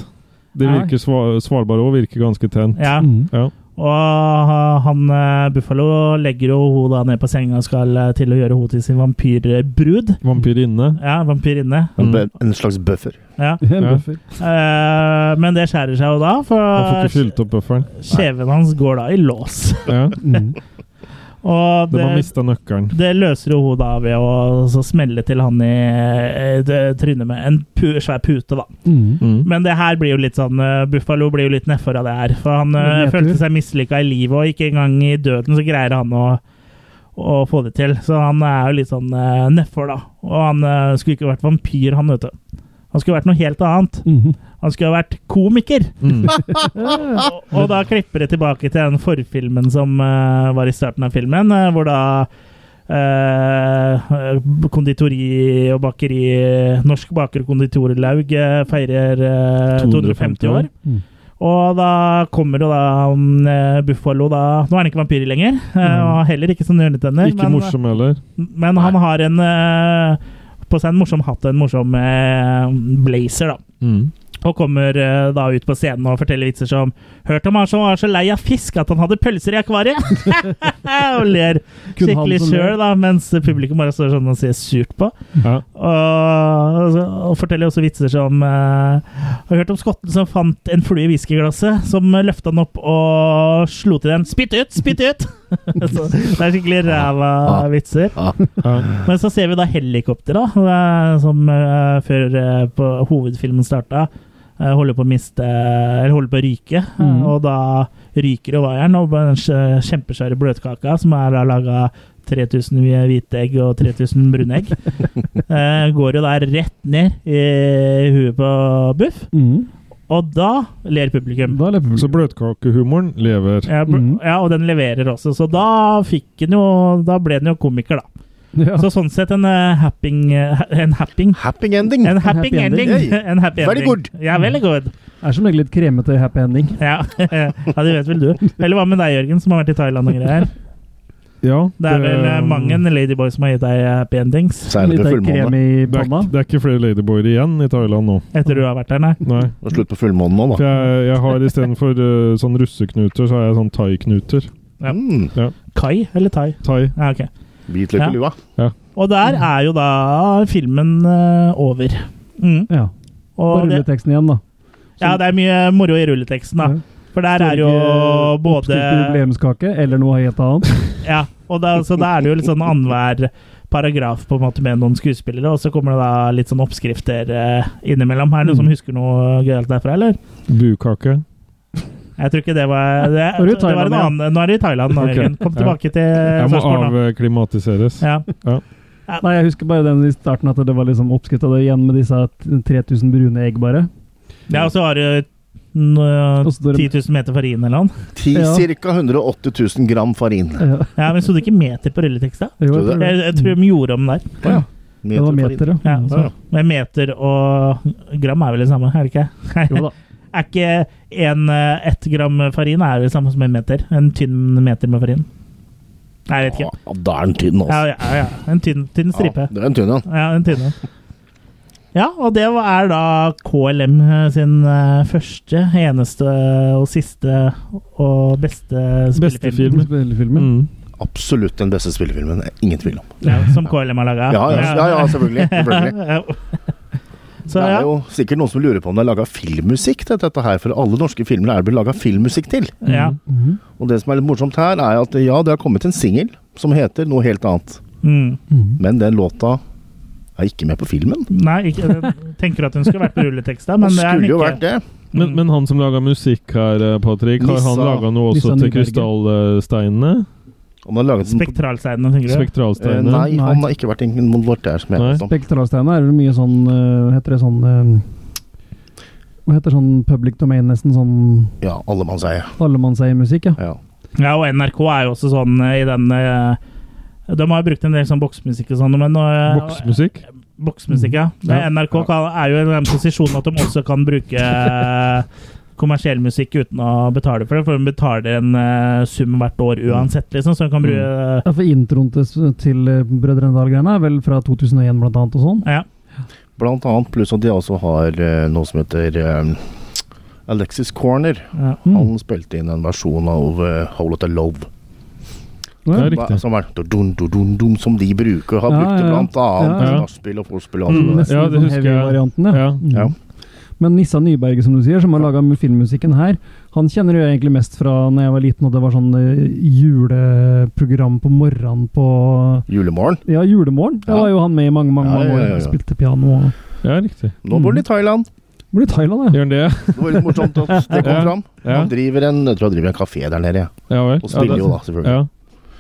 Speaker 3: Det
Speaker 4: Nei.
Speaker 3: virker sva- Svalbard òg virker ganske tent.
Speaker 2: Ja.
Speaker 4: Mm.
Speaker 3: Ja.
Speaker 2: Og han eh, Buffalo legger jo henne da ned på senga og skal eh, til å gjøre henne til sin vampyrbrud.
Speaker 3: Vampyrinne.
Speaker 2: Ja, vampyrinne.
Speaker 5: En,
Speaker 3: Mm.
Speaker 5: bu- en slags buffer.
Speaker 2: Ja.
Speaker 4: En
Speaker 3: Ja.
Speaker 4: buffer.
Speaker 2: Eh, men det skjærer seg jo da,
Speaker 3: Han får ikke
Speaker 2: for
Speaker 3: fylt opp bufferen.
Speaker 2: Kjeven hans går da i lås.
Speaker 3: Ja.
Speaker 4: Mm.
Speaker 2: Og
Speaker 3: De har
Speaker 2: det,
Speaker 3: mista nøkkelen.
Speaker 2: det løser jo hun da ved å så smelle til han i eh, det trynet med en pu, svær pute, da.
Speaker 4: Mm.
Speaker 3: Mm.
Speaker 2: Men det her blir jo litt sånn eh, Buffalo blir jo litt nedfor av det her. For han eh,
Speaker 4: Det vet
Speaker 2: følte
Speaker 4: du.
Speaker 2: seg mislykka i livet, og ikke engang i døden så greier han å å få det til. Så han er jo litt sånn uh, nedfor, da. Og han eh, skulle ikke vært vampyr, han, vet du. Han skulle vært noe helt annet.
Speaker 4: Mhm.
Speaker 2: Han skulle vært komiker.
Speaker 3: Mm.
Speaker 2: og, og da klipper det tilbake til den forfilmen som eh, var i starten av filmen, eh, hvor da eh, konditori og bakeri Norsk baker og konditorlaug eh, feirer eh, 250 år.
Speaker 4: Mm.
Speaker 2: Og da kommer jo da um, eh, Buffalo da Nå er han ikke vampyr lenger, eh, og heller ikke sånn hjørnetenner.
Speaker 3: Ikke morsom heller.
Speaker 2: Men han har en eh, på seg en morsom hatt og en morsom eh, blazer, da.
Speaker 3: Mm.
Speaker 2: Og kommer eh, da ut på scenen og forteller vitser som Hørt om han som var så lei av fisk at han hadde pølser i akvariet! og ler
Speaker 4: Kun han
Speaker 2: skikkelig
Speaker 4: som ler.
Speaker 2: sjøl, da, mens publikum bare står sånn og ser surt på.
Speaker 3: Ja.
Speaker 2: Og, og forteller også vitser som eh, Har hørt om skotten som fant en flue i whiskyglasset, som løfta den opp og slo til den. Spytt ut! Spytt ut! så, det er skikkelig ræva vitser.
Speaker 3: Ja.
Speaker 2: Men så ser vi da helikopter, da, eh, som eh, før eh, på hovedfilmen starta, eh, holder på å miste Eller holder på å ryke. eh,
Speaker 4: Mhm.
Speaker 2: Og da ryker jo vaieren, og den sj- kjempesvære bløtkaka, som er da laga 3000 hvite egg og 3000 brune egg, eh, går jo da rett ned i huet på Buff.
Speaker 4: Mm.
Speaker 2: Og da ler publikum.
Speaker 4: Da lever
Speaker 3: Så bløtkakehumoren lever.
Speaker 2: Ja, bl-
Speaker 4: Mhm.
Speaker 2: ja, og den leverer også, så da fikk den jo Da ble den jo komiker, da.
Speaker 4: Ja.
Speaker 2: Så sånn sett en eh, happing eh, En happing?
Speaker 5: Happy ending!
Speaker 2: En happy
Speaker 4: happy
Speaker 2: ending.
Speaker 4: ending.
Speaker 5: Hey.
Speaker 2: En happy
Speaker 5: Very
Speaker 2: ending.
Speaker 5: good.
Speaker 2: Ja, veldig good.
Speaker 4: Er som regel litt kremete happy ending.
Speaker 2: Ja. ja, det vet vel du. Eller hva med deg, Jørgen, som har vært i Thailand og greier?
Speaker 3: Ja,
Speaker 2: Det er vel eh,
Speaker 3: um,
Speaker 2: mange en ladyboy som har gitt deg happy endings
Speaker 5: Særlig
Speaker 4: Litt
Speaker 5: på
Speaker 4: av krem
Speaker 5: fullmåne.
Speaker 4: i
Speaker 3: det er,
Speaker 4: panna.
Speaker 3: ikke- det er ikke flere ladyboyer igjen i Thailand nå.
Speaker 2: etter du har vært der, nei?
Speaker 3: Nei.
Speaker 5: Det er Slutt på fullmånen nå,
Speaker 3: For
Speaker 5: da.
Speaker 3: jeg, jeg har istedenfor uh, sånn russeknuter, så har jeg sånn thai-knuter.
Speaker 2: Ja.
Speaker 5: Mm,
Speaker 2: Kai eller thai?
Speaker 3: Thai.
Speaker 2: Ja, ok.
Speaker 5: Hvit løk
Speaker 2: Ja.
Speaker 5: i lua.
Speaker 2: Og der er jo da filmen eh, over. Mm.
Speaker 4: Ja. Og
Speaker 2: Og det,
Speaker 4: rulleteksten igjen, da.
Speaker 2: ja, det er mye moro i rulleteksten, da. For der er jo både
Speaker 4: Oppskrift jubileumskake eller noe helt annet.
Speaker 2: Ja, og da, så da er det jo litt sånn annenhver paragraf på en måte med noen skuespillere, og så kommer det da litt sånn oppskrifter eh, innimellom. Er det noen
Speaker 4: Mm.
Speaker 2: som husker noe gøyalt derfra, eller?
Speaker 3: Bukake.
Speaker 2: Jeg tror ikke det var Det,
Speaker 4: Nå er du i
Speaker 2: det var en
Speaker 4: Thailand, ja.
Speaker 2: annen Nå er du i Thailand, nå,
Speaker 3: Ok.
Speaker 2: Jørgen. Kom tilbake til
Speaker 3: Jeg må
Speaker 2: Eh, Sarpsborg, da.
Speaker 3: avklimatiseres.
Speaker 2: Ja.
Speaker 4: Nei, jeg husker bare den i starten at det var liksom oppskrift av det igjen med disse 3000 brune egg, bare.
Speaker 2: ja, og så har du n- øh,
Speaker 4: Og så står
Speaker 2: 10
Speaker 4: det-
Speaker 2: 000 meter farin eller noe.
Speaker 5: Ti,
Speaker 4: Ja.
Speaker 5: Cirka 108 000 gram farin.
Speaker 4: Ja,
Speaker 2: Ja, men sto det ikke meter på rulleteksta?
Speaker 5: Tror du
Speaker 4: jo, jeg tror
Speaker 2: Jeg, jeg
Speaker 4: det.
Speaker 2: tror de gjorde om der.
Speaker 5: Ja.
Speaker 4: Det var meter, ja.
Speaker 2: Ja,
Speaker 5: Mm,
Speaker 2: så. Men meter og gram er vel det samme, er det ikke?
Speaker 4: Jo da.
Speaker 2: Er ikke en, eh, ett gram farin er jo det samme som en meter? En tynn meter med farin? Nei, jeg vet ikke.
Speaker 5: Ja, da er den tynn, altså.
Speaker 2: Ja, ja, ja. En tynn, tynn stripe.
Speaker 5: Ja, det er en tynn en.
Speaker 2: Ja, en tynn en. Ja, og det er da KLM sin eh, første, eneste og siste og beste
Speaker 3: Beste
Speaker 2: spillefilm.
Speaker 3: film.
Speaker 4: Spillefilmen.
Speaker 3: Mm.
Speaker 5: Absolutt den beste spillefilmen. det er Ingen tvil om.
Speaker 2: Ja, som KLM har laga.
Speaker 5: Ja, ja, ja, ja selvfølgelig. selvfølgelig.
Speaker 2: Så
Speaker 5: det
Speaker 2: ja,
Speaker 5: er jo sikkert noen som lurer på om det er laga filmmusikk til dette her, for alle norske filmer er det blitt laga filmmusikk til.
Speaker 2: ja.
Speaker 4: Mhm.
Speaker 5: Og det som er litt morsomt her, er at ja, det har kommet en singel som heter noe helt annet,
Speaker 2: Mm.
Speaker 4: Mhm.
Speaker 5: men den låta er ikke med på filmen.
Speaker 2: Nei, ikke, jeg tenker at hun skulle vært på rulleteksta, men
Speaker 5: Den
Speaker 2: det er hun
Speaker 5: skulle jo
Speaker 2: ikke.
Speaker 5: vært det.
Speaker 2: Mm.
Speaker 3: Men, men han som laga musikk her, eh, Patrick, har han
Speaker 5: Nissa-
Speaker 3: laga noe
Speaker 4: Nissa
Speaker 3: også til
Speaker 4: Nyberger.
Speaker 3: krystallsteinene?
Speaker 5: Om han har laget den på
Speaker 2: Spektralseinene, tenker du?
Speaker 5: Eh,
Speaker 3: Spektralsteinene?
Speaker 5: Nei,
Speaker 4: Nei.
Speaker 5: han har ikke vært involvert der, som jeg
Speaker 3: Nei.
Speaker 5: vet om.
Speaker 4: Spektralsteinene er vel mye sånn øh, Heter det sånn øh, Hva heter sånn public domain, nesten sånn
Speaker 5: Ja, allemannseie.
Speaker 4: allemannseie-musikk, ja.
Speaker 5: Ja.
Speaker 2: Ja, og NRK er jo også sånn eh, i den eh, De har jo brukt en del sånn boksmusikk og sånn, men eh,
Speaker 3: Boksmusikk?
Speaker 2: Boksmusikk, ja. Men
Speaker 3: Ja.
Speaker 2: NRK kan, er jo i den posisjonen at de også kan bruke eh, kommersiell musikk uten å betale for det, for de betaler en eh, sum hvert år uansett, liksom, så de kan bruke
Speaker 4: Ja, For introen til, til øh, Brødrene Dal-greiene er vel fra 2001, blant annet, og sånn.
Speaker 2: ja.
Speaker 5: Blant annet, pluss at de også har eh, noe som heter eh, Alexis Corner.
Speaker 2: ja.
Speaker 4: Mm.
Speaker 5: Han spilte inn en versjon av uh, Hole of the Love.
Speaker 3: Det er
Speaker 5: Hva-
Speaker 3: riktig.
Speaker 5: Som er dun, dun, dun, dun, Som de bruker, har
Speaker 4: Ja,
Speaker 5: brukt det
Speaker 4: ja, ja.
Speaker 5: blant annet
Speaker 4: Ja,
Speaker 3: ja.
Speaker 5: til nachspiel og vorspiel. og alt
Speaker 4: Mm,
Speaker 5: det der.
Speaker 4: nesten
Speaker 3: Ja, det
Speaker 4: sånn
Speaker 3: husker jeg.
Speaker 4: heavy-varianten, ja.
Speaker 3: Ja.
Speaker 4: Mm.
Speaker 5: Ja.
Speaker 4: Men Nissa Nyberg, som du sier, som har laga filmmusikken her, han kjenner jo jeg egentlig mest fra når jeg var liten og det var sånn eh, juleprogram på morgenen på
Speaker 5: Julemorgen.
Speaker 4: Ja, julemorgen. Da
Speaker 5: Ja.
Speaker 4: var jo han med i mange, mange,
Speaker 5: Ja,
Speaker 4: mange
Speaker 5: ja, ja,
Speaker 4: år.
Speaker 5: ja.
Speaker 4: Spilte piano og
Speaker 3: ja, riktig.
Speaker 5: Nå bor han i Thailand.
Speaker 4: Blir Thailand,
Speaker 3: Gjør
Speaker 4: ja.
Speaker 3: han det?
Speaker 5: Det var litt morsomt at det kom
Speaker 3: Ja.
Speaker 5: fram.
Speaker 3: Ja,
Speaker 5: Han driver en, jeg tror han driver en kafé der nede, ja.
Speaker 3: ja vel.
Speaker 5: og
Speaker 3: Ja,
Speaker 5: spiller
Speaker 3: det- sånn-
Speaker 5: jo da, selvfølgelig.
Speaker 3: Ja.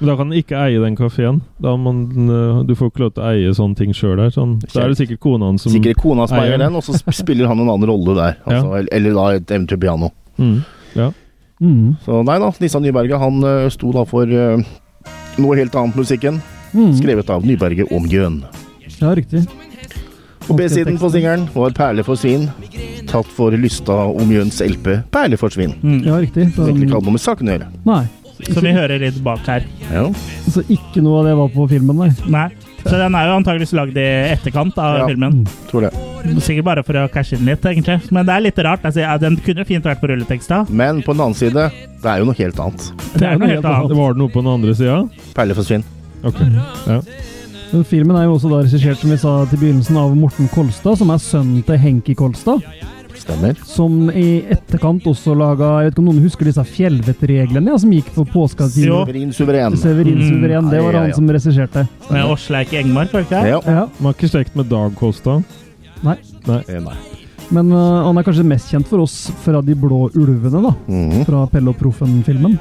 Speaker 3: Men da kan han ikke eie den kafeen. Da må han, øh, Du får ikke lov til å eie sånne ting sjøl der. Sånn. Da er det sikkert kona hans som
Speaker 5: Sikkert kona som eier
Speaker 3: sånn eier.
Speaker 5: den, og så sp- spiller han en annen rolle der. Altså, Eller da et eventuelt piano.
Speaker 3: Mm. Ja.
Speaker 4: Mm.
Speaker 5: Så nei da, Nissan Nyberget han eh, sto da for eh, noe helt annet musikken,
Speaker 4: Mm.
Speaker 5: skrevet av Nyberget og Mjøen.
Speaker 4: Ja, riktig.
Speaker 5: På B-siden på singelen var 'Perle for svin', tatt for Lysta og Mjøens LP 'Perle for svin'.
Speaker 2: Mm.
Speaker 4: Ja, riktig. Så,
Speaker 5: Som egentlig ikke hadde noe med saken å gjøre.
Speaker 4: nei.
Speaker 2: Som vi hører litt bak her.
Speaker 5: Ja.
Speaker 4: Så ikke noe av det var på filmen, nei.
Speaker 2: Nei. Så den er jo antakeligvis lagd i etterkant av
Speaker 5: Ja.
Speaker 2: filmen.
Speaker 5: Tror det.
Speaker 2: Sikkert bare for å cashe inn litt, egentlig. Men det er litt rart. Altså, ja, den kunne fint vært på rulleteksta.
Speaker 5: Men på den annen side, det er jo noe helt annet.
Speaker 2: Det er noe helt annet.
Speaker 3: Var det noe på den andre sida?
Speaker 5: Perleforsvinn.
Speaker 3: Ok. Ja.
Speaker 4: Men Filmen er jo også da regissert som vi sa til begynnelsen av Morten Kolstad, som er sønnen til Henki Kolstad.
Speaker 5: Stemmer.
Speaker 4: Som i etterkant også laga Jeg vet ikke om noen husker disse fjellvettreglene ja, som gikk
Speaker 2: Jo.
Speaker 4: på påsketimen?
Speaker 5: Suveren suveren.
Speaker 4: Severin
Speaker 2: Mm.
Speaker 4: Suveren, det
Speaker 5: Ja,
Speaker 4: var
Speaker 5: ja,
Speaker 4: han
Speaker 5: ja.
Speaker 4: som regisserte.
Speaker 2: Med Åsleik Engmark, var det ikke det?
Speaker 5: Ja.
Speaker 4: Ja,
Speaker 3: Man er ikke slekt med Dag Kåstad.
Speaker 5: Eh, Nei.
Speaker 4: Men øh, han er kanskje mest kjent for oss fra De blå ulvene, da.
Speaker 5: Mhm.
Speaker 4: Fra Pelle og Proffen-filmen.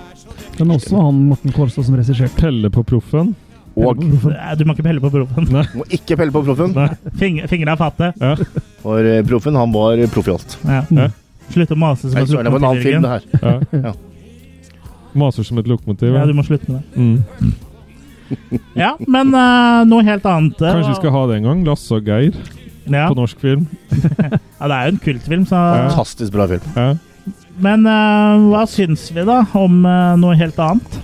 Speaker 4: Den er også han Morten Kolstad som regisserte.
Speaker 3: Pelle på proffen.
Speaker 5: Og
Speaker 2: Nei, Du må ikke pelle på proffen.
Speaker 5: må ikke pelle på proffen,
Speaker 3: Nei.
Speaker 2: Fing- Fingra av fatet.
Speaker 3: Ja.
Speaker 5: for eh, proffen han var proff i alt.
Speaker 2: Ja.
Speaker 3: Ja.
Speaker 2: Slutt å mase som
Speaker 5: Nei,
Speaker 2: en
Speaker 5: søren, Det var en annen film, det
Speaker 2: lokomotivdirigent.
Speaker 5: her.
Speaker 3: Ja.
Speaker 5: Ja.
Speaker 3: Maser som et lokomotiv.
Speaker 2: Ja,
Speaker 3: Ja.
Speaker 2: du må slutte med det.
Speaker 3: Mm.
Speaker 2: Ja, men eh, noe helt annet. Det
Speaker 3: Kanskje vi
Speaker 2: var-
Speaker 3: skal ha det en gang? Lasse og Geir
Speaker 2: ja.
Speaker 3: på norsk film.
Speaker 2: ja, det er jo en kultfilm, så
Speaker 5: Fantastisk bra film.
Speaker 3: Ja.
Speaker 2: Men eh, hva syns vi, da, om eh, noe helt annet?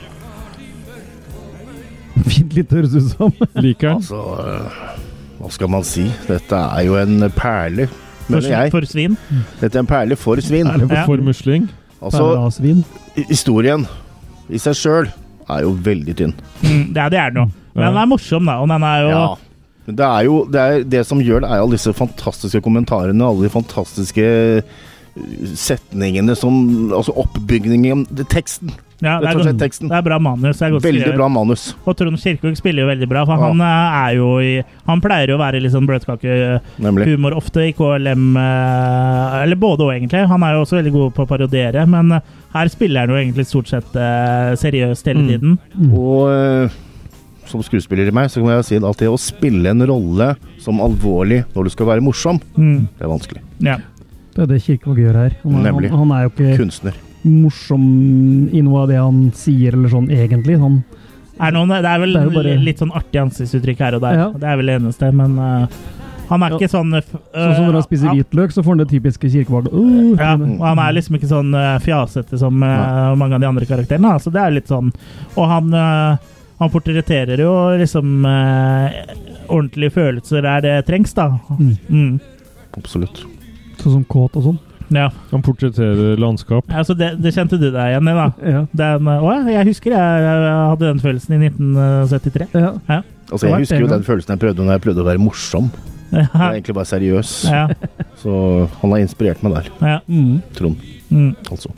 Speaker 4: Fint litt, høres ut som.
Speaker 3: Liker den.
Speaker 5: Altså, eh, hva skal man si? Dette er jo en perle,
Speaker 2: For,
Speaker 5: mener jeg.
Speaker 2: for svin?
Speaker 5: Dette er en perle for svin.
Speaker 4: Perle
Speaker 2: Ja.
Speaker 3: For musling.
Speaker 5: Altså,
Speaker 4: av svin.
Speaker 5: i- historien i seg sjøl er jo veldig tynn.
Speaker 2: Mm, ja, det er den jo. Men den er morsom, da. Og den er jo
Speaker 5: Ja. Men det er jo det, er, det som gjør det, er alle disse fantastiske kommentarene, alle de fantastiske eh, setningene som Altså oppbygningen det, Teksten.
Speaker 2: Ja, det,
Speaker 5: Rett
Speaker 2: er
Speaker 5: og slett
Speaker 2: godt,
Speaker 5: teksten.
Speaker 2: det er bra manus. Det er godt
Speaker 5: Veldig
Speaker 2: skrevet.
Speaker 5: bra manus.
Speaker 2: Og Trond Kirkevåg spiller jo veldig bra, for
Speaker 5: Ja.
Speaker 2: han eh, er jo i Han pleier jo å være litt sånn bløtkakehumor
Speaker 5: Nemlig.
Speaker 2: ofte i KLM eh, Eller både og egentlig. Han er jo også veldig god på å parodiere, men eh, her spiller han jo egentlig stort sett eh, seriøst hele
Speaker 3: Mm.
Speaker 2: tiden.
Speaker 5: Og eh, som skuespiller i meg, så kan jeg si at det å spille en rolle som alvorlig når du skal være morsom,
Speaker 2: Mm.
Speaker 5: det er vanskelig.
Speaker 2: Ja.
Speaker 4: Det er det Kirkevåg gjør her. Han er,
Speaker 5: Nemlig.
Speaker 4: han, han er jo ikke
Speaker 5: Kunstner.
Speaker 4: morsom i noe av det han sier, eller sånn egentlig. Han,
Speaker 2: Er noen, det er vel
Speaker 4: Det er jo bare-
Speaker 2: litt sånn artig ansiktsuttrykk her og der.
Speaker 4: Ja.
Speaker 2: Det er vel det eneste, men eh, han er
Speaker 4: Ja.
Speaker 2: ikke sånn f-
Speaker 4: sånn som når han spiser
Speaker 2: eh,
Speaker 4: hvitløk, så får han det typiske Kirkevåg. Uh,
Speaker 2: Ja, og han er liksom ikke sånn eh, fjasete som eh, mange av de andre karakterene. da. Så det er litt sånn Og han, eh, han portretterer jo liksom eh, ordentlige følelser der det trengs, da.
Speaker 4: Mm.
Speaker 2: Mm.
Speaker 5: Absolutt.
Speaker 4: Sånn som kåt og sånn.
Speaker 2: Ja.
Speaker 3: Han portretterer landskap.
Speaker 2: Altså, det, det kjente du deg igjen i, da.
Speaker 4: Ja.
Speaker 2: Den, eh, å, ja, jeg husker jeg, jeg hadde den følelsen i eh, 1973.
Speaker 4: Ja.
Speaker 5: Altså, jeg husker jo den følelsen jeg prøvde når jeg prøvde å være morsom. Jeg
Speaker 2: Ja,
Speaker 5: var egentlig bare seriøs.
Speaker 2: ja,
Speaker 5: Så han har inspirert meg der,
Speaker 2: ja.
Speaker 4: Mm.
Speaker 5: Trond.
Speaker 2: Mm.
Speaker 5: Altså.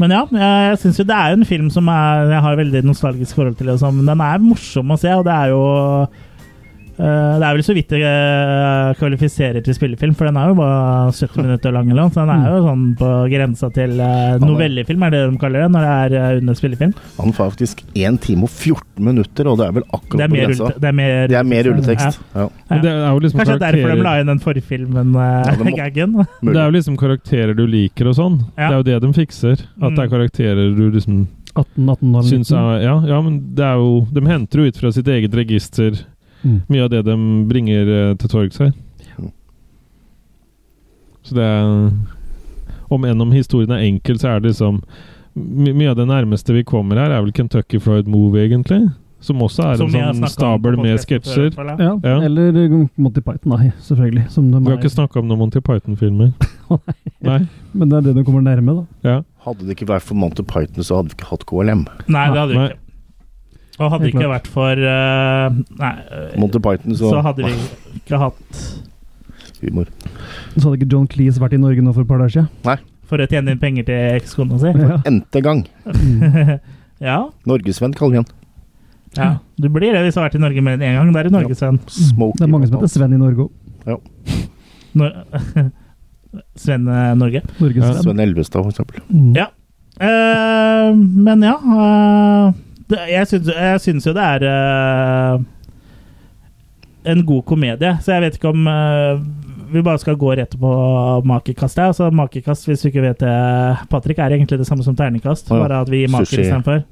Speaker 2: Men ja, jeg, jeg syns jo det er jo en film som er, jeg har veldig nostalgisk forhold til. og sånn, men Den er morsom å se, og det er jo eh, Det er vel så vidt det eh, kvalifiserer til spillefilm, for den er jo bare 70 minutter lang. eller noe, så Den er jo sånn på grensa til eh, novellefilm, er det de kaller det når det er eh, under spillefilm.
Speaker 5: Han får faktisk 1 time og 14 minutter, og det er vel
Speaker 2: Det
Speaker 5: akkurat
Speaker 2: er
Speaker 5: på
Speaker 2: mer,
Speaker 5: grensa.
Speaker 2: rullete- det er mer
Speaker 5: Det er mer rulletekst. Ja.
Speaker 3: Men det er jo liksom
Speaker 2: Kanskje derfor de la
Speaker 3: karakterer,
Speaker 2: inn den forfilmen, eh,
Speaker 5: Ja, det må-
Speaker 2: gaggen.
Speaker 5: mulig.
Speaker 3: det er jo liksom karakterer du liker og sånn.
Speaker 2: Ja. Mm.
Speaker 3: Det er jo det de fikser. At det er karakterer du liksom
Speaker 4: 18, 18 og
Speaker 3: syns
Speaker 4: 19.
Speaker 3: er ja, ja, men det er jo De henter jo ut fra sitt eget register
Speaker 4: Mm.
Speaker 3: mye av det de bringer eh, til torgs her. Så det er Om enn om historien er enkel, så er det liksom my Mye av det nærmeste vi kommer her, er vel Kentucky Fried Move, egentlig. Som også er
Speaker 2: som vi har
Speaker 3: en
Speaker 2: snakket
Speaker 3: sånn
Speaker 2: om
Speaker 3: stabel
Speaker 2: på
Speaker 3: med
Speaker 2: podcasten før, i
Speaker 3: sketsjer.
Speaker 2: hvert fall, ja.
Speaker 4: Ja.
Speaker 3: Ja.
Speaker 4: Eller eh, Monty Python, nei, selvfølgelig. Som de
Speaker 3: Vi har
Speaker 4: er.
Speaker 3: ikke snakka om noen Monty Python-filmer. Nei.
Speaker 4: Men det er det de kommer nærme, da.
Speaker 3: Ja.
Speaker 5: Hadde det ikke vært for Monty Python, så hadde vi ikke hatt KLM.
Speaker 2: Nei, det hadde vi
Speaker 3: Nei.
Speaker 2: ikke. Og hadde det ikke vært for eh, Nei, eh,
Speaker 5: Monty Python, så,
Speaker 2: så hadde vi ikke hatt
Speaker 5: humor.
Speaker 4: Så hadde ikke John Cleese vært i Norge nå for et par dager siden.
Speaker 2: For å tjene inn penger til ekskona si?
Speaker 4: Ja.
Speaker 5: N-te gang.
Speaker 2: Ja.
Speaker 5: Norgesvenn kaller vi han.
Speaker 2: ja. Du blir det hvis du har vært i Norge mer enn én gang. Det er i Norge, Sven.
Speaker 5: Smokey.
Speaker 4: Mm. Det er mange som heter Sven i Norge òg.
Speaker 2: Nor Sven eh, Norge.
Speaker 4: Norges
Speaker 3: Ja,
Speaker 4: Sven.
Speaker 5: Sven Elvestad, for eksempel.
Speaker 4: Mm.
Speaker 2: Ja. Eh, men ja eh, det, Jeg syns- jeg syns jo det er eh, en god komedie, så jeg vet ikke om eh, vi bare skal gå rett på makekast. her. Altså, makekast, hvis du ikke vet det, Patrick, er egentlig det samme som terningkast,
Speaker 5: Å ja.
Speaker 2: bare at vi gir maker
Speaker 5: Sushi.
Speaker 2: istedenfor.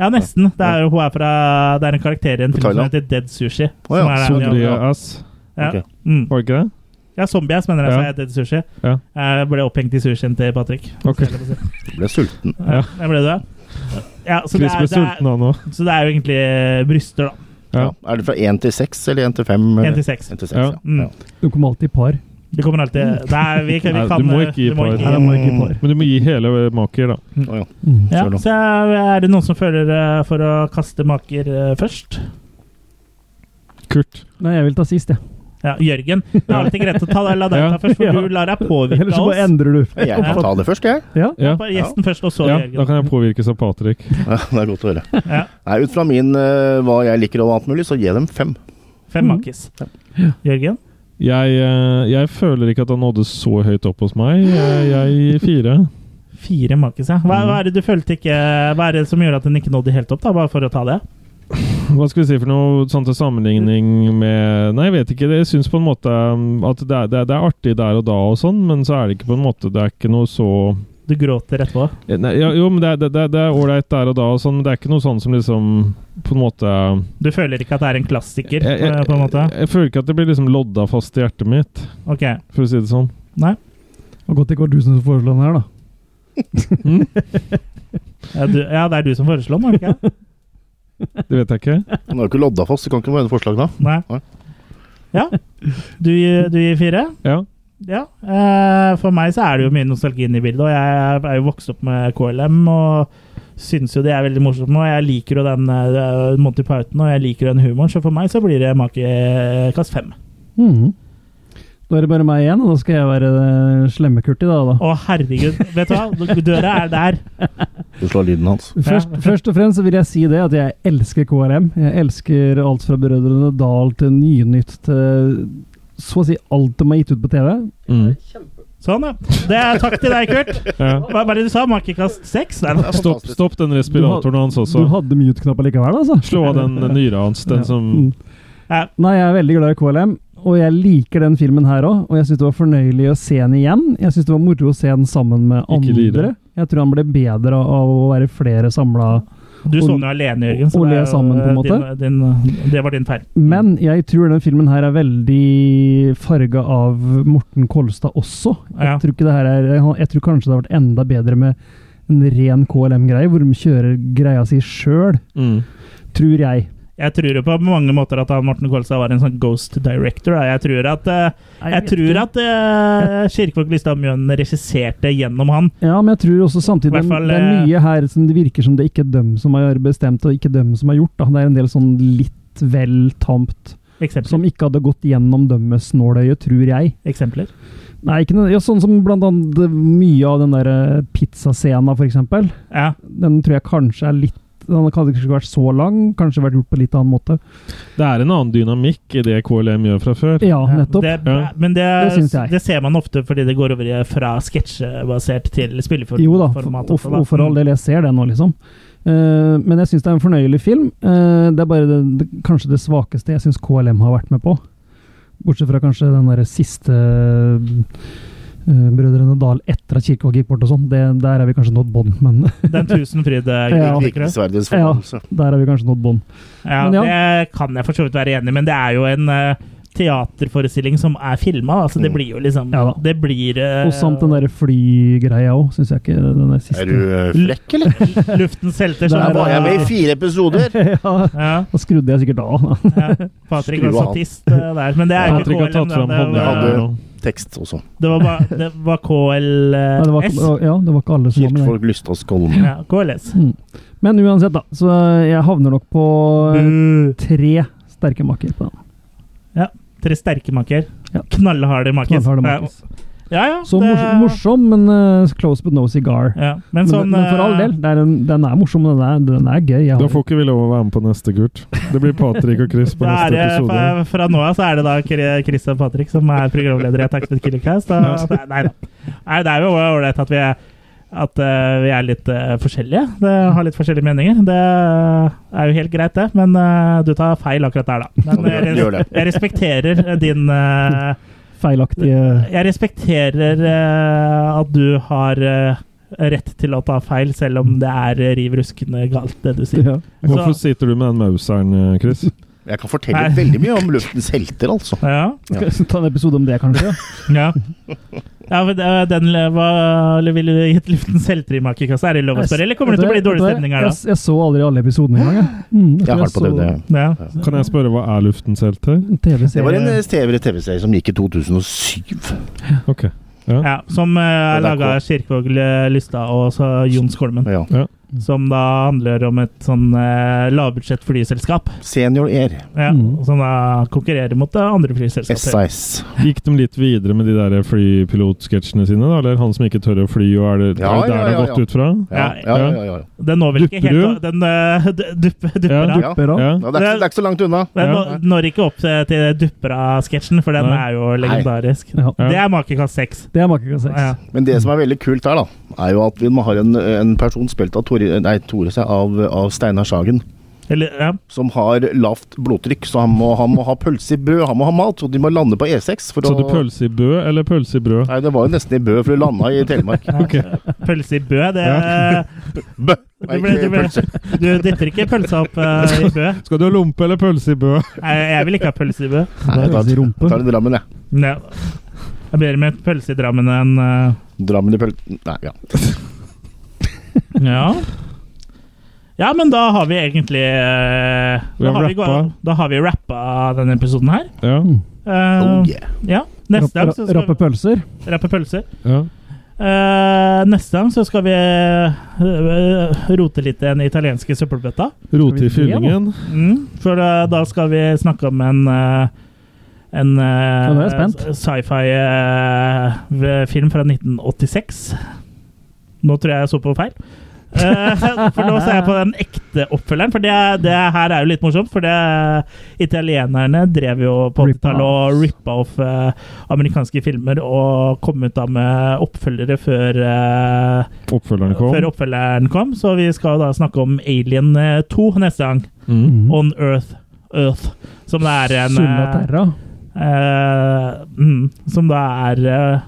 Speaker 2: Ja, nesten. Det er, jo- hun er fra, det er en karakter i en
Speaker 5: På
Speaker 2: film som
Speaker 5: Thailand.
Speaker 2: heter Dead Sushi.
Speaker 5: Å ja,
Speaker 2: som er,
Speaker 3: Zombie
Speaker 2: ja,
Speaker 3: ass.
Speaker 2: ja.
Speaker 5: Ok.
Speaker 2: Mm.
Speaker 3: Var det ikke det?
Speaker 2: ja, Zombie-ass mener jeg
Speaker 3: Ja.
Speaker 2: sa jeg Dead Sushi.
Speaker 3: Ja.
Speaker 2: Jeg ble opphengt i sushien til Patrick.
Speaker 3: Ok.
Speaker 2: skal jeg si.
Speaker 5: Jeg ble sulten.
Speaker 2: Ja, det ble du, ja. ja så, det
Speaker 3: Chris
Speaker 2: er,
Speaker 3: ble
Speaker 2: det er,
Speaker 3: sulten, han òg.
Speaker 2: så det er jo egentlig bryster, da.
Speaker 3: Ja.
Speaker 5: Er det fra én til seks eller én til fem?
Speaker 2: Én til seks.
Speaker 5: En til seks,
Speaker 3: Ja.
Speaker 5: ja.
Speaker 2: Mm.
Speaker 5: ja.
Speaker 4: Du kommer alltid i par.
Speaker 2: Det kommer alltid Nei, vi, kan- vi
Speaker 3: Nei,
Speaker 2: kan
Speaker 3: du må ikke gi
Speaker 2: du
Speaker 3: på-
Speaker 4: Nei, det må ikke i par. Mm.
Speaker 3: Men du må gi hele eh, maker, da.
Speaker 5: Å, ja.
Speaker 2: Ja,
Speaker 5: Selv om-
Speaker 2: så er det noen som føler eh, for å kaste maker eh, først?
Speaker 3: Kurt.
Speaker 4: Nei, jeg vil ta sist, jeg.
Speaker 2: Ja, Jørgen. Det er alltid greit å ta la deg ta først, for
Speaker 4: Ja.
Speaker 2: du lar deg
Speaker 4: Ellers
Speaker 2: påvirke av
Speaker 4: så bare
Speaker 2: oss.
Speaker 4: endrer du.
Speaker 5: Jeg kan ta det først, jeg.
Speaker 4: Ja.
Speaker 3: Ja.
Speaker 2: Bare Gjesten først, og så
Speaker 3: ja, da
Speaker 2: Jørgen.
Speaker 3: kan jeg påvirkes av Patrick.
Speaker 5: Ja, det er godt å høre.
Speaker 2: Ja.
Speaker 5: Nei, ut fra min eh, hva jeg liker og alt mulig, så gi dem fem.
Speaker 2: Fem makis. Jørgen?
Speaker 3: Jeg, eh, jeg føler ikke at han nådde så høyt opp hos meg. Jeg, jeg gir fire.
Speaker 2: Fire makis, ja. Hva, hva er det du følte ikke Hva er det som gjorde at den ikke nådde helt opp, da? Bare for å ta det.
Speaker 3: Hva skal vi si for noe sånn til sammenligning med Nei, jeg vet ikke. Jeg syns på en måte um, at det er, det, er, det er artig der og da og sånn, men så er det ikke på en måte Det er ikke noe så eh,
Speaker 2: Du gråter etterpå.
Speaker 3: nei, ja, Jo, men det er- det er- det er ålreit der og da og sånn, men det er ikke noe sånn som liksom På en måte
Speaker 2: Du føler ikke at det er en klassiker,
Speaker 3: Jeg,
Speaker 2: eh,
Speaker 3: jeg,
Speaker 2: på en måte?
Speaker 3: jeg føler ikke at det blir liksom lodda fast i hjertet mitt,
Speaker 2: Ok.
Speaker 3: for å si det sånn.
Speaker 2: Nei.
Speaker 4: Og godt det ikke var du som foreslo den her, da.
Speaker 2: Ja, du, ja, det er du som foreslo den, er det ikke?
Speaker 3: Det vet jeg ikke.
Speaker 5: Den har jo ikke lodda fast, så kan ikke være noe forslag da.
Speaker 2: Nei.
Speaker 5: Nei.
Speaker 2: Ja. Du, gir- du gir fire?
Speaker 3: Ja.
Speaker 2: Ja. eh, for meg så er det jo mye nostalgi inne i bildet, og jeg er jo vokst opp med KLM og syns jo de er veldig morsomme, og jeg liker jo den eh, Monty Python og jeg liker den humoren, så for meg så blir det makekast fem.
Speaker 4: Mhm. Da er det bare meg igjen, og da skal jeg være eh, slemmekurt i dag, da.
Speaker 2: Å herregud, vet du hva? Døra er der.
Speaker 5: Du slår lyden hans.
Speaker 4: Først, først og fremst så vil jeg si det at jeg elsker KRM. Jeg elsker alt fra Brødrene Dal til Nynytt til så å si alt de har gitt ut på TV.
Speaker 3: Mm.
Speaker 2: Sånn, ja. Det er takk til deg, Kurt.
Speaker 3: ja.
Speaker 2: Hva var det du sa? Makekast seks? Nei, da.
Speaker 3: Stopp, stopp den respiratoren hans
Speaker 4: Du
Speaker 3: også.
Speaker 4: hadde mute-knappen likevel, altså.
Speaker 3: Slå av den eh, nyra hans, den
Speaker 4: Ja.
Speaker 3: som
Speaker 4: Mm.
Speaker 2: Ja.
Speaker 4: Nei, jeg er veldig glad i KLM, og jeg liker den filmen her òg. Og jeg syns det var fornøyelig å se den igjen. Jeg syns det var moro å se den sammen med
Speaker 3: Ikke lide.
Speaker 4: andre. Jeg tror han ble bedre av å være flere samla.
Speaker 2: Du så den jo alene, Jørgen.
Speaker 4: Og
Speaker 2: det er
Speaker 4: le sammen, på en
Speaker 2: jo
Speaker 4: måte.
Speaker 2: Din, din, det var din feil.
Speaker 4: Men jeg tror den filmen her er veldig farga av Morten Kolstad også.
Speaker 2: Ja.
Speaker 4: Jeg, tror ikke det her er, jeg tror kanskje det har vært enda bedre med en ren KLM-greie, hvor de kjører greia si sjøl,
Speaker 3: mm.
Speaker 4: tror jeg.
Speaker 2: Jeg tror jo på mange måter at han Morten Kolstad var en sånn ghost director. da. Jeg tror at, eh, jeg tror at eh, Kirkevåg Lystad Mjøen regisserte gjennom han.
Speaker 4: Ja, men jeg tror også
Speaker 2: I hvert
Speaker 4: samtidig
Speaker 2: fall,
Speaker 4: det
Speaker 2: eh,
Speaker 4: er mye her som det virker som det ikke er dem som har bestemt, og ikke dem som har gjort. Da. Det er en del sånn litt vel tamt, som
Speaker 2: Eksempler.
Speaker 4: ikke hadde gått gjennom dømmes nåløye, tror jeg.
Speaker 2: Eksempler.
Speaker 4: Nei, ikke noe, ja, sånn som blant annet eh, mye av den der eh, pizzascena, for eksempel.
Speaker 2: Ja.
Speaker 4: Den tror jeg kanskje er litt Den hadde kanskje ikke vært så lang, kanskje vært gjort på litt annen måte.
Speaker 3: Det er en annen dynamikk i det KLM gjør fra før.
Speaker 4: Ja, nettopp.
Speaker 2: Det,
Speaker 3: Ja.
Speaker 2: men det,
Speaker 4: Det synes jeg.
Speaker 2: det ser man ofte fordi det går over i- fra sketsjebasert til spilleformat.
Speaker 4: Jo da, for, og, og for all del, jeg ser det nå, liksom. Eh, men jeg syns det er en fornøyelig film. Eh, det er bare det, det, kanskje det svakeste jeg syns KLM har vært med på. Bortsett fra kanskje den derre siste eh, Brødrene Dal etter at Kirkevåg gikk bort og sånn. Det- Der er vi kanskje nådd bånd, men
Speaker 2: Den Tusenfryd
Speaker 4: Ja.
Speaker 5: Virkelig sverdets
Speaker 4: Ja.
Speaker 5: forholdelse.
Speaker 4: der er vi kanskje nådd bånd.
Speaker 2: Ja,
Speaker 4: Men ja.
Speaker 2: det kan jeg for så vidt være enig i, men det er jo en eh, teaterforestilling som er filma. Altså, det
Speaker 5: Mm.
Speaker 2: blir jo liksom
Speaker 4: Ja da.
Speaker 2: Det blir eh,
Speaker 4: Og samt den derre flygreia òg, syns jeg ikke den der siste.
Speaker 5: Er du eh, flekk, eller?
Speaker 2: Luftens helter. som
Speaker 5: Der
Speaker 4: Der
Speaker 2: er-
Speaker 5: var jeg med i fire episoder!
Speaker 4: ja,
Speaker 2: Ja,
Speaker 4: da skrudde jeg sikkert av. da.
Speaker 2: ja. Patrick var
Speaker 5: Skru av han.
Speaker 2: statist eh, der. Men det er jo ikke
Speaker 3: Patrick har
Speaker 2: KLM.
Speaker 3: tatt
Speaker 2: da.
Speaker 3: fram
Speaker 2: Det
Speaker 3: hånda
Speaker 2: var,
Speaker 5: hadde-
Speaker 3: her nå.
Speaker 5: Tekst også.
Speaker 2: det var, bare- det var
Speaker 4: Nei, det, var,
Speaker 2: KLS.
Speaker 4: ikke- Sånn, ja, det var ikke alle som var med. der.
Speaker 5: Kirkefolk Lystaas Kolme.
Speaker 2: Ja, KLS.
Speaker 4: Mm. Men uansett, da. Så jeg havner nok på eh,
Speaker 2: Bu.
Speaker 4: tre sterke makker på den.
Speaker 2: Tre sterke makker.
Speaker 4: Ja.
Speaker 2: Knallharde makker.
Speaker 4: Knallharde makkis.
Speaker 2: Ja, ja.
Speaker 4: Så
Speaker 2: det-
Speaker 4: mors- morsom, men eh, close but no cigar.
Speaker 2: Ja, men,
Speaker 4: Men,
Speaker 2: sånn,
Speaker 4: men for all
Speaker 2: eh,
Speaker 4: del, det er en, den er morsom, og den er, den er gøy. Jeg
Speaker 3: Da
Speaker 4: har,
Speaker 3: får ikke vi lov å være med på neste, Kurt. Det blir Patrick og Chris på
Speaker 2: Da er
Speaker 3: neste
Speaker 2: det,
Speaker 3: episode.
Speaker 2: fra, fra nå av så er det da Kri- Christian Patrick som er programleder i Attacks with Killercast. Og, nei da. Nei, det er jo ålreit at vi er at eh, vi er litt eh, forskjellige. Det har litt forskjellige meninger. Det er jo helt greit, det, men eh, du tar feil akkurat der, da. Men jeg,
Speaker 5: Gjør det.
Speaker 2: res jeg respekterer eh, din eh,
Speaker 4: feilaktige
Speaker 2: Jeg respekterer eh, at du har eh, rett til å ta feil, selv om det er eh, riv ruskende galt, det du sier.
Speaker 4: ja.
Speaker 3: Hvorfor sitter du med den mauseren, eh, Chris?
Speaker 5: Jeg kan fortelle
Speaker 2: Nei.
Speaker 5: veldig mye om luftens helter, altså.
Speaker 2: Ja.
Speaker 5: Ja.
Speaker 4: Skal vi ta en episode om det, kanskje?
Speaker 2: Ja, ja for det- den le- hva eller vil du gitt luftens helter i makekassa? Er det lov å spørre, eller kommer det til å bli dårlig stemning her da?
Speaker 4: Jeg, jeg så aldri alle episodene engang. Jeg. Mm,
Speaker 5: Jeg har det på DVD.
Speaker 2: Ja.
Speaker 3: Kan jeg spørre hva er luftens helt her?
Speaker 5: Det var en
Speaker 4: TV-serie.
Speaker 5: eh, TV-serie som gikk i 2007.
Speaker 3: Ok.
Speaker 2: Ja, som eh, er
Speaker 5: Det er
Speaker 2: laga av Kirkvaag Lystad og så Jon Skolmen.
Speaker 5: Ja. Mm.
Speaker 2: Som da handler om et sånn eh, lavbudsjett flyselskap.
Speaker 5: Senior Air.
Speaker 2: Ja,
Speaker 4: Mm.
Speaker 2: Som da konkurrerer mot eh, andre flyselskaper.
Speaker 5: SIS.
Speaker 3: Gikk de litt videre med de der flypilotsketsjene sine, da? Eller han som ikke tør å fly, og er det, er det
Speaker 5: Ja,
Speaker 3: der det
Speaker 5: ja, ja,
Speaker 3: har gått
Speaker 5: ja.
Speaker 3: ut fra?
Speaker 5: Ja, ja, ja. ja, ja.
Speaker 2: Den når vel ikke
Speaker 3: Dupper
Speaker 2: helt Den eh, du- dupp- dupper
Speaker 3: Ja.
Speaker 2: av.
Speaker 5: Ja.
Speaker 4: Dupper av.
Speaker 3: Ja.
Speaker 5: Ja, det, er ikke, det er ikke så langt unna.
Speaker 2: Den
Speaker 3: Ja.
Speaker 2: nå- når ikke opp til til Duppera-sketsjen, for den
Speaker 3: Nei.
Speaker 2: er jo
Speaker 5: Nei.
Speaker 2: legendarisk.
Speaker 4: Ja.
Speaker 3: Ja.
Speaker 2: Det er makekast 6.
Speaker 4: Det er Makekast 6.
Speaker 2: Ja.
Speaker 5: Men det som er veldig kult her, da, er jo at vi har en, en person spilt av, Tore, nei, Tore, sier jeg, av, av Steinar Sagen.
Speaker 2: Eller, ja.
Speaker 5: Som har lavt blodtrykk, så han må, han må ha pølse i brød, han må ha mat, og de må lande på E6 for
Speaker 3: Så du
Speaker 5: å
Speaker 3: pølse i bø eller pølse i brød?
Speaker 5: Nei, det var jo nesten i Bø, for du landa i Telemark.
Speaker 2: Pølse i bø, det
Speaker 3: Ja.
Speaker 5: Bø!
Speaker 2: du,
Speaker 5: Nei,
Speaker 2: ble, du,
Speaker 5: ikke
Speaker 2: ble,
Speaker 5: pølse.
Speaker 2: du dytter ikke pølsa opp eh, i bø.
Speaker 3: Skal du ha lompe eller pølse i bø?
Speaker 2: Nei, Jeg vil ikke ha pølse i bø.
Speaker 4: Det
Speaker 5: Nei,
Speaker 4: er
Speaker 5: da-
Speaker 4: pølse i rumpe.
Speaker 5: Tar en Drammen, jeg.
Speaker 2: Nei. Det er bedre med et pølse i Drammen enn eh,
Speaker 5: Drammen i pølse... Nei, ja.
Speaker 2: Ja. Ja, men da har vi egentlig eh,
Speaker 3: Vi
Speaker 2: da,
Speaker 3: har
Speaker 2: har vi,
Speaker 3: rappa.
Speaker 2: gå- da har vi rappa denne episoden her.
Speaker 3: Ja.
Speaker 2: Eh,
Speaker 5: Oh, yeah.
Speaker 2: Ja. Neste gang så skal
Speaker 4: Rappe
Speaker 2: vi
Speaker 4: pølser.
Speaker 2: rappe pølser.
Speaker 3: ja.
Speaker 2: Eh, neste gang så skal vi eh, rote litt i den italienske søppelbøtta.
Speaker 3: Rote i
Speaker 4: Skal vi det, da?
Speaker 3: fyllingen.
Speaker 2: Mm, for eh, da skal vi snakke om en eh, en eh,
Speaker 4: Ja, nå er jeg spent.
Speaker 2: sci-fi-film fra 1986. Nå tror jeg jeg så på feil. Eh, for nå ser jeg på den ekte oppfølgeren, for det, det her er jo litt morsomt. For det, italienerne drev jo på
Speaker 4: Rippa
Speaker 2: 80-tallet og rippa off eh, amerikanske filmer og kom ut da med oppfølgere før eh,
Speaker 3: Oppfølgeren kom.
Speaker 2: før oppfølgeren kom, så vi skal da snakke om Alien eh, 2 neste gang.
Speaker 3: Mm.
Speaker 2: On Earth. Earth. Som det er en
Speaker 4: Sunna Terra.
Speaker 2: eh, eh, mm, Som da er eh,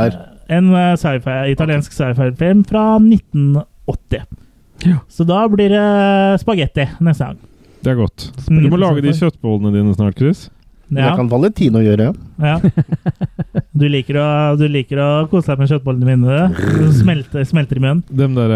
Speaker 5: Er
Speaker 2: en eh, sci-fi, italiensk sci-fi-film fra 1980.
Speaker 4: Ja.
Speaker 2: Så da blir det eh, spagetti neste gang.
Speaker 3: Det er godt.
Speaker 2: Mm.
Speaker 3: Du må lage de kjøttbollene dine snart, Chris.
Speaker 5: Det
Speaker 2: Ja,
Speaker 5: kan Valentino gjøre.
Speaker 2: ja. Du, liker å, du liker å kose deg med kjøttbollene mine. Du smelter, smelter i munnen.
Speaker 3: Dem der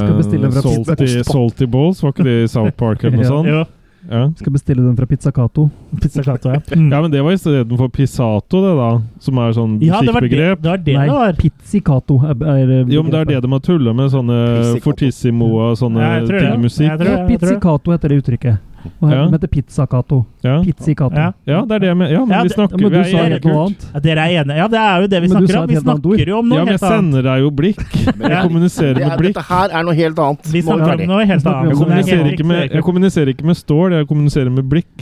Speaker 4: Skal bestille
Speaker 3: eh,
Speaker 4: fra
Speaker 3: salty,
Speaker 5: Pizza-
Speaker 3: salty balls, var ikke det i South Park eller noe
Speaker 4: Ja.
Speaker 3: sånt?
Speaker 2: Jo,
Speaker 3: Ja.
Speaker 4: Skal bestille den fra Pizzacato.
Speaker 2: pizza cato, ja. Mm.
Speaker 3: Sånn. ja, men det var istedenfor pisato, det da. Som er sånn
Speaker 2: Ja, det var det
Speaker 3: musikkbegrep.
Speaker 2: det var. Det
Speaker 4: Nei,
Speaker 2: det var.
Speaker 4: Pizzicato er, er eh,
Speaker 3: Jo, men det er det de har tulla med. Sånne
Speaker 5: Pizzicato.
Speaker 3: fortissimo og sånne
Speaker 2: Ja, jeg tror det.
Speaker 3: ting i
Speaker 2: Jeg
Speaker 3: musikk.
Speaker 2: tror det.
Speaker 4: Ja, Pizzicato heter det uttrykket. Og her
Speaker 3: Ja.
Speaker 4: heter Pizzacato.
Speaker 3: Ja.
Speaker 4: Pizzicato.
Speaker 2: Ja.
Speaker 3: ja, det er det jeg mener. Ja, men
Speaker 2: Ja,
Speaker 3: vi
Speaker 2: det-
Speaker 3: snakker
Speaker 4: Men du
Speaker 3: vi er
Speaker 4: sa
Speaker 3: enige,
Speaker 4: helt noe
Speaker 3: Kurt.
Speaker 4: annet.
Speaker 2: Ja, dere er enige. Ja, det er jo det vi
Speaker 4: Men du
Speaker 2: snakker
Speaker 4: sa
Speaker 2: om.
Speaker 4: et
Speaker 2: Vi
Speaker 4: helt annet ord.
Speaker 2: snakker jo om noe
Speaker 3: Ja, men jeg
Speaker 2: helt annet.
Speaker 3: sender deg jo blikk. Jeg
Speaker 5: Ja.
Speaker 3: kommuniserer
Speaker 5: Det
Speaker 3: med
Speaker 5: er,
Speaker 3: blikk.
Speaker 5: dette her er noe helt annet.
Speaker 2: Vi
Speaker 5: Nå er vi
Speaker 2: snakker om
Speaker 5: ferdig.
Speaker 2: noe helt
Speaker 4: snakker om
Speaker 2: annet. Det
Speaker 3: Jeg
Speaker 4: noe
Speaker 2: er
Speaker 3: kommuniserer,
Speaker 2: helt
Speaker 3: ikke med,
Speaker 2: riktig.
Speaker 3: jeg kommuniserer ikke med stål, jeg kommuniserer med blikk.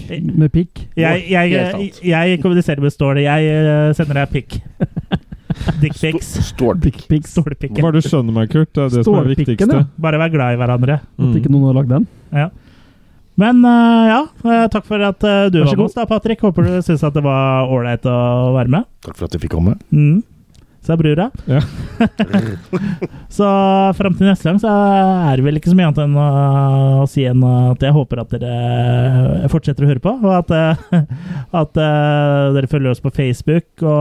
Speaker 4: Med pikk.
Speaker 2: Jeg, jeg,
Speaker 5: Helt
Speaker 2: jeg,
Speaker 5: annet.
Speaker 2: jeg kommuniserer med Stål. Jeg eh, sender deg pikk. Dickpics.
Speaker 5: Stålpikk.
Speaker 4: Pics.
Speaker 2: Stålpikken.
Speaker 3: Bare du skjønner meg, Kurt. Det er det som er det
Speaker 4: Stålpikken,
Speaker 3: viktigste.
Speaker 4: ja.
Speaker 2: Bare vær glad i hverandre.
Speaker 4: At ikke
Speaker 3: Mm.
Speaker 4: noen har lagd den.
Speaker 2: Ja. Men eh, ja, eh, takk for at eh, du var
Speaker 4: Vær så
Speaker 2: med
Speaker 4: god.
Speaker 2: oss, da, Patrick. Håper du syns at det var ålreit å være med.
Speaker 5: Takk for at jeg fikk komme.
Speaker 2: Mm. Sa brura.
Speaker 3: Ja.
Speaker 2: så fram til neste gang så er det vel ikke så mye annet enn å, å si enn at jeg håper at dere eh, fortsetter å høre på, og at, eh, at eh, dere følger oss på Facebook og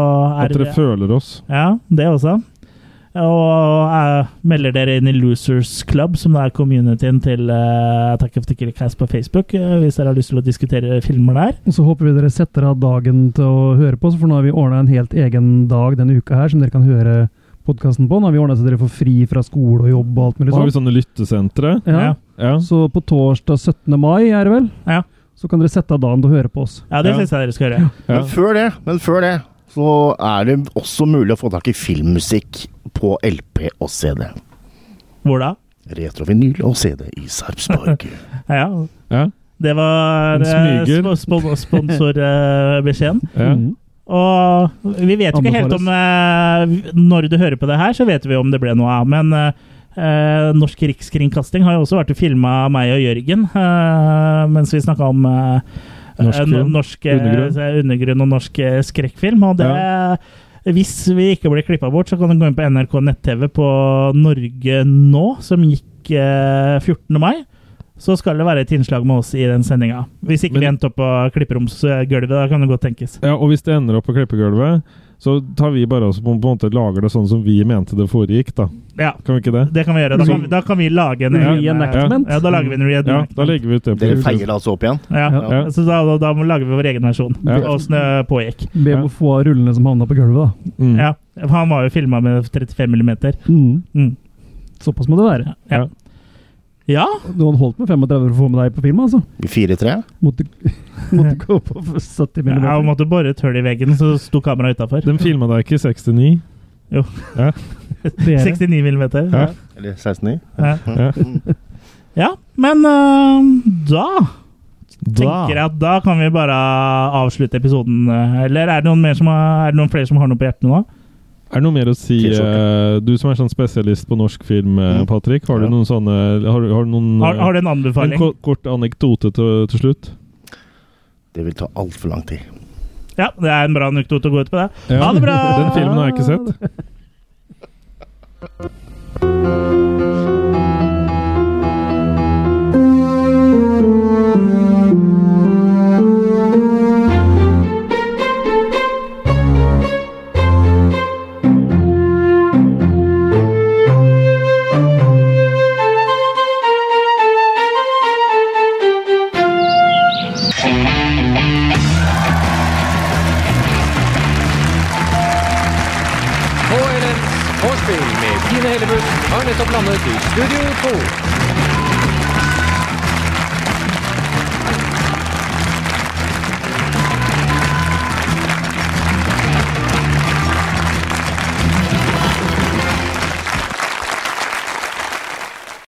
Speaker 2: er eh,
Speaker 3: At dere føler oss.
Speaker 2: Ja, det også. Og eh, melder dere inn i Losers Club, som er communityen til eh, Attack of the Killer Cast på Facebook, eh, hvis dere har lyst til å diskutere filmer der.
Speaker 4: Og så håper vi dere setter av dagen til å høre på, så for nå har vi ordna en helt egen dag denne uka her, som dere kan høre podkasten på. Nå har vi ordna så dere får fri fra skole og jobb og alt mulig
Speaker 3: Så har vi
Speaker 4: sånt.
Speaker 3: sånne lyttesentre.
Speaker 4: Ja.
Speaker 3: Ja.
Speaker 4: Så på torsdag 17. mai, er det vel,
Speaker 2: Ja.
Speaker 4: så kan dere sette av dagen til å høre på oss.
Speaker 2: Ja, det
Speaker 3: Ja.
Speaker 2: syns jeg dere skal gjøre.
Speaker 3: Ja.
Speaker 5: Men før det, men før det så er det også mulig å få tak i filmmusikk på LP og CD.
Speaker 2: Hvor da?
Speaker 5: Retrovinyl og CD i Sarpsborg.
Speaker 2: Ja,
Speaker 3: Ja.
Speaker 2: Det var
Speaker 3: En smyger.
Speaker 2: eh, sp sp eh, sponsorbeskjeden.
Speaker 3: Ja.
Speaker 4: Mhm.
Speaker 2: Og vi vet jo ikke helt om eh, Når du hører på det her, så vet vi om det ble noe av. Men eh, eh, Norsk Rikskringkasting har jo også vært og filma meg og Jørgen eh, mens vi snakka om eh,
Speaker 3: Norsk
Speaker 2: eh,
Speaker 3: film.
Speaker 2: norsk, eh,
Speaker 3: Undergrunn.
Speaker 2: undergrunn og norsk eh, skrekkfilm. Og det Hvis vi ikke blir klippa bort, så kan du gå inn på NRK nett-TV på Norge nå, som gikk eh, 14. mai. så skal det være et innslag med oss i den sendinga. Hvis ikke vi
Speaker 3: Men-
Speaker 2: endte opp på klipperomsgulvet, da kan det godt tenkes.
Speaker 3: Ja, og hvis det ender opp på klippegulvet, så tar vi bare og på en måte lager det sånn som vi mente det foregikk, da.
Speaker 2: Ja,
Speaker 3: Kan vi ikke det?
Speaker 2: det kan vi gjøre. Da kan, vi- da kan vi lage en
Speaker 4: Reenactment.
Speaker 2: Mm. Ja, da lager vi en
Speaker 3: Ja,
Speaker 2: reenactment.
Speaker 3: da legger vi ut det på
Speaker 5: Dere
Speaker 3: YouTube.
Speaker 5: feier det altså opp igjen?
Speaker 2: Ja.
Speaker 3: Ja.
Speaker 2: Så da, da, da må- lager vi vår egen versjon
Speaker 3: Ja.
Speaker 2: av åssen det pågikk.
Speaker 4: Be om å få av rullene som havna på gulvet, da.
Speaker 3: Mm.
Speaker 2: Ja. Han var jo filma med 35 millimeter. Mm.
Speaker 4: Såpass må det være.
Speaker 2: Ja. ja.
Speaker 4: Noen holdt med 35 for å få med deg på film, altså.
Speaker 5: Fire-tre?
Speaker 4: Måtte, måtte gå på 70
Speaker 2: Ja, Jeg
Speaker 4: millimeter.
Speaker 2: måtte bore et hull i veggen, så sto kameraet utafor.
Speaker 3: Den filma deg ikke i 69?
Speaker 4: Dere.
Speaker 2: 69 millimeter.
Speaker 3: Ja.
Speaker 2: Ja.
Speaker 5: Eller 16-9?
Speaker 2: Ja.
Speaker 3: Ja.
Speaker 2: Men øh, da
Speaker 3: Da.
Speaker 2: tenker jeg at da kan vi bare avslutte episoden. øh, Eller er det noen, mer som har, er det noen flere som har noe på hjertet nå?
Speaker 3: Er det noe mer å si?
Speaker 5: T-skjorte.
Speaker 3: eh, du som er sånn spesialist på norsk film, eh,
Speaker 5: Mm.
Speaker 3: Patrick. Har du
Speaker 5: Ja.
Speaker 3: noen sånne Har, har du noen,
Speaker 2: Har, har du en
Speaker 3: eh, en
Speaker 2: anbefaling?
Speaker 3: ko- kort anekdote til, til slutt?
Speaker 5: Det vil ta altfor lang tid.
Speaker 2: Ja, det er en bra anekdote å gå ut på det.
Speaker 3: Ja.
Speaker 2: Ha det bra!
Speaker 3: Den filmen har jeg ikke sett.
Speaker 6: KLNs vorspiel med Tine Hellebust, Arne Topp Landet i Studio 2.